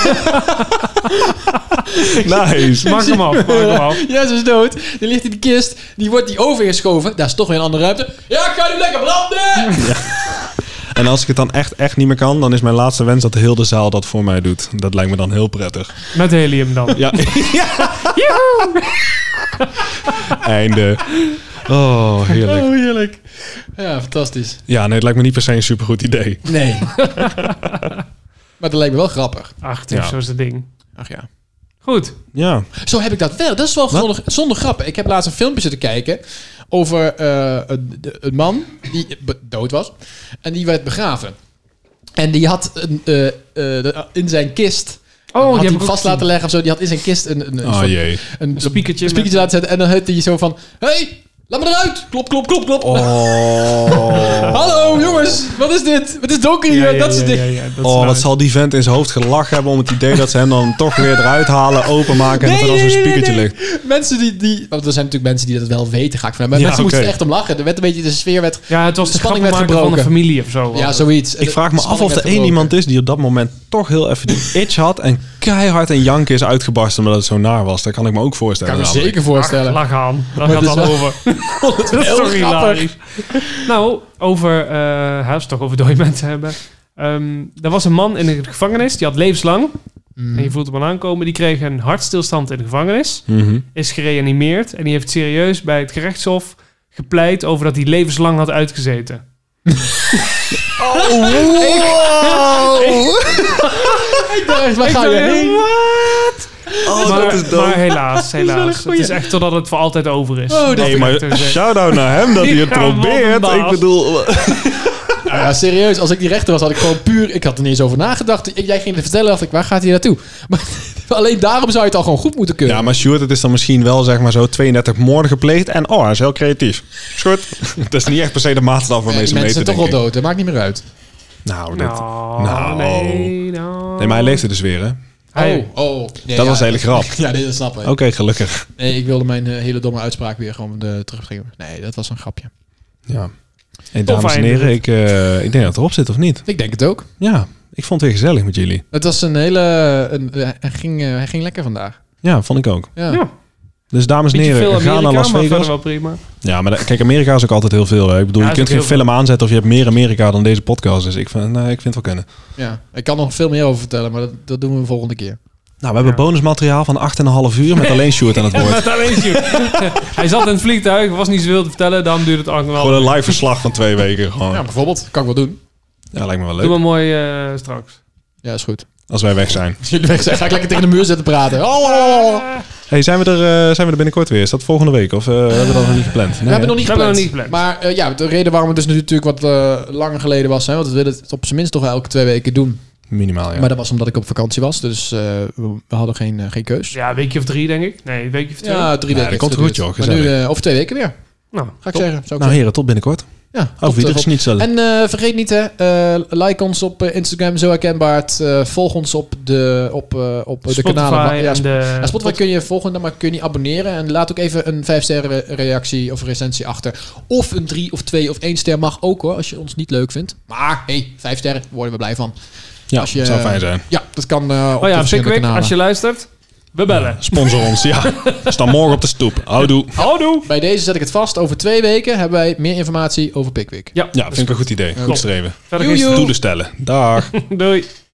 [SPEAKER 2] Nice.
[SPEAKER 1] Maak hem af, maak hem
[SPEAKER 3] <laughs>
[SPEAKER 1] af.
[SPEAKER 3] Jens is dood. Die ligt in de kist. Die wordt die oven ingeschoven. Daar is toch weer een andere ruimte. Ja, ik ga nu lekker branden!
[SPEAKER 2] En als ik het dan echt, echt niet meer kan, dan is mijn laatste wens dat heel de zaal dat voor mij doet. Dat lijkt me dan heel prettig.
[SPEAKER 1] Met helium dan.
[SPEAKER 2] Ja. Einde. Oh, heerlijk.
[SPEAKER 3] Oh, heerlijk. Ja, fantastisch.
[SPEAKER 2] Ja, nee, het lijkt me niet per se een supergoed idee.
[SPEAKER 1] <laughs>
[SPEAKER 3] Nee. maar dat lijkt me wel grappig.
[SPEAKER 1] Ach, toen
[SPEAKER 2] Ja.
[SPEAKER 1] zo is het ding.
[SPEAKER 3] Ach ja.
[SPEAKER 1] Goed.
[SPEAKER 2] Ja.
[SPEAKER 3] Zo heb ik dat wel. Dat is wel zonder, zonder grappen. Ik heb laatst een filmpje zitten kijken over eh, een, de- een man die be- dood was. En die werd begraven. En die had een, eh, eh, de- in zijn kist...
[SPEAKER 1] Oh,
[SPEAKER 3] had
[SPEAKER 1] die heb
[SPEAKER 3] hij
[SPEAKER 1] ik
[SPEAKER 3] vast laten leggen of zo. Die had in zijn kist een, een, een
[SPEAKER 2] Oh
[SPEAKER 3] soort-
[SPEAKER 2] jee.
[SPEAKER 3] een,
[SPEAKER 1] spiekertje
[SPEAKER 3] een spiekertje laten zetten. En dan had hij zo van... hey, laat me eruit! Klop, klop, klop, klop. <laughs>
[SPEAKER 2] Oh.
[SPEAKER 3] Hallo jongens, wat is dit? Het is donker hier, dat is dit.
[SPEAKER 1] dat
[SPEAKER 2] Oh, wat
[SPEAKER 1] nice.
[SPEAKER 2] zal die vent in zijn hoofd gelachen hebben om het idee dat ze hem dan toch weer eruit halen, openmaken en
[SPEAKER 3] Nee,
[SPEAKER 2] dat er dan
[SPEAKER 3] nee,
[SPEAKER 2] zo'n
[SPEAKER 3] nee,
[SPEAKER 2] spiekertje
[SPEAKER 3] nee.
[SPEAKER 2] ligt.
[SPEAKER 3] Mensen die, die... Want er zijn natuurlijk mensen die dat wel weten, ga ik vanuit. Maar
[SPEAKER 2] Ja,
[SPEAKER 3] mensen moesten
[SPEAKER 2] oké.
[SPEAKER 3] echt om lachen. Er werd een beetje de sfeer werd...
[SPEAKER 1] Ja, het was de
[SPEAKER 3] De spanning
[SPEAKER 1] spanning
[SPEAKER 3] werd
[SPEAKER 1] van de
[SPEAKER 3] gebroken.
[SPEAKER 1] familie of zo.
[SPEAKER 3] Ja, zoiets.
[SPEAKER 2] Ik vraag me af of er één iemand is die op dat moment toch heel even die itch had en keihard en janken is uitgebarsten omdat het zo naar was. Dat kan ik me ook
[SPEAKER 3] Ik
[SPEAKER 2] voorstellen.
[SPEAKER 3] kan me
[SPEAKER 2] namelijk.
[SPEAKER 3] zeker
[SPEAKER 1] Ach,
[SPEAKER 3] voorstellen.
[SPEAKER 1] lach aan. Daar gaat
[SPEAKER 3] het is
[SPEAKER 1] dan
[SPEAKER 3] dus wel- <laughs>
[SPEAKER 1] over. dat is
[SPEAKER 3] heel
[SPEAKER 1] toch
[SPEAKER 3] grappig.
[SPEAKER 1] hilarisch. Nou, over eh huis toch over dode <laughs> mensen hebben. Ehm, er was een man in de gevangenis, die had levenslang.
[SPEAKER 3] Mm.
[SPEAKER 1] En je voelt hem al aankomen. Die kreeg een hartstilstand in de gevangenis.
[SPEAKER 2] Mhm.
[SPEAKER 1] Is gereanimeerd. En die heeft serieus bij het gerechtshof gepleit over dat hij levenslang had uitgezeten.
[SPEAKER 3] Ik dacht, waar
[SPEAKER 1] Ik
[SPEAKER 3] ga je
[SPEAKER 1] ben-
[SPEAKER 3] heen?
[SPEAKER 2] Oh,
[SPEAKER 1] maar,
[SPEAKER 2] dat is doof.
[SPEAKER 1] maar
[SPEAKER 3] <laughs>
[SPEAKER 1] helaas,
[SPEAKER 3] wel een
[SPEAKER 1] helaas.
[SPEAKER 3] goeie.
[SPEAKER 1] Het is echt totdat het voor altijd over is.
[SPEAKER 3] Oh, dat
[SPEAKER 1] Dat
[SPEAKER 2] Nee,
[SPEAKER 1] ik
[SPEAKER 2] maar
[SPEAKER 1] het even zeg.
[SPEAKER 2] shout-out naar hem dat hij het
[SPEAKER 1] Ja, man,
[SPEAKER 2] probeert.
[SPEAKER 1] baas.
[SPEAKER 2] Ik bedoel... eh,
[SPEAKER 3] Nou ja, serieus. Als ik die rechter was, had ik gewoon puur... Ik had er niet eens over nagedacht. Ik- jij ging het vertellen, dacht ik, waar gaat hij naartoe? <laughs> Maar alleen daarom zou je het al gewoon goed moeten kunnen.
[SPEAKER 2] Ja, maar Sjoerd, het is dan misschien wel zeg maar zo 32 moorden gepleegd. En oh, hij is heel creatief. Is <laughs> goed. dat is niet echt per se de maatstaf
[SPEAKER 3] Eh,
[SPEAKER 2] waarmee ze
[SPEAKER 3] die mensen
[SPEAKER 2] meten,
[SPEAKER 3] zijn
[SPEAKER 2] denk
[SPEAKER 3] toch wel
[SPEAKER 2] ik.
[SPEAKER 3] dood, dat maakt niet meer uit.
[SPEAKER 2] Nou, dat...
[SPEAKER 1] Nou,
[SPEAKER 2] Nou.
[SPEAKER 1] nee, nou.
[SPEAKER 2] Nee, maar hij leefde dus weer, hè?
[SPEAKER 1] Hij-
[SPEAKER 3] Oh, oh. Nee,
[SPEAKER 2] dat
[SPEAKER 3] ja,
[SPEAKER 2] was de hele grap.
[SPEAKER 3] <laughs> Ja, nee, dat snap ik.
[SPEAKER 2] Oké, gelukkig.
[SPEAKER 3] Nee, ik wilde mijn eh, hele domme uitspraak weer gewoon eh, terugbrengen. Nee, dat was een grapje.
[SPEAKER 2] Ja. Hey, dames en
[SPEAKER 1] einde
[SPEAKER 2] heren,
[SPEAKER 1] dit.
[SPEAKER 2] ik, eh, ik denk dat het erop zit, of niet?
[SPEAKER 3] Ik denk het ook.
[SPEAKER 2] Ja, ik vond het weer gezellig met jullie.
[SPEAKER 3] Het was een hele... Een, eh, hij, ging, eh, hij ging lekker vandaag.
[SPEAKER 2] Ja, vond ik ook.
[SPEAKER 3] Ja.
[SPEAKER 1] Ja,
[SPEAKER 2] Dus dames en
[SPEAKER 1] beetje
[SPEAKER 2] heren,
[SPEAKER 1] veel
[SPEAKER 2] we
[SPEAKER 1] Amerika,
[SPEAKER 2] gaan naar
[SPEAKER 1] maar
[SPEAKER 2] Las
[SPEAKER 1] verder
[SPEAKER 2] Vegas.
[SPEAKER 1] wel
[SPEAKER 2] <laughs>
[SPEAKER 1] prima.
[SPEAKER 2] Ja, maar da- kijk, Amerika is ook altijd heel veel. Hè? Ik bedoel,
[SPEAKER 1] Ja,
[SPEAKER 2] je
[SPEAKER 1] is
[SPEAKER 2] kunt
[SPEAKER 1] ook heel
[SPEAKER 2] geen
[SPEAKER 1] veel.
[SPEAKER 2] film aanzetten of je hebt meer Amerika dan deze podcast. Dus ik vind, nou, ik vind het wel kunnen.
[SPEAKER 3] Ja. Ik kan nog veel meer over vertellen, maar dat, dat doen we de volgende keer.
[SPEAKER 2] Nou, we hebben
[SPEAKER 1] Ja.
[SPEAKER 2] bonusmateriaal van 8,5
[SPEAKER 1] <laughs>
[SPEAKER 2] uur met alleen Sjoerd aan het woord.
[SPEAKER 1] Met alleen Sjoerd. <laughs> hij zat in het vliegtuig, was niet zoveel te vertellen, daarom duurde het allemaal.
[SPEAKER 2] Gewoon een live verslag van twee weken. Gewoon.
[SPEAKER 3] Ja,
[SPEAKER 2] Ja.
[SPEAKER 3] bijvoorbeeld. Kan ik wel doen.
[SPEAKER 2] lijkt me wel
[SPEAKER 1] Doe
[SPEAKER 2] leuk.
[SPEAKER 1] maar mooi eh, straks.
[SPEAKER 3] Ja, is goed.
[SPEAKER 2] Als wij weg zijn.
[SPEAKER 3] Als <laughs> jullie weg zijn, ga ik lekker tegen de muur zitten praten. Oh, oh, oh, oh.
[SPEAKER 2] Hey, zijn we er, eh, zijn we er binnenkort weer? Is dat volgende week? Of eh, hebben we dat nog niet gepland?
[SPEAKER 3] We hebben nog
[SPEAKER 2] hè?
[SPEAKER 1] We
[SPEAKER 3] niet
[SPEAKER 1] hebben nog
[SPEAKER 3] gepland.
[SPEAKER 1] niet gepland.
[SPEAKER 3] Maar eh, ja, de reden waarom het dus natuurlijk wat eh, langer geleden was, hè, want we willen het op zijn minst toch wel elke twee weken doen.
[SPEAKER 2] Minimaal, ja.
[SPEAKER 3] Maar dat was omdat ik op vakantie was, dus eh, we, we hadden geen, eh, geen keus. Ja,
[SPEAKER 1] Ja, een weekje of drie, denk ik. Nee, een weekje of twee.
[SPEAKER 2] Ja,
[SPEAKER 3] drie weken.
[SPEAKER 2] dat komt
[SPEAKER 3] heeft
[SPEAKER 2] goed,
[SPEAKER 3] geduurd.
[SPEAKER 2] joh,
[SPEAKER 3] Maar nu eh, over twee weken weer,
[SPEAKER 1] Nou,
[SPEAKER 3] ga ik
[SPEAKER 2] Top.
[SPEAKER 3] zeggen. Zou ik
[SPEAKER 2] nou heren, tot binnenkort.
[SPEAKER 3] zeggen. Ja,
[SPEAKER 2] Of
[SPEAKER 3] tot,
[SPEAKER 2] wie,
[SPEAKER 3] eh,
[SPEAKER 2] dit is
[SPEAKER 3] op-
[SPEAKER 2] niet zo.
[SPEAKER 3] En eh, vergeet niet, hè, eh, like ons op eh, Instagram, zo herkenbaar. Het, eh, volg ons op de, op, eh, op de
[SPEAKER 1] Spotify
[SPEAKER 3] kanalen. waar- Ja,
[SPEAKER 1] en
[SPEAKER 3] Sp-
[SPEAKER 1] de...
[SPEAKER 3] ja, Spotify kun je volgen, maar kun je niet abonneren. En laat ook even een 5-sterren reactie of recensie achter. Of een 3 of 2 of 1 ster mag ook hoor, als je ons niet leuk vindt. Maar hey, 5 sterren, daar worden we blij van.
[SPEAKER 2] Ja,
[SPEAKER 3] als je- eh,
[SPEAKER 2] zou fijn zijn.
[SPEAKER 3] Ja, dat kan eh
[SPEAKER 1] oh
[SPEAKER 3] op de
[SPEAKER 1] ja,
[SPEAKER 3] verschillende
[SPEAKER 1] Pickwick,
[SPEAKER 3] kanalen.
[SPEAKER 1] als je luistert, we bellen.
[SPEAKER 2] Sponsor ons, ja.
[SPEAKER 3] <laughs>
[SPEAKER 2] Sta morgen op de stoep. Houdoe.
[SPEAKER 1] Houdoe!
[SPEAKER 3] Bij deze zet ik het vast. Over twee weken hebben wij meer informatie over Pickwick.
[SPEAKER 1] Ja,
[SPEAKER 2] Ja, vind ik een goed idee. Goed
[SPEAKER 1] Klopt.
[SPEAKER 2] streven.
[SPEAKER 1] verder geen
[SPEAKER 3] Joejoe.
[SPEAKER 2] Doelen stellen. Dag.
[SPEAKER 1] Doei.